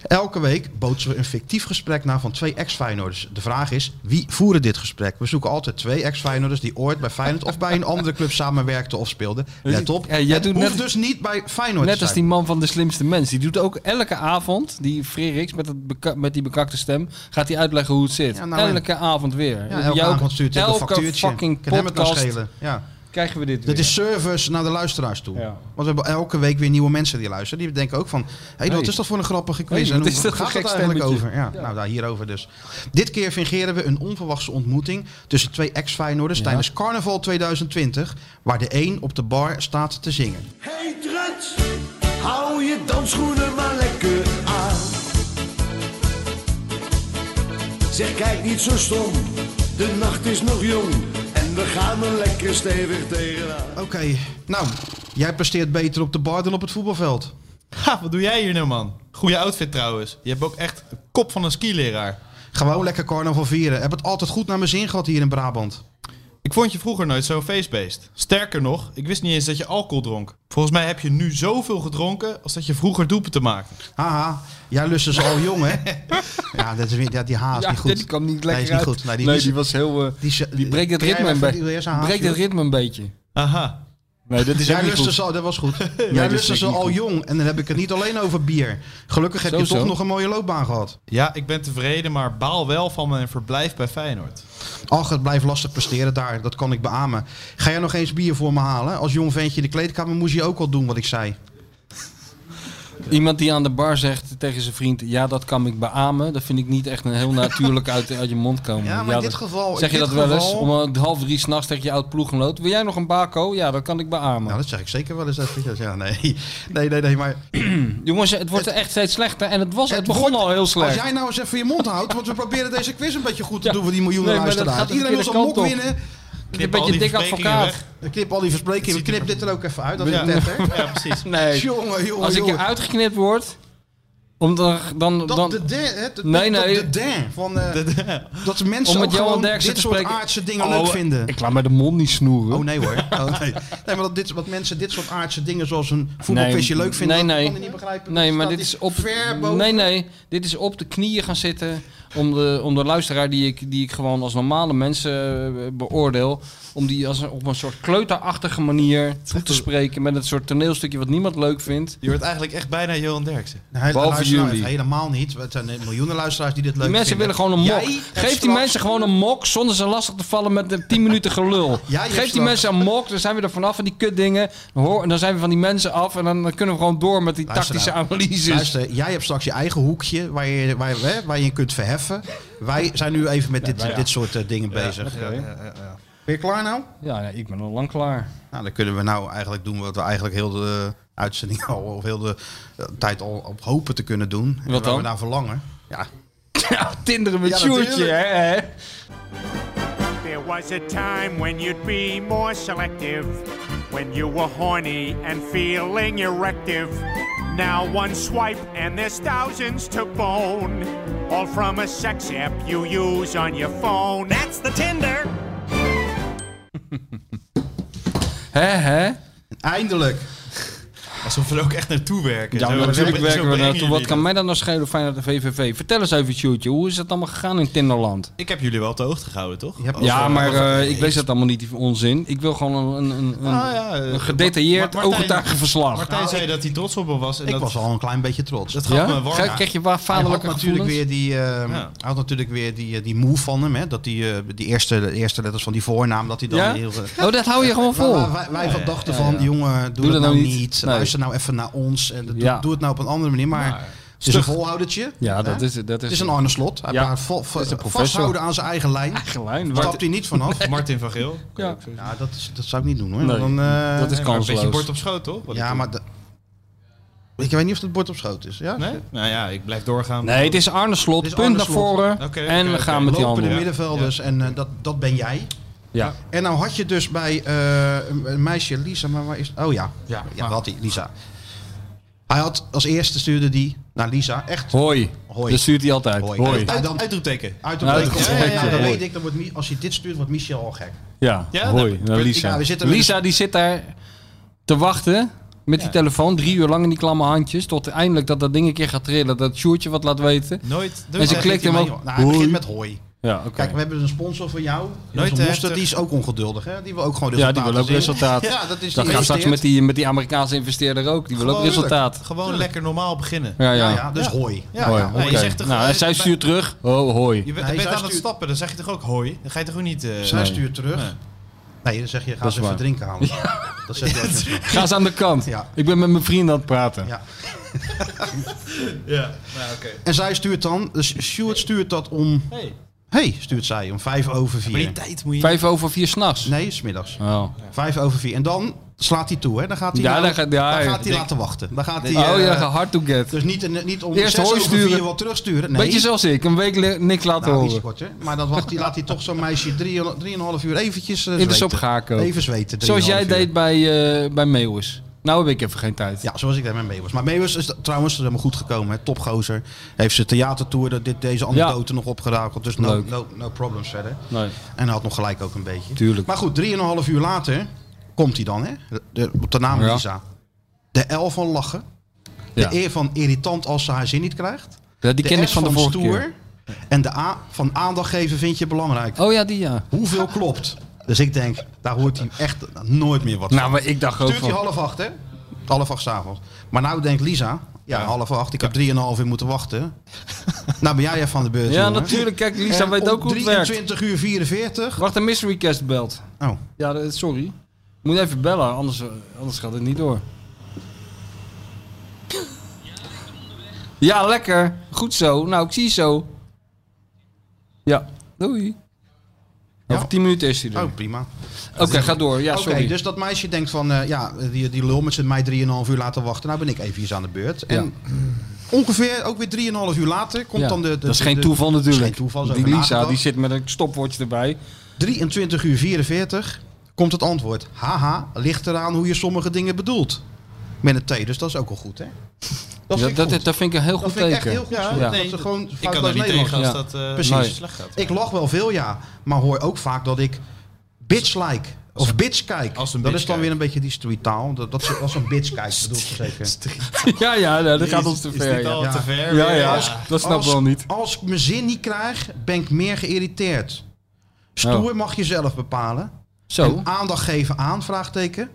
S5: Elke week bootsen we een fictief gesprek na van twee ex-Feyenoorders. De vraag is, wie voeren dit gesprek? We zoeken altijd twee ex-Feyenoorders die ooit bij Feyenoord of bij een andere club samenwerkten of speelden. Let op,
S6: Ja, jij
S5: het
S6: doet
S5: hoeft
S6: net-
S5: dus niet bij Feyenoord
S6: Net
S5: te
S6: als die
S5: zijn.
S6: man van de slimste mens. Die doet ook elke avond, die Freriks met, het beka- met die bekakte stem, gaat hij uitleggen hoe het zit.
S5: Ja, nou en-
S6: elke avond weer.
S5: Ja, elke
S6: Jij ook-
S5: avond stuurt hij een
S6: elke
S5: factuurtje.
S6: fucking
S5: Kan hem het nou
S6: podcast
S5: schelen? Ja.
S6: krijgen we dit
S5: Dit is service naar de luisteraars toe. Want we hebben elke week weer nieuwe mensen die luisteren. Die denken ook van, hé,
S6: Hey.
S5: wat is dat voor een grappige
S6: Hey,
S5: quiz?
S6: wat
S5: en
S6: is
S5: hoe
S6: dat
S5: gaat
S6: voor
S5: het
S6: gek
S5: eigenlijk
S6: stemmetje?
S5: over? Ja,
S6: Ja.
S5: Nou, daar hierover dus. Dit keer fingeren we een onverwachte ontmoeting tussen twee ex-Feyenoorders tijdens Carnaval 2020, waar de een op de bar staat te zingen.
S15: Hey Truts, hou je dansschoenen maar lekker aan. Zeg, kijk niet zo stom, de nacht is nog jong en we gaan er lekker stevig tegenaan.
S5: Oké, nou, jij presteert beter op de bar dan op het voetbalveld.
S10: Ha, wat doe jij hier nou, man? Goeie outfit trouwens. Je hebt ook echt een kop van een skileraar.
S5: Gewoon lekker carnaval vieren. Heb het altijd goed naar mijn zin gehad hier in Brabant.
S10: Ik vond je vroeger nooit zo'n feestbeest. Sterker nog, ik wist niet eens dat je alcohol dronk. Volgens mij heb je nu zoveel gedronken als dat je vroeger doelpunten maakte.
S5: Haha, jij lust ze al jong, hè? Ja, dat is weer, dat, die haast
S10: Ja,
S5: niet goed.
S10: die kwam
S5: nee,
S10: niet lekker
S5: is niet
S10: uit.
S5: goed.
S10: Nee,
S5: is-
S10: die was heel, eh,
S5: is-
S6: Die breekt het
S5: Kun jij
S6: ritme een
S5: even die-
S6: beetje.
S5: eerst een
S6: Breekt
S5: haasje
S6: het
S5: doen?
S6: ritme een beetje.
S10: Aha.
S6: Nee, dat is
S5: Jij dus-
S6: ook niet
S5: lustte
S6: goed.
S5: ze al, dat was goed.
S6: dat
S5: Jij
S6: is
S5: lustte
S6: echt
S5: ze
S6: niet
S5: al
S6: goed.
S5: jong en dan heb ik het niet alleen over bier. Gelukkig heb je
S10: Zo,
S5: toch
S10: zo.
S5: nog een mooie loopbaan gehad.
S10: Ja, ik ben tevreden, maar baal wel van mijn verblijf bij Feyenoord.
S5: Ach, het blijft lastig presteren daar, dat kan ik beamen. Ga jij nog eens bier voor me halen? Als jong ventje in de kleedkamer moest je ook al doen wat ik zei.
S6: Iemand die aan de bar zegt tegen zijn vriend: Ja, dat kan ik beamen. Dat vind ik niet echt een heel natuurlijk uit, uit je mond komen.
S5: Ja, maar in dit
S6: dat-
S5: geval-
S6: Zeg
S5: in
S6: je
S5: dit
S6: dat wel eens?
S5: geval-
S6: Om eh, half drie s'nachts tegen je oud ploeggenoot: Wil jij nog een bako? Ja, dat kan ik beamen.
S5: Nou, dat zeg ik zeker wel eens. Dat vind ik- ja, nee. nee, nee, nee, maar...
S6: Jongens, het wordt echt steeds slechter. En het, was, het, begon al heel slecht.
S5: Als jij nou eens even je mond houdt, want we proberen deze quiz een beetje goed te doen voor die miljoenen
S6: Nee, maar dat
S5: luisteraars.
S6: gaat de
S5: Iedereen wil
S6: verkeerde
S5: zijn mok
S6: kant op.
S5: winnen.
S6: Knip Een al beetje die dik versprekingen advocaat. weg.
S5: Ik knip al die versprekingen. Ik knip dit er ook even uit. Dat is het net, hè?
S10: Ja, precies.
S6: Nee.
S5: Jongen, jongen,
S6: Als ik
S5: jongen.
S6: je uitgeknipt word. Om dan, dan,
S5: Dat
S6: dan-
S5: de der, hè? Dat-
S6: Nee,
S5: dat-
S6: nee.
S5: dat de der van, eh, Dat de
S6: om
S5: mensen
S6: met
S5: ook
S6: Johan
S5: gewoon
S6: Derksen
S5: dit
S6: te
S5: soort
S6: spreken.
S5: aardse dingen
S6: Oh,
S5: leuk vinden.
S6: Ik laat mij de mond niet snoeren.
S5: Oh nee hoor. Oh, nee. nee, maar dat, dit, wat mensen dit soort aardse dingen zoals een voetbalquizje
S6: Nee,
S5: leuk vinden,
S6: nee,
S5: dat
S6: nee.
S5: kan ik niet begrijpen.
S6: Nee,
S5: Dat
S6: maar
S5: staat
S6: dit is op,
S5: ver boven.
S6: nee, nee, dit is op de knieën gaan zitten om de, om de luisteraar die ik, die ik gewoon als normale mensen eh, beoordeel, om die als een, op een soort kleuterachtige manier toe te spreken met een soort toneelstukje wat niemand leuk vindt.
S10: Je wordt eigenlijk echt bijna Johan Derksen.
S5: Nee,
S6: Behalve
S5: luister nou
S6: jullie.
S5: even, helemaal niet. Het zijn miljoenen luisteraars die dit leuk
S6: Die mensen
S5: vinden.
S6: willen gewoon een mok.
S5: Jij hebt
S6: Geef die
S5: straks-
S6: mensen gewoon een mok zonder ze lastig te vallen met de 10 minuten gelul.
S5: Jij hebt
S6: Geef die
S5: straks-
S6: mensen een mok, dan zijn we er vanaf van die kutdingen. Dan, hoor, dan zijn we van die mensen af en dan, dan kunnen we gewoon door met die
S5: Luister
S6: tactische
S5: nou.
S6: analyses.
S5: Luister, jij hebt straks je eigen hoekje waar je, waar, je- hè, waar je in kunt verheffen. Wij zijn nu even met dit, dit soort eh, dingen bezig. Ben je klaar nou?
S6: Ja, nee, ik ben al lang klaar.
S5: Nou, dan kunnen we nou eigenlijk doen wat we eigenlijk heel de eh, uitzending al, of heel de eh, tijd al op hopen te kunnen doen. en
S6: Wat
S5: waar
S6: dan?
S5: we naar verlangen. Ja.
S6: Tinderen met
S5: Ja,
S6: Sjoertje,
S5: natuurlijk.
S6: hè?
S16: There was a time when you'd be more selective, when you were horny and feeling erective. Now one swipe and there's thousands to bone, all from a sex app you use on your phone. That's the Tinder.
S6: Hè, hè?
S5: Eindelijk.
S10: Alsof we er ook echt naartoe werken.
S6: Ja,
S10: Zo-
S6: maar natuurlijk
S10: zo-
S6: werken
S10: zo
S6: we
S10: brengen
S6: naartoe. Wat
S10: jullie
S6: kan
S10: dat.
S6: mij dan nou schelen fijn uit de VVV? Vertel eens even, Sjoertje, hoe is het allemaal gegaan in Tinderland?
S10: Ik heb jullie wel op de hoogte gehouden, toch?
S6: Ja, maar eh, ik lees dat allemaal niet, die onzin. Ik wil gewoon een, een, een,
S10: Ah, ja, eh,
S6: een gedetailleerd
S10: Mar- Martijn-
S6: ooggetuigenverslag.
S10: Martijn zei dat hij trots op me was. En
S5: Ik
S10: dat,
S5: was al een klein beetje trots.
S10: Dat gaf me warm.
S6: Krijg- krijg je waar vaderlijke
S5: Hij had natuurlijk weer
S6: gevoelens?
S5: die, eh,
S6: Ja.
S5: hij had natuurlijk weer die, eh, die move van hem, hè? Dat die, eh, die eerste, de eerste letters van die voornaam, dat hij dan
S6: Ja?
S5: heel... eh,
S6: Oh, dat hou je gewoon vol.
S5: Wij, wij, wij
S6: Ja,
S5: van
S6: ja,
S5: dachten
S6: ja,
S5: van,
S6: ja.
S5: jongen, doe, dat, nou niet.
S6: Nee.
S5: Luister nou even naar ons. En doe,
S6: Ja.
S5: doe het nou op een andere manier. Maar het is een
S6: stug.
S5: volhoudertje.
S6: Ja, dat
S5: hè?
S6: is- dat is-
S5: het is een Arne Slot. Hij
S6: Ja,
S5: blijft vo-
S6: dat is een professor.
S5: vasthouden aan zijn eigen lijn. Eh,
S6: Eigen lijn.
S5: Daar
S6: Martin-
S5: stapt hij niet vanaf.
S10: Martin van Geel.
S6: Ja.
S5: Ja, dat, is, dat zou ik niet doen hoor.
S6: Nee,
S5: Dan, eh,
S6: dat is
S10: Maar Een beetje
S6: kansloos.
S10: bord op schoot, toch? Wat ik
S5: Ja,
S10: doe.
S5: maar... de- Ik weet niet of het bord op schoot is. Ja?
S10: Nee? Nou ja, ik blijf doorgaan.
S6: Nee, het is Arne Slot.
S5: Het is
S6: punt
S5: Arne
S6: naar
S5: Slot.
S6: voren.
S10: Oké,
S6: en
S10: oké,
S6: we gaan
S10: oké.
S6: met die
S5: Lopen de
S6: andere.
S5: middenvelders en eh, dat, dat ben jij.
S6: Ja.
S5: En nou had je dus bij eh, een een meisje, Lisa, maar waar is... Oh ja, ja, ja dat had hij, Lisa. Hij had als eerste stuurde die naar Lisa, echt...
S6: Hoi.
S5: Hoi.
S6: Dat stuurt hij altijd.
S5: Hoi.
S6: Hoi.
S5: Uit- uit-
S10: Dan uitroepteken.
S5: Uit
S6: Nou, dat is
S5: ja, ja, ja, dat
S6: gek, hoor.
S5: weet ik. Dan wordt, Mi- als je dit stuurt, wordt Michel al gek.
S6: Ja,
S5: Ja,
S6: hoi.
S5: nou,
S6: naar
S5: punt.
S6: Lisa.
S5: Ja, we zitten met
S6: Lisa die zit daar te wachten met die telefoon. Drie uur lang in die klamme handjes. Tot eindelijk dat dat ding een keer gaat trillen. Dat Sjoertje wat laat weten.
S10: Nooit.
S6: en ze klikt hem
S5: maar,
S6: ook.
S5: joh. Nou, hij begint
S6: Hoi.
S5: met hoi.
S6: Ja, oké.
S5: Kijk, we hebben dus een sponsor voor jou.
S6: Nooit
S5: Nooit
S6: te
S5: Monster,
S6: heftig.
S5: die is ook ongeduldig. Hè? Die wil ook gewoon
S6: Ja,
S5: resultaten
S6: die wil ook
S5: zien.
S6: resultaat.
S5: Ja, dat is
S6: dat
S5: die
S6: gaat straks
S5: investeert.
S6: met die, met die Amerikaanse investeerder ook. Die wil ook
S10: Gewoon
S6: resultaat.
S10: tuurlijk. Gewoon lekker normaal beginnen.
S6: Ja, ja.
S5: Ja, ja, dus hoi.
S10: Ja,
S6: Hoi,
S10: ja.
S6: oké.
S10: Nee, je zegt toch
S6: nou,
S10: gewoon-
S6: en zij
S10: bij-
S6: stuurt terug. Oh, hoi.
S10: Je bent,
S5: Nee,
S10: bent
S5: zij
S10: aan het
S5: stuurt-
S10: stappen, dan zeg je toch ook hoi? Dan ga je toch ook niet... eh,
S5: Zij
S10: nee.
S5: stuurt terug.
S10: Nee.
S5: Nee, dan zeg je, ga
S6: Dat
S5: eens
S6: is
S5: even
S6: waar.
S5: drinken halen. Dat zeg je ook niet.
S6: Ga eens aan de kant.
S5: Ja.
S6: Ik ben met mijn vrienden aan het praten.
S5: Ja.
S10: Ja, nou, oké.
S5: En zij stuurt dan, dus Stuart stuurt dat om...
S10: Hey.
S5: hey, stuurt zij om vijf over vier.
S10: Maar die tijd moet je-
S6: Vijf over vier s'nachts?
S5: Nee, smiddags.
S6: Oh.
S5: Vijf over vier. En dan slaat hij toe, hè? Dan gaat hij,
S6: Ja,
S5: nou-
S6: dan ga- ja,
S5: dan
S6: ja,
S5: gaat hij
S6: denk-
S5: laten wachten. Dan gaat hij...
S6: oh
S5: eh,
S6: ja, hard to get.
S5: Dus niet, niet om
S6: Eerst
S5: zes
S6: hooi
S5: over vier
S6: sturen.
S5: wat terugsturen. Nee.
S6: Beetje zoals ik, een week le- niks laten
S5: Nou, iets
S6: horen.
S5: kort, hè? Maar dan wacht, hij- laat hij toch zo'n meisje drie- drieënhalf uur eventjes eh,
S6: In de
S5: zweten.
S6: sop gaken.
S5: Even zweten.
S6: Zoals jij
S5: drieënhalf uur.
S6: deed bij, eh, bij Meeuwis. Nou heb ik even geen tijd.
S5: Ja, zoals ik deed met Meeuwis. Maar Meeuwis is trouwens helemaal goed gekomen. Hè? Topgozer. Heeft zijn theatertour, dat dit, deze anekdote nog opgerakeld. Dus no,
S6: Leuk.
S5: no, no problems verder.
S6: Nee.
S5: En hij had nog gelijk ook een beetje.
S6: Tuurlijk.
S5: Maar goed, drieënhalf uur later komt hij dan, hè? De, op de naam
S6: Ja.
S5: Lisa. De L van lachen. De
S6: Ja.
S5: E van irritant als ze haar zin niet krijgt.
S6: Ja, die
S5: de
S6: ken ik
S5: S
S6: van de vorige
S5: stoer.
S6: keer.
S5: En de A van aandacht geven vind je belangrijk.
S6: Oh ja, die ja.
S5: Hoeveel klopt? Dus ik denk, daar hoort hij echt nooit meer wat
S6: Nou,
S5: van.
S6: maar ik dacht ook
S5: Stuurt hij
S6: van-
S5: half acht, hè? Half acht s'avonds. Maar nou denkt Lisa, ja, half acht, ik heb drieënhalf uur moeten wachten. nou ben jij even aan de beurt,
S6: Ja,
S5: jongen.
S6: natuurlijk. Kijk, Lisa
S5: En
S6: weet
S5: om
S6: ook hoe het werkt.
S5: 23 uur 44.
S6: Wacht, een mystery cast belt.
S5: Oh.
S6: Ja, dat- sorry. Moet even bellen, anders, eh, anders gaat het niet door. Ja, lekker. Goed zo. Nou, ik zie je zo. Ja, doei. Over tien minuten is hij er.
S5: Oh, prima.
S6: Oké, ga door. Ja,
S5: Oké,
S6: sorry.
S5: dus dat meisje denkt van, eh, ja, die, die lul met zijn mij 3,5 uur laten wachten. Nou ben ik even aan de beurt. En ongeveer ook weer 3,5 uur later komt
S6: Ja,
S5: dan de, de...
S6: dat is
S5: de-
S6: geen
S5: de-
S6: toeval
S5: dat is
S6: natuurlijk.
S5: geen toeval. is
S6: die
S5: over
S6: Lisa die
S5: nagedacht.
S6: zit met een stopwatch erbij.
S5: 23 uur 44 komt het antwoord. Haha, ligt eraan hoe je sommige dingen bedoelt. Met een T, dus dat is ook al goed, hè?
S6: Dat,
S5: vind
S6: dat,
S5: ik
S6: dat,
S5: goed.
S6: vind, ik een heel goed
S5: dat vind ik echt
S6: teken.
S5: heel goed.
S6: Ja,
S5: zo.
S6: ja.
S5: Dat ze gewoon
S10: ik
S5: foutloos
S10: kan er niet
S5: Nederlands
S10: tegen als
S5: doen.
S10: dat, eh,
S5: Precies.
S10: als het slecht gaat.
S5: Ik lach wel veel, ja. Maar hoor ook vaak dat ik bitch like. Of bitch kijk. Dat
S10: bitch
S5: is dan weer een beetje die street taal. Dat, dat ze als een bitch kijkt, bedoel ik zeker.
S6: ja, ja, nee, dat
S10: Is-
S6: gaat ons te
S10: is
S6: ver.
S10: dit
S6: ja.
S10: al
S6: ja.
S10: te ver?
S6: Ja, ja,
S5: Als-
S6: dat snap ik
S5: als-
S6: wel niet.
S5: Als ik mijn zin niet krijg, ben ik meer geïrriteerd. Stoer
S6: Oh.
S5: mag je zelf bepalen.
S6: Zo.
S5: En aandacht geven aan, vraagteken.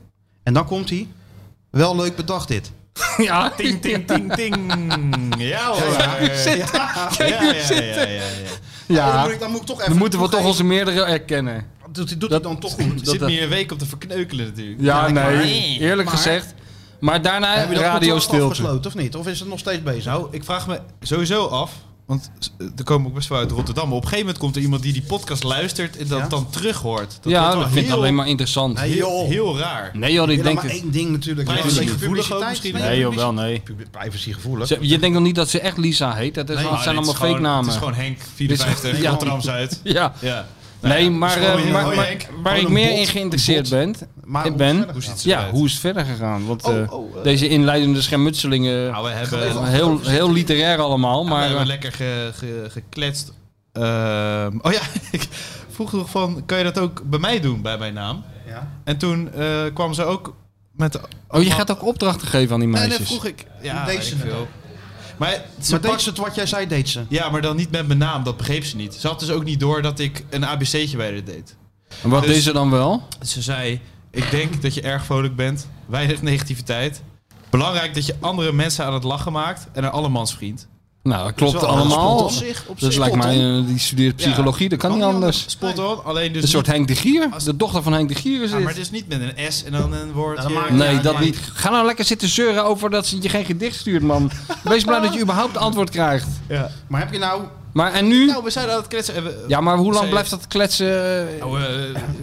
S5: En dan komt hij. Wel leuk bedacht dit.
S6: Ja,
S10: Ting, ting, ting, ting. Ja hoor. Ja, ja, ja, ja, ja, ja, ja.
S5: Ja, dan
S6: Ja,
S5: moet ik- dan moet ik toch
S6: dan
S5: even
S6: moeten we toch
S5: toegeven.
S6: onze meerdere erkennen.
S5: Doet, doet
S6: Dat-
S5: hij dan toch goed?
S10: Je zit
S6: Dat-
S10: meer een week op te verkneukelen natuurlijk.
S6: Ja,
S10: maar-
S6: nee, eerlijk
S5: maar-
S6: gezegd. Maar daarna
S5: Heb je dat
S6: radio
S5: contract
S6: stilte.
S5: afgesloten of niet? Of is het nog steeds bezig?
S10: Nou, ik vraag me sowieso af, want s- er komen ook best wel uit Rotterdam. Maar op een gegeven moment komt er iemand die die podcast luistert en dat dan terughoort. Dat wordt
S6: Ja,
S10: wel
S6: dat vind ik
S10: heel-
S6: alleen maar interessant.
S5: Nee, joh.
S10: Heel, heel raar.
S6: Nee joh,
S5: Ja,
S6: ik denk
S5: maar
S6: het.
S5: één ding natuurlijk.
S10: Privacygevoelig ook misschien?
S6: Nee joh, wel nee.
S5: Privacygevoelig.
S6: Ze- Je denkt nog niet dat ze echt Lisa heet? Dat is
S10: Nee,
S6: wel-
S10: maar
S6: zijn
S10: dit
S6: allemaal
S10: is gewoon-
S6: fake namen.
S10: Oh, Het is gewoon Henk, 54,
S6: Ja.
S10: Rotterdam Zuid.
S6: Ja.
S10: Ja.
S6: Nee, maar,
S10: het is gewoon
S6: eh,
S10: een
S6: maar,
S10: mooie
S6: maar-
S10: Henk.
S6: waar
S10: Gewoon
S6: ik
S10: een
S6: meer
S10: bot,
S6: in geïnteresseerd ben,
S5: Maar
S6: ik
S5: hoe
S6: ben
S5: het verder gaat.
S10: ziet het
S6: ja,
S10: eruit?
S6: hoe is het verder gegaan? Want
S5: Oh,
S6: eh,
S5: oh, eh.
S6: deze inleidende schermutselingen, eh,
S10: Nou, we hebben,
S6: heel, heel, literair allemaal,
S10: we
S6: maar
S10: hebben
S6: eh,
S10: lekker ge- ge- gekletst. Ehm, oh ja, ik vroeg nog van, kan je dat ook bij mij doen, bij mijn naam?
S5: Ja.
S10: En toen eh, kwam ze ook met...
S6: oh, je gaat ook opdrachten geven aan die
S10: Nee,
S6: meisjes.
S10: dat vroeg ik. Ja,
S5: Deed
S10: weet
S5: ze
S10: ik
S5: het
S10: veel. Maar ze
S5: Maar deed
S10: pakt-
S5: ze het wat jij zei, deed ze.
S10: Ja, maar dan niet met mijn naam, dat begreep ze niet. Ze had dus ook niet door dat ik een ABC'tje bij haar deed.
S6: En wat
S10: Dus-
S6: deed ze dan wel?
S10: Ze zei, ik denk dat je erg vrolijk bent, weinig negativiteit. Belangrijk dat je andere mensen aan het lachen maakt en een allemansvriend.
S6: Nou, dat klopt
S5: Dat is wel-
S6: allemaal.
S5: dat is op zich- op
S6: dus
S5: zich
S6: lijkt
S5: spot
S6: mij, eh, die studeert psychologie, dat kan, niet anders.
S10: Spot on, alleen dus
S6: een soort
S10: niet-
S6: Henk de Gier, de dochter van Henk de Gier is
S10: Ja,
S6: dit.
S10: maar het is niet met een S en dan een woordje.
S5: Nou, dat maakt
S6: Nee,
S5: Ja,
S6: dat
S5: maar-
S6: niet. Ga nou lekker zitten zeuren over dat ze je geen gedicht stuurt, man. Wees blij dat je überhaupt antwoord krijgt.
S10: Ja.
S5: Maar heb je nou...
S6: Maar en nu?
S10: Nou, we zijn aan het kletsen. en we-
S6: Ja, maar hoe lang
S10: Zij-
S6: blijft dat kletsen?
S10: Nou, eh,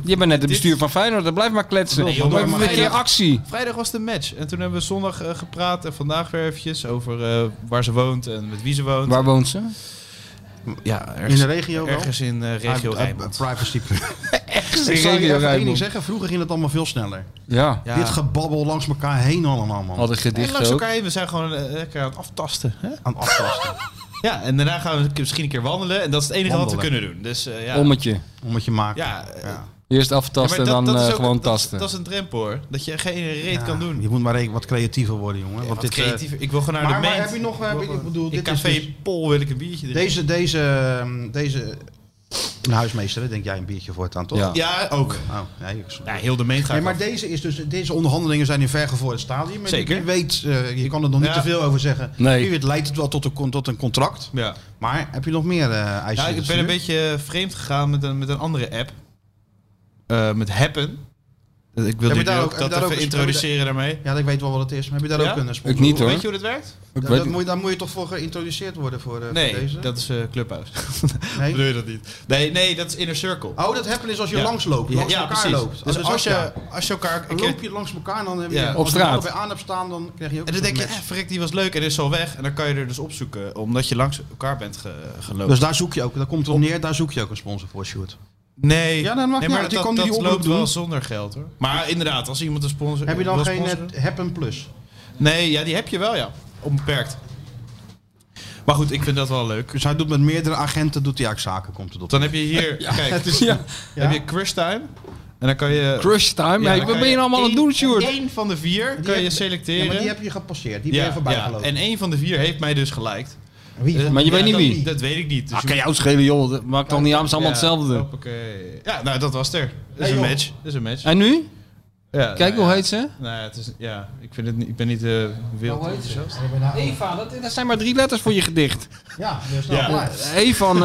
S6: Je bent net het
S10: dit-
S6: bestuur van Feyenoord, dat blijft maar kletsen.
S10: Nee, joh,
S6: Doe
S10: maar
S6: even
S10: mag
S6: een
S10: je
S6: keer
S10: dat-
S6: actie.
S10: Vrijdag was de match. En toen hebben we zondag eh, gepraat en vandaag weer eventjes over eh, waar ze woont en met wie ze woont.
S6: Waar woont ze?
S10: Ja, ergens,
S5: In de regio wel?
S10: Ergens in eh, regio
S5: Ah,
S10: Rijnmond.
S5: ah, Privacy. Ik zal je
S6: regio
S5: even één ding
S6: Rijnmond.
S5: zeggen. Vroeger ging het allemaal veel sneller.
S6: Ja,
S10: Ja.
S5: Dit gebabbel langs elkaar heen allemaal, man.
S6: had een
S10: En
S6: gedicht
S10: langs
S6: ook.
S10: elkaar heen, we zijn gewoon eh, lekker aan het aftasten. Hè?
S5: Aan het aftasten.
S10: Ja, en daarna gaan we misschien een keer wandelen. En dat is het enige wat we
S5: Wandelen.
S10: kunnen doen. Dus eh, ja.
S6: Ommetje.
S5: Om het je maken.
S10: Ja, eh, ja,
S6: Eerst
S10: maar
S6: aftasten en dan
S10: is
S6: eh,
S10: ook-
S6: gewoon
S10: dat-
S6: tasten.
S10: Dat, is een drempel hoor. Dat je geen reet
S5: Ja,
S10: kan doen.
S5: Ah, Je moet maar re- wat creatiever worden, jongen. want
S10: Want
S5: dit, eh,
S10: creatief. Ik wil gewoon naar
S5: maar,
S10: de
S5: maar
S10: meent.
S5: heb je nog... eh, heb je- ik bedoel,
S10: In
S5: dit
S10: Café
S5: is dus-
S10: Pol wil ik een biertje drinken.
S5: deze, deze, ehm, deze... Een huismeester, hè, denk jij een biertje voortaan, toch?
S6: Ja.
S10: Ja, ook.
S5: Oh, nee, ik-
S10: Ja, heel de meent gaat
S5: Nee, maar deze, is dus, deze onderhandelingen zijn in vergevorderd stadium. En
S10: Zeker.
S5: Je weet, eh, je kan er nog niet
S10: Ja.
S5: te veel over zeggen.
S6: Nee.
S5: Wie weet leidt het wel tot een, con- tot een contract.
S10: Ja.
S5: Maar heb je nog meer eh eisen? in
S10: Ja, ik
S5: het
S10: ben een eh,
S5: vuur?
S10: beetje vreemd gegaan met een, met een andere app. eh, met Happen. Eh, Ik wil
S5: Heb je
S10: jullie
S5: daar
S10: ook,
S5: ook- heb je
S10: dat
S5: daar ook
S10: even
S5: een-
S10: introduceren daarmee.
S5: Ja, ik weet wel wat het is. Maar heb je daar
S10: Ja?
S5: ook een sponsor?
S10: Ik niet, hoor. Weet je
S5: hoe
S10: hoe dit werkt? Ik
S5: Daar,
S10: weet
S5: dat
S10: het.
S5: moet, je- daar moet je toch voor geïntroduceerd worden voor, eh, voor
S10: Nee,
S5: deze?
S10: dat is eh Clubhouse. Nee? Bedoel je dat niet? Nee, nee, dat is Inner Circle.
S5: Oh, dat happen is als je
S10: Ja.
S5: langsloopt,
S10: Ja,
S5: langs
S10: ja,
S5: elkaar
S10: precies.
S5: loopt.
S10: Dus
S5: Oh,
S10: als
S5: dat-
S10: je, als je elkaar...
S5: Dan loop je langs elkaar en dan heb je...
S10: Ja.
S5: als
S10: Op
S5: je
S10: straat.
S5: allebei aan hebt staan, dan krijg je ook
S10: En dan denk je,
S5: zo'n
S10: eh,
S5: match.
S10: verrek, die was leuk en is al weg. En dan kan je er dus opzoeken, omdat je langs elkaar bent ge- gelopen.
S5: Dus daar zoek je ook, daar komt het op neer, daar zoek je ook een sponsor voor, Sjoerd.
S10: Nee,
S5: Ja, dan mag
S10: nee
S5: niet
S10: maar
S5: uit. Je
S10: dat,
S5: kan nu
S10: dat
S5: die oproep
S10: loopt wel
S5: doen.
S10: zonder geld hoor. Maar inderdaad, als iemand een sponsor
S5: Heb je dan
S10: wil
S5: geen
S10: sponsoren-
S5: eh, Happen Plus?
S10: Nee, ja, die heb je wel ja. Onbeperkt. Maar goed, ik vind dat wel leuk.
S5: Dus hij doet met meerdere agenten doet hij eigenlijk zaken, komt het op.
S10: Dan heb je hier, kijk,
S5: het is-
S10: ja.
S5: ja.
S10: heb je Crush Time. En dan kan je...
S6: Crush Time? Hey, wat ben je nou allemaal aan het doen, Sjoerd?
S10: Eén van de vier kan je selecteren.
S5: Ja, maar die heb je gepasseerd, die ben
S10: Ja,
S5: je voorbij
S10: ja.
S5: gelopen.
S10: En één van de vier heeft mij dus geliked.
S5: Wie?
S10: Eh,
S6: Maar je weet niet
S10: dat,
S6: wie.
S10: Dat weet ik niet. Dus
S6: Ah, kan jou schelen, joh. Dat maakt toch niet aan, ze allemaal
S10: Ja,
S6: hetzelfde.
S10: hoppakee. Ja, nou dat was het er. Dat is
S6: Hey,
S10: een
S6: joh.
S10: match. Dat is een match.
S6: En nu?
S10: Ja,
S6: Kijk,
S10: nou
S6: hoe
S10: ja.
S6: heet ze?
S10: Nou, ja, het is, ja, ik, vind het, niet- ik ben niet eh
S5: Nou,
S10: wild enthousiast.
S6: Eva, dat, dat zijn maar drie letters voor je gedicht.
S5: Ja, dus
S10: Ja.
S5: nou,
S6: E van... eh,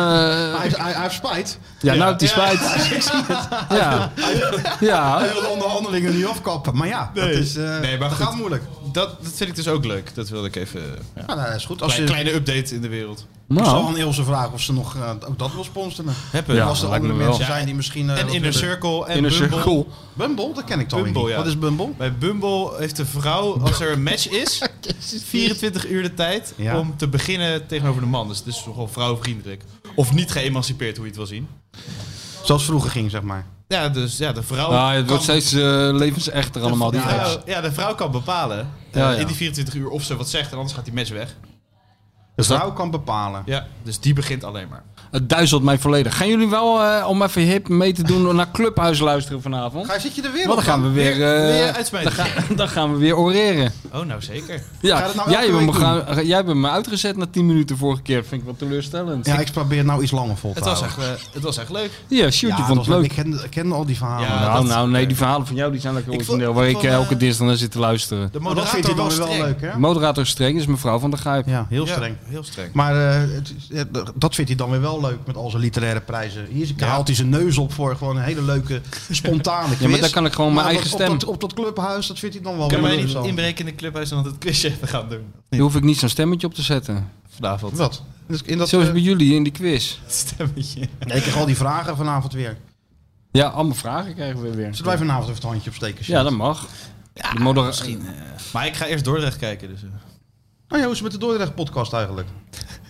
S5: Hij, hij, hij heeft spijt.
S6: ja, nou, die spijt.
S5: Ik zie het.
S6: Ja.
S5: Hij
S6: ja.
S5: wil de onderhandelingen nu afkappen. Maar ja, dat, is, eh,
S10: nee, maar
S5: dat
S10: goed.
S5: gaat moeilijk.
S10: Dat, dat vind ik dus ook leuk. Dat wilde ik even... eh, Ja.
S5: Ja, nou, dat is goed. Als
S10: Klein,
S5: je,
S10: Kleine update in de wereld.
S5: Ik zal
S6: Nou,
S5: aan Ilse vragen of ze nog eh, ook dat wil sponsoren.
S10: Hebben.
S6: Ja,
S5: als er
S6: dat lijkt
S5: andere
S6: me wel.
S5: mensen zijn die misschien... eh,
S10: En
S5: wat
S10: Inner
S5: willen.
S10: Circle en
S6: in een
S10: Bumble.
S6: cirkel.
S5: Bumble, dat ken ik toch
S10: Bumble,
S5: niet.
S10: ja.
S5: Wat is Bumble?
S10: Bij Bumble heeft de vrouw, als er een match is, 24 uur de tijd
S5: Ja.
S10: om te beginnen tegenover de man. Dus het is nogal vrouwvriendelijk. Of niet geëmancipeerd, hoe je het wil zien.
S5: Zoals vroeger ging, zeg maar.
S10: Ja, dus ja, de vrouw.
S6: Ja, Nou, het
S10: kan-
S6: wordt steeds eh, levensechter allemaal, die
S10: de vrouw-
S6: apps.
S10: Ja, de vrouw kan bepalen eh,
S6: Ja, ja.
S10: in die 24 uur of ze wat zegt en anders gaat die match weg.
S5: De vrouw kan bepalen.
S10: Ja, dus die begint alleen maar.
S6: Het duizelt mij volledig. Gaan jullie wel, eh, om even hip mee te doen, naar Clubhuis luisteren vanavond?
S5: Ga, zit je er weer
S6: Want
S5: op?
S6: dan gaan we weer... eh,
S10: Wil je uitsmijten?
S6: dan, ga- dan gaan we weer oreren.
S10: Oh, nou zeker.
S5: Ga je
S6: Ja,
S5: dat nou
S6: jij
S5: elke
S6: hebt, me
S5: week doen?
S6: gaan- jij hebt me uitgezet na 10 minuten vorige keer. Vind ik wel teleurstellend.
S5: Ja,
S6: Ja,
S5: ik probeer het nou iets langer vol te
S10: Het was, echt,
S5: houden.
S10: eh, het was echt leuk.
S6: shoot, je
S5: Ja, dat
S6: vond het
S5: was-
S6: leuk.
S5: Ik kende, ik kende al die verhalen.
S10: Ja,
S6: Nou,
S10: dat-
S6: nou, nee, die verhalen van jou die zijn lekker
S10: Ik vond-
S6: origineel. Waar
S10: ik
S6: ik
S10: vond,
S6: eh,
S10: eh,
S6: elke dinsdag naar zit te luisteren.
S10: De
S5: Maar Oh, dat
S10: moderator
S5: vindt hij dan
S10: was
S5: weer wel
S10: streng.
S5: leuk, hè?
S6: Moderator streng is mevrouw van der Gijp.
S5: Ja, heel
S10: Ja,
S5: streng.
S10: heel streng.
S5: Maar eh, het is- eh, d- dat vindt hij dan weer wel leuk met al zijn literaire prijzen. Hier is- haalt hij zijn neus op voor gewoon een hele leuke, spontane quiz.
S6: maar daar kan ik gewoon mijn
S5: Maar
S6: eigen
S5: op-
S6: stem-
S5: Op dat, op dat clubhuis, dat vindt hij dan wel
S10: Kunnen
S5: weer
S10: wij niet
S5: leuk.
S10: inbreken in de clubhuis en dan het quizje even gaan doen?
S6: Daar hoef ik niet zo'n stemmetje op te zetten.
S10: Vanavond.
S5: Wat? Dus In dat,
S6: Zoals
S5: eh,
S6: bij jullie in die quiz.
S10: Stemmetje.
S5: nee, ik krijg al die vragen vanavond weer.
S6: Ja, allemaal vragen krijgen we weer.
S5: Zullen wij vanavond even het handje opsteken?
S6: Ja, dat mag. De moder-
S10: Maar ik ga eerst Dordrecht kijken, dus... eh,
S5: Nou ja, hoe is het met de Dordrecht podcast eigenlijk?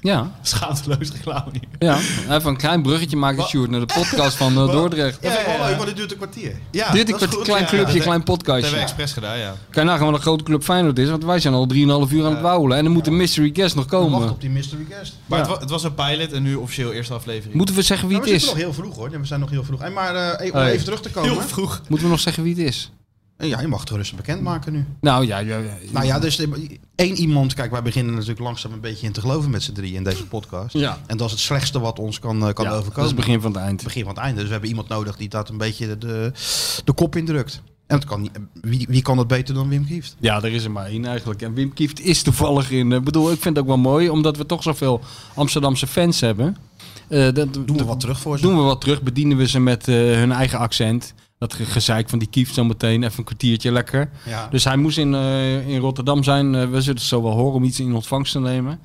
S6: Ja,
S10: Schaamteloos reclame hier.
S6: ja. Even een klein bruggetje maken, Sjoerd, naar de podcast van eh, Dordrecht.
S5: Dat vind ik wel
S10: ja, ja.
S5: leuk, want dit duurt een kwartier.
S10: Ja,
S6: Dit
S10: dat is
S6: een
S10: goed,
S6: klein
S10: ja.
S6: clubje,
S10: Dat-
S6: klein
S10: Dat hebben we
S6: podcastje.
S10: expres gedaan, ja.
S6: Kan je nagaan wat een grote club Feyenoord is, want wij zijn al 3,5 uur aan het wouwen. En dan moet de mystery guest nog
S5: Wacht
S6: komen.
S5: op die mystery guest.
S10: Maar
S6: eh, Ja.
S10: het, wa- het was een pilot en nu officieel eerste aflevering.
S6: Moeten we zeggen wie
S5: Nou,
S6: het
S5: we zitten
S6: is?
S5: nog heel vroeg hoor. Ja, We zijn nog heel vroeg. En maar eh, om
S6: Hey.
S5: even terug te komen. Eh,
S10: Heel vroeg.
S6: Moeten we nog zeggen wie het is?
S5: Ja, je mag het rustig bekendmaken nu.
S6: Nou ja, ja, ja.
S5: Nou ja, dus de- één iemand. Kijk, wij beginnen natuurlijk langzaam een beetje in te geloven met z'n drieën in deze podcast.
S6: Ja.
S5: En dat is het slechtste wat ons kan, eh, kan
S6: Ja,
S5: overkomen.
S6: Dat is het begin van het eind.
S5: Het begin van het einde. Dus we hebben iemand nodig die dat een beetje de, de, de kop indrukt. En het kan niet, wie, wie kan dat beter dan Wim Kieft?
S6: Ja, er is er maar één eigenlijk. En Wim Kieft is toevallig in. Ik bedoel, ik vind het ook wel mooi, omdat we toch zoveel Amsterdamse fans hebben. Eh, dat,
S5: Doen we wat terug voor ze?
S6: doen we wat terug, bedienen we ze met eh, hun eigen accent. Dat ge- gezeik van die Kieft zo meteen, even een kwartiertje lekker.
S5: Ja.
S6: Dus hij moest in, eh, in Rotterdam zijn. Eh, we zullen het zo wel horen om iets in ontvangst te nemen.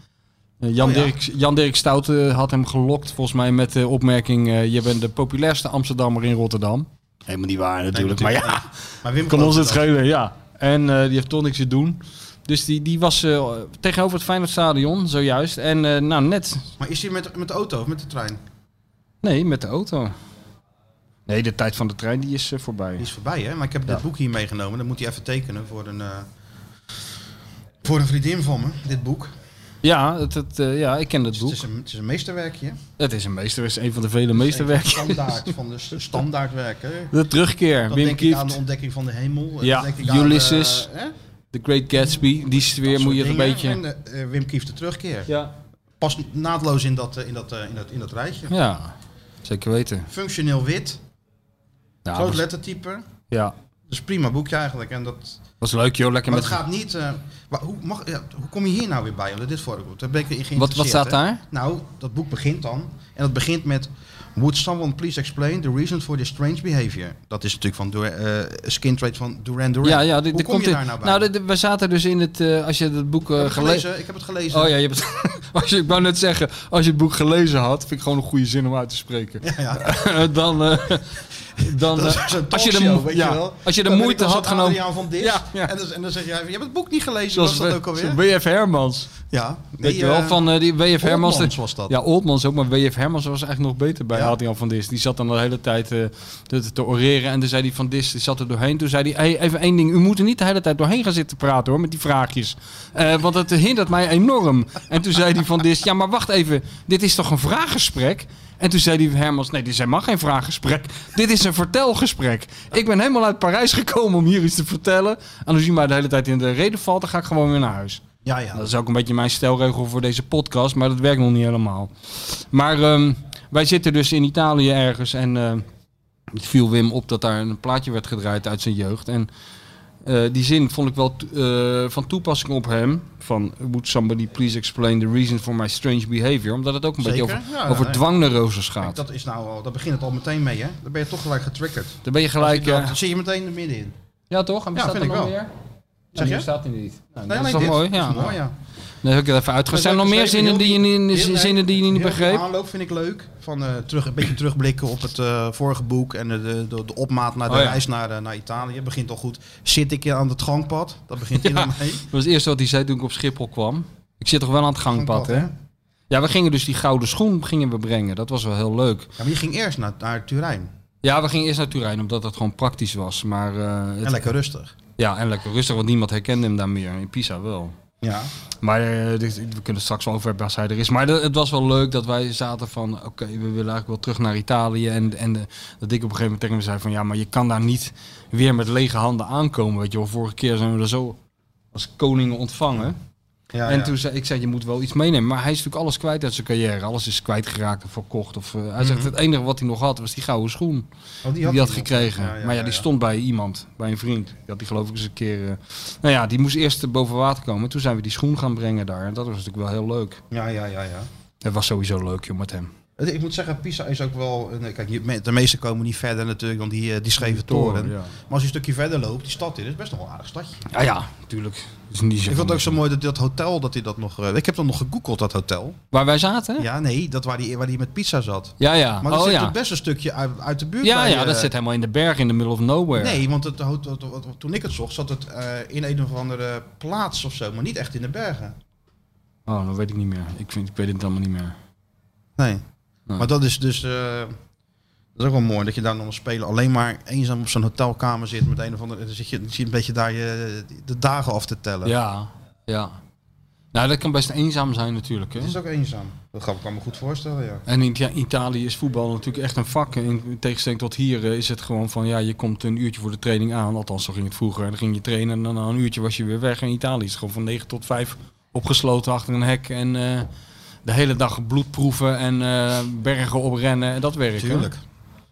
S6: Eh, Jan,
S5: Oh ja.
S6: Dirk, Jan Dirk Stout eh, had hem gelokt, volgens mij, met de opmerking: eh, Je bent de populairste Amsterdammer in Rotterdam. Helemaal niet waar, natuurlijk. maar ja.
S5: Maar Wim
S6: Kan
S5: gelooft
S6: ons het
S5: dat.
S6: schelen, ja. En eh, die heeft toch niks te doen. Dus die, die was eh, tegenover het Feyenoordstadion zojuist. En eh, nou, net...
S5: Maar is hij met, met de auto of met de trein?
S6: Nee, met de auto. Nee, de tijd van de trein die is eh, voorbij.
S5: Die is voorbij, hè? Maar ik heb
S6: Ja.
S5: dit boek hier meegenomen. Dat moet hij even tekenen voor een, eh, voor een vriendin van me. Dit boek.
S6: Ja, het, het, eh, ja ik ken dat
S5: Dus Het
S6: boek.
S5: is een, het is een meesterwerkje.
S6: Het is een meesterwerk, een van de vele
S5: Een
S6: meesterwerken.
S5: Standaard van de s- standaardwerken.
S6: De terugkeer,
S5: Dan
S6: Wim
S5: denk ik aan de
S6: Kieft,
S5: ontdekking van de hemel. Dan
S6: Ja,
S5: denk ik aan,
S6: Ulysses.
S5: eh, hè?
S6: The Great Gatsby. Die sfeer moet je het een
S5: Mm, Dingen.
S6: beetje...
S5: En eh, eh, Wim Kieft de terugkeer.
S6: Ja.
S5: Past naadloos in dat, eh, in, dat, eh, in, dat, in dat rijtje.
S6: ja, zeker weten.
S5: Functioneel wit.
S6: Ja,
S5: groot
S6: dat-
S5: lettertype.
S6: ja.
S5: Dat is een prima boekje eigenlijk. En dat,
S6: Was leuk joh, lekker
S5: Maar het
S6: met...
S5: gaat niet. eh, maar hoe, mag, ja, hoe kom je hier nou weer bij? Omdat dit voorkomt. Daar ben ik weer in
S6: Wat- wat
S5: geïnteresseerd,
S6: staat
S5: hè.
S6: daar?
S5: Nou, dat boek begint dan. En dat begint met. Would someone please explain the reason for this strange behavior? Dat is natuurlijk van Dur- eh, skin trait van Duran Duran.
S6: Ja, ja, dit,
S5: Hoe
S6: dit
S5: kom
S6: komt
S5: je
S6: in-
S5: daar nou bij?
S6: Nou, dit- dit- we zaten dus in het. eh, als je het boek eh,
S5: Ik heb het
S6: gele-
S5: gelezen, ik heb het gelezen.
S6: Oh ja, je hebt het. als je, ik wou net zeggen, als je het boek gelezen had, vind ik gewoon een goede zin om uit te spreken. dan. eh, dan
S5: Dat is
S6: eh,
S5: zo'n
S6: als je de,
S5: talkshow,
S6: mo-
S5: weet
S6: ja,
S5: je wel.
S6: Als je de
S5: Dan ben
S6: moeite
S5: ik dan
S6: had
S5: zo'n
S6: genomen.
S5: Adriaan van Dis.
S6: Ja,
S5: En, dan, en dan zeg je, je hebt het boek niet gelezen.
S6: Zoals
S5: was dat ook alweer?
S6: W.F. Hermans.
S5: Ja,
S6: Weet
S5: nee,
S6: je wel,
S5: eh,
S6: van eh, die W.F. Hermans.
S5: Oldmans was dat.
S6: Ja, Oldmans ook, maar W.F. Hermans was eigenlijk nog beter bij Adriaan van Dis. Die zat dan de hele tijd eh, te, te oreren en toen zei die van Dis, die zat er doorheen. Toen zei hij, hey, even één ding, u moet er niet de hele tijd doorheen gaan zitten praten hoor, met die vraagjes. Eh, want het hindert mij enorm. En toen zei die van Dis, ja maar wacht even, dit is toch een vraaggesprek? En toen zei die Hermans, nee, dit is helemaal geen vraaggesprek. Dit is een vertelgesprek. Ik ben helemaal uit Parijs gekomen om hier iets te vertellen. En als u mij de hele tijd in de reden valt, dan ga ik gewoon weer naar huis.
S5: Ja, ja.
S6: Dat is ook een beetje mijn stelregel voor deze podcast, maar dat werkt nog niet helemaal. Maar ehm, wij zitten dus in Italië ergens en eh, het viel Wim op dat daar een plaatje werd gedraaid uit zijn jeugd. En eh, die zin vond ik wel t- eh, van toepassing op hem. Van would somebody please explain the reason for my strange behavior? Omdat het ook een beetje
S5: Zeker?
S6: over,
S5: Ja,
S6: over
S5: nee.
S6: dwangneuroses gaat.
S5: Kijk, dat, is nou al, dat begint het al meteen mee, hè? Dan ben je toch gelijk getriggerd.
S6: Dan ben je gelijk,
S5: Als je dat-
S6: eh,
S5: Dan zit je meteen er middenin.
S6: Ja, toch?
S5: ja,
S6: En bestaat
S5: vind
S6: er
S5: ik
S6: nog
S5: wel.
S6: meer?
S5: Zeg
S6: Nou, hier
S5: je?
S6: staat hij niet.
S5: Nee,
S6: Nou, dat is
S5: nee,
S6: toch
S5: dit
S6: mooi?
S5: is
S6: Ja,
S5: mooi, ja.
S6: Dan heb ik het even uitgegaan. Zijn er nog meer zinnen die je niet,
S5: Heel-
S6: zinnen die je niet
S5: heel
S6: begreep?
S5: De aanloop vind ik leuk. Van, eh, terug, een beetje terugblikken op het eh, vorige boek en eh, de, de, de opmaat naar de
S6: Oh, ja.
S5: reis naar, eh, naar Italië. Begint al goed. Zit ik aan het gangpad? Dat begint hier dan mee.
S6: Dat was het eerste wat hij zei toen ik op Schiphol kwam. Ik zit toch wel aan het gangpad, hè? Ja, we gingen dus die gouden schoen gingen we brengen. Dat was wel heel leuk. Ja,
S5: maar je ging eerst naar, naar Turijn.
S6: Ja, we gingen eerst naar Turijn, omdat dat gewoon praktisch was. Maar, eh, het-
S5: En lekker rustig.
S6: Ja, en lekker rustig, want niemand herkende hem daar meer. In Pisa wel.
S5: Ja.
S6: Maar eh, dit- we kunnen het straks wel over hebben als hij er is. Maar de- het was wel leuk dat wij zaten van... oké, we willen eigenlijk wel terug naar Italië. En, en eh, dat ik op een gegeven moment tegen hem zei van... ja, maar je kan daar niet weer met lege handen aankomen. Weet je wel, vorige keer zijn we er zo als koningen ontvangen.
S5: Ja,
S6: en
S5: ja.
S6: toen zei ik, zei, je moet wel iets meenemen. Maar hij is natuurlijk alles kwijt uit zijn carrière. Alles is kwijtgeraakt of verkocht. Of, eh, hij zegt,
S5: Mhm.
S6: het enige wat hij nog had was die gouden schoen.
S5: had
S6: die,
S5: hij
S6: had
S5: nog.
S6: gekregen.
S5: Ja, ja,
S6: maar ja,
S5: ja,
S6: die
S5: ja.
S6: stond bij iemand, bij een vriend. Die had die geloof ik eens een keer... eh, nou ja, die moest eerst eh, boven water komen. Toen zijn we die schoen gaan brengen daar. En dat was natuurlijk wel heel leuk.
S5: Ja, ja, ja, ja.
S6: Het was sowieso leuk, joh, met hem.
S5: Het- Ik moet zeggen, Pisa is ook wel... een- Kijk, je- me- de meesten komen niet verder natuurlijk dan die, eh, die scheve
S6: toren,
S5: toren.
S6: ja.
S5: Maar als je een stukje verder loopt, die stad in, is best nog wel een aardig stadje.
S6: Ja, ja, tuurlijk. Is niet zo
S5: ik vond het ook zo mooi dat dat hotel, dat hij dat nog... eh, Ik heb dan nog gegoogeld, dat hotel.
S6: Waar wij zaten?
S5: Ja, nee, dat waar die, waar die met pizza zat.
S6: Ja, ja.
S5: Maar dat
S6: Hm. oh,
S5: zit
S6: ja.
S5: toch best een stukje uit, uit de buurt.
S6: Ja,
S5: bij,
S6: ja,
S5: eh,
S6: dat zit helemaal in de berg, in de middle of nowhere.
S5: Nee, want het, ho- to- to- to- toen ik het zocht, zat het eh, in een of andere plaats of zo, maar niet echt in de bergen.
S6: Oh, dat weet ik niet meer. Ik, vind, ik weet het allemaal niet meer.
S5: Nee.
S6: Nou.
S5: Maar dat is dus. eh, dat is ook wel mooi dat je daar dan als speler alleen maar eenzaam op zo'n hotelkamer zit met een of andere. Dan zit je, dan zit je een beetje daar je, de dagen af te tellen.
S6: Ja, ja. Nou, dat kan best eenzaam zijn natuurlijk. Hè?
S5: Het is ook eenzaam. Dat kan ik me goed voorstellen, ja.
S6: En in Ita- Italië is voetbal natuurlijk echt een vak. In in tegenstelling tot hier eh, is het gewoon van ja, je komt een uurtje voor de training aan. Althans, zo ging het vroeger. En dan ging je trainen en dan na een uurtje was je weer weg. In Italië is het gewoon van 9 tot 5 opgesloten achter een hek. En eh, de hele dag bloedproeven en eh, bergen oprennen. En dat werkt. hè?
S5: Tuurlijk.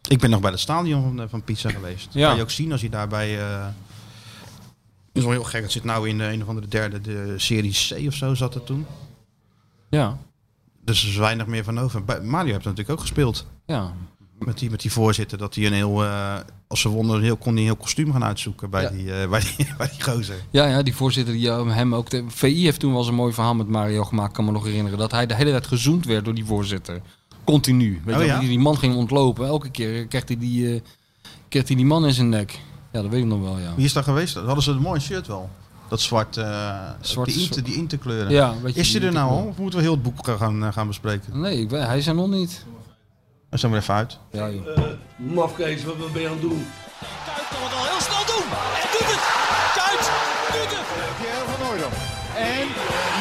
S5: Ik ben nog bij het stadion van, eh, van Pizza geweest.
S6: Ja.
S5: Ja. Kan je ook zien als je daarbij. eh dat is wel heel gek. Het zit nou in de een of andere derde de serie C of zo zat het toen.
S6: Ja.
S5: Dus er is weinig meer van over. Bij- Mario heeft natuurlijk ook gespeeld.
S6: Ja.
S5: Met die, met die voorzitter dat hij een heel. eh, als ze wonnen, een heel, kon hij een heel kostuum gaan uitzoeken bij,
S6: Ja.
S5: die, eh, bij, die, bij die gozer.
S6: Ja, ja, die voorzitter die eh, hem ook. De VI heeft toen wel eens een mooi verhaal met Mario gemaakt, kan me nog herinneren. Dat hij de hele tijd gezoend werd door die voorzitter. Continu. Weet je,
S5: Oh,
S6: wel,
S5: ja?
S6: die, die man ging ontlopen. Elke keer kreeg hij die, eh, kreeg hij die man in zijn nek. Ja, dat weet ik nog wel, ja.
S5: Wie is daar geweest? Dat hadden ze een mooi shirt wel. Dat zwart, eh
S6: Zwart-
S5: die, inter, die interkleuren.
S6: Ja, een beetje
S5: is die
S6: die
S5: er nou al?
S6: interkleur.
S5: Of moeten we heel het boek gaan, eh, gaan bespreken?
S6: Nee, ik weet- hij is er nog niet.
S5: Dan zijn we er even uit.
S6: Ja, joh.
S1: Eh mafkees, wat wat ben je aan het doen?
S2: Heel snel doen. En doet het. Kuit doet het.
S3: Pierre van Hooydonk. En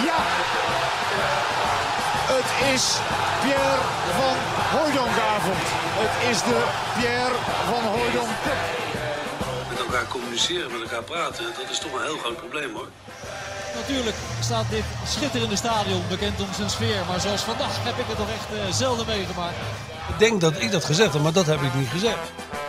S3: ja! Het is Pierre van Hooydonkavond. Het is de Pierre van Hooydonk
S1: Met elkaar communiceren, met elkaar praten, dat is toch een heel groot probleem hoor.
S2: Natuurlijk staat dit schitterende stadion bekend om zijn sfeer. Maar zoals vandaag heb ik het toch echt eh, zelden meegemaakt.
S4: Ik denk dat ik dat gezegd heb, maar dat heb ik niet gezegd.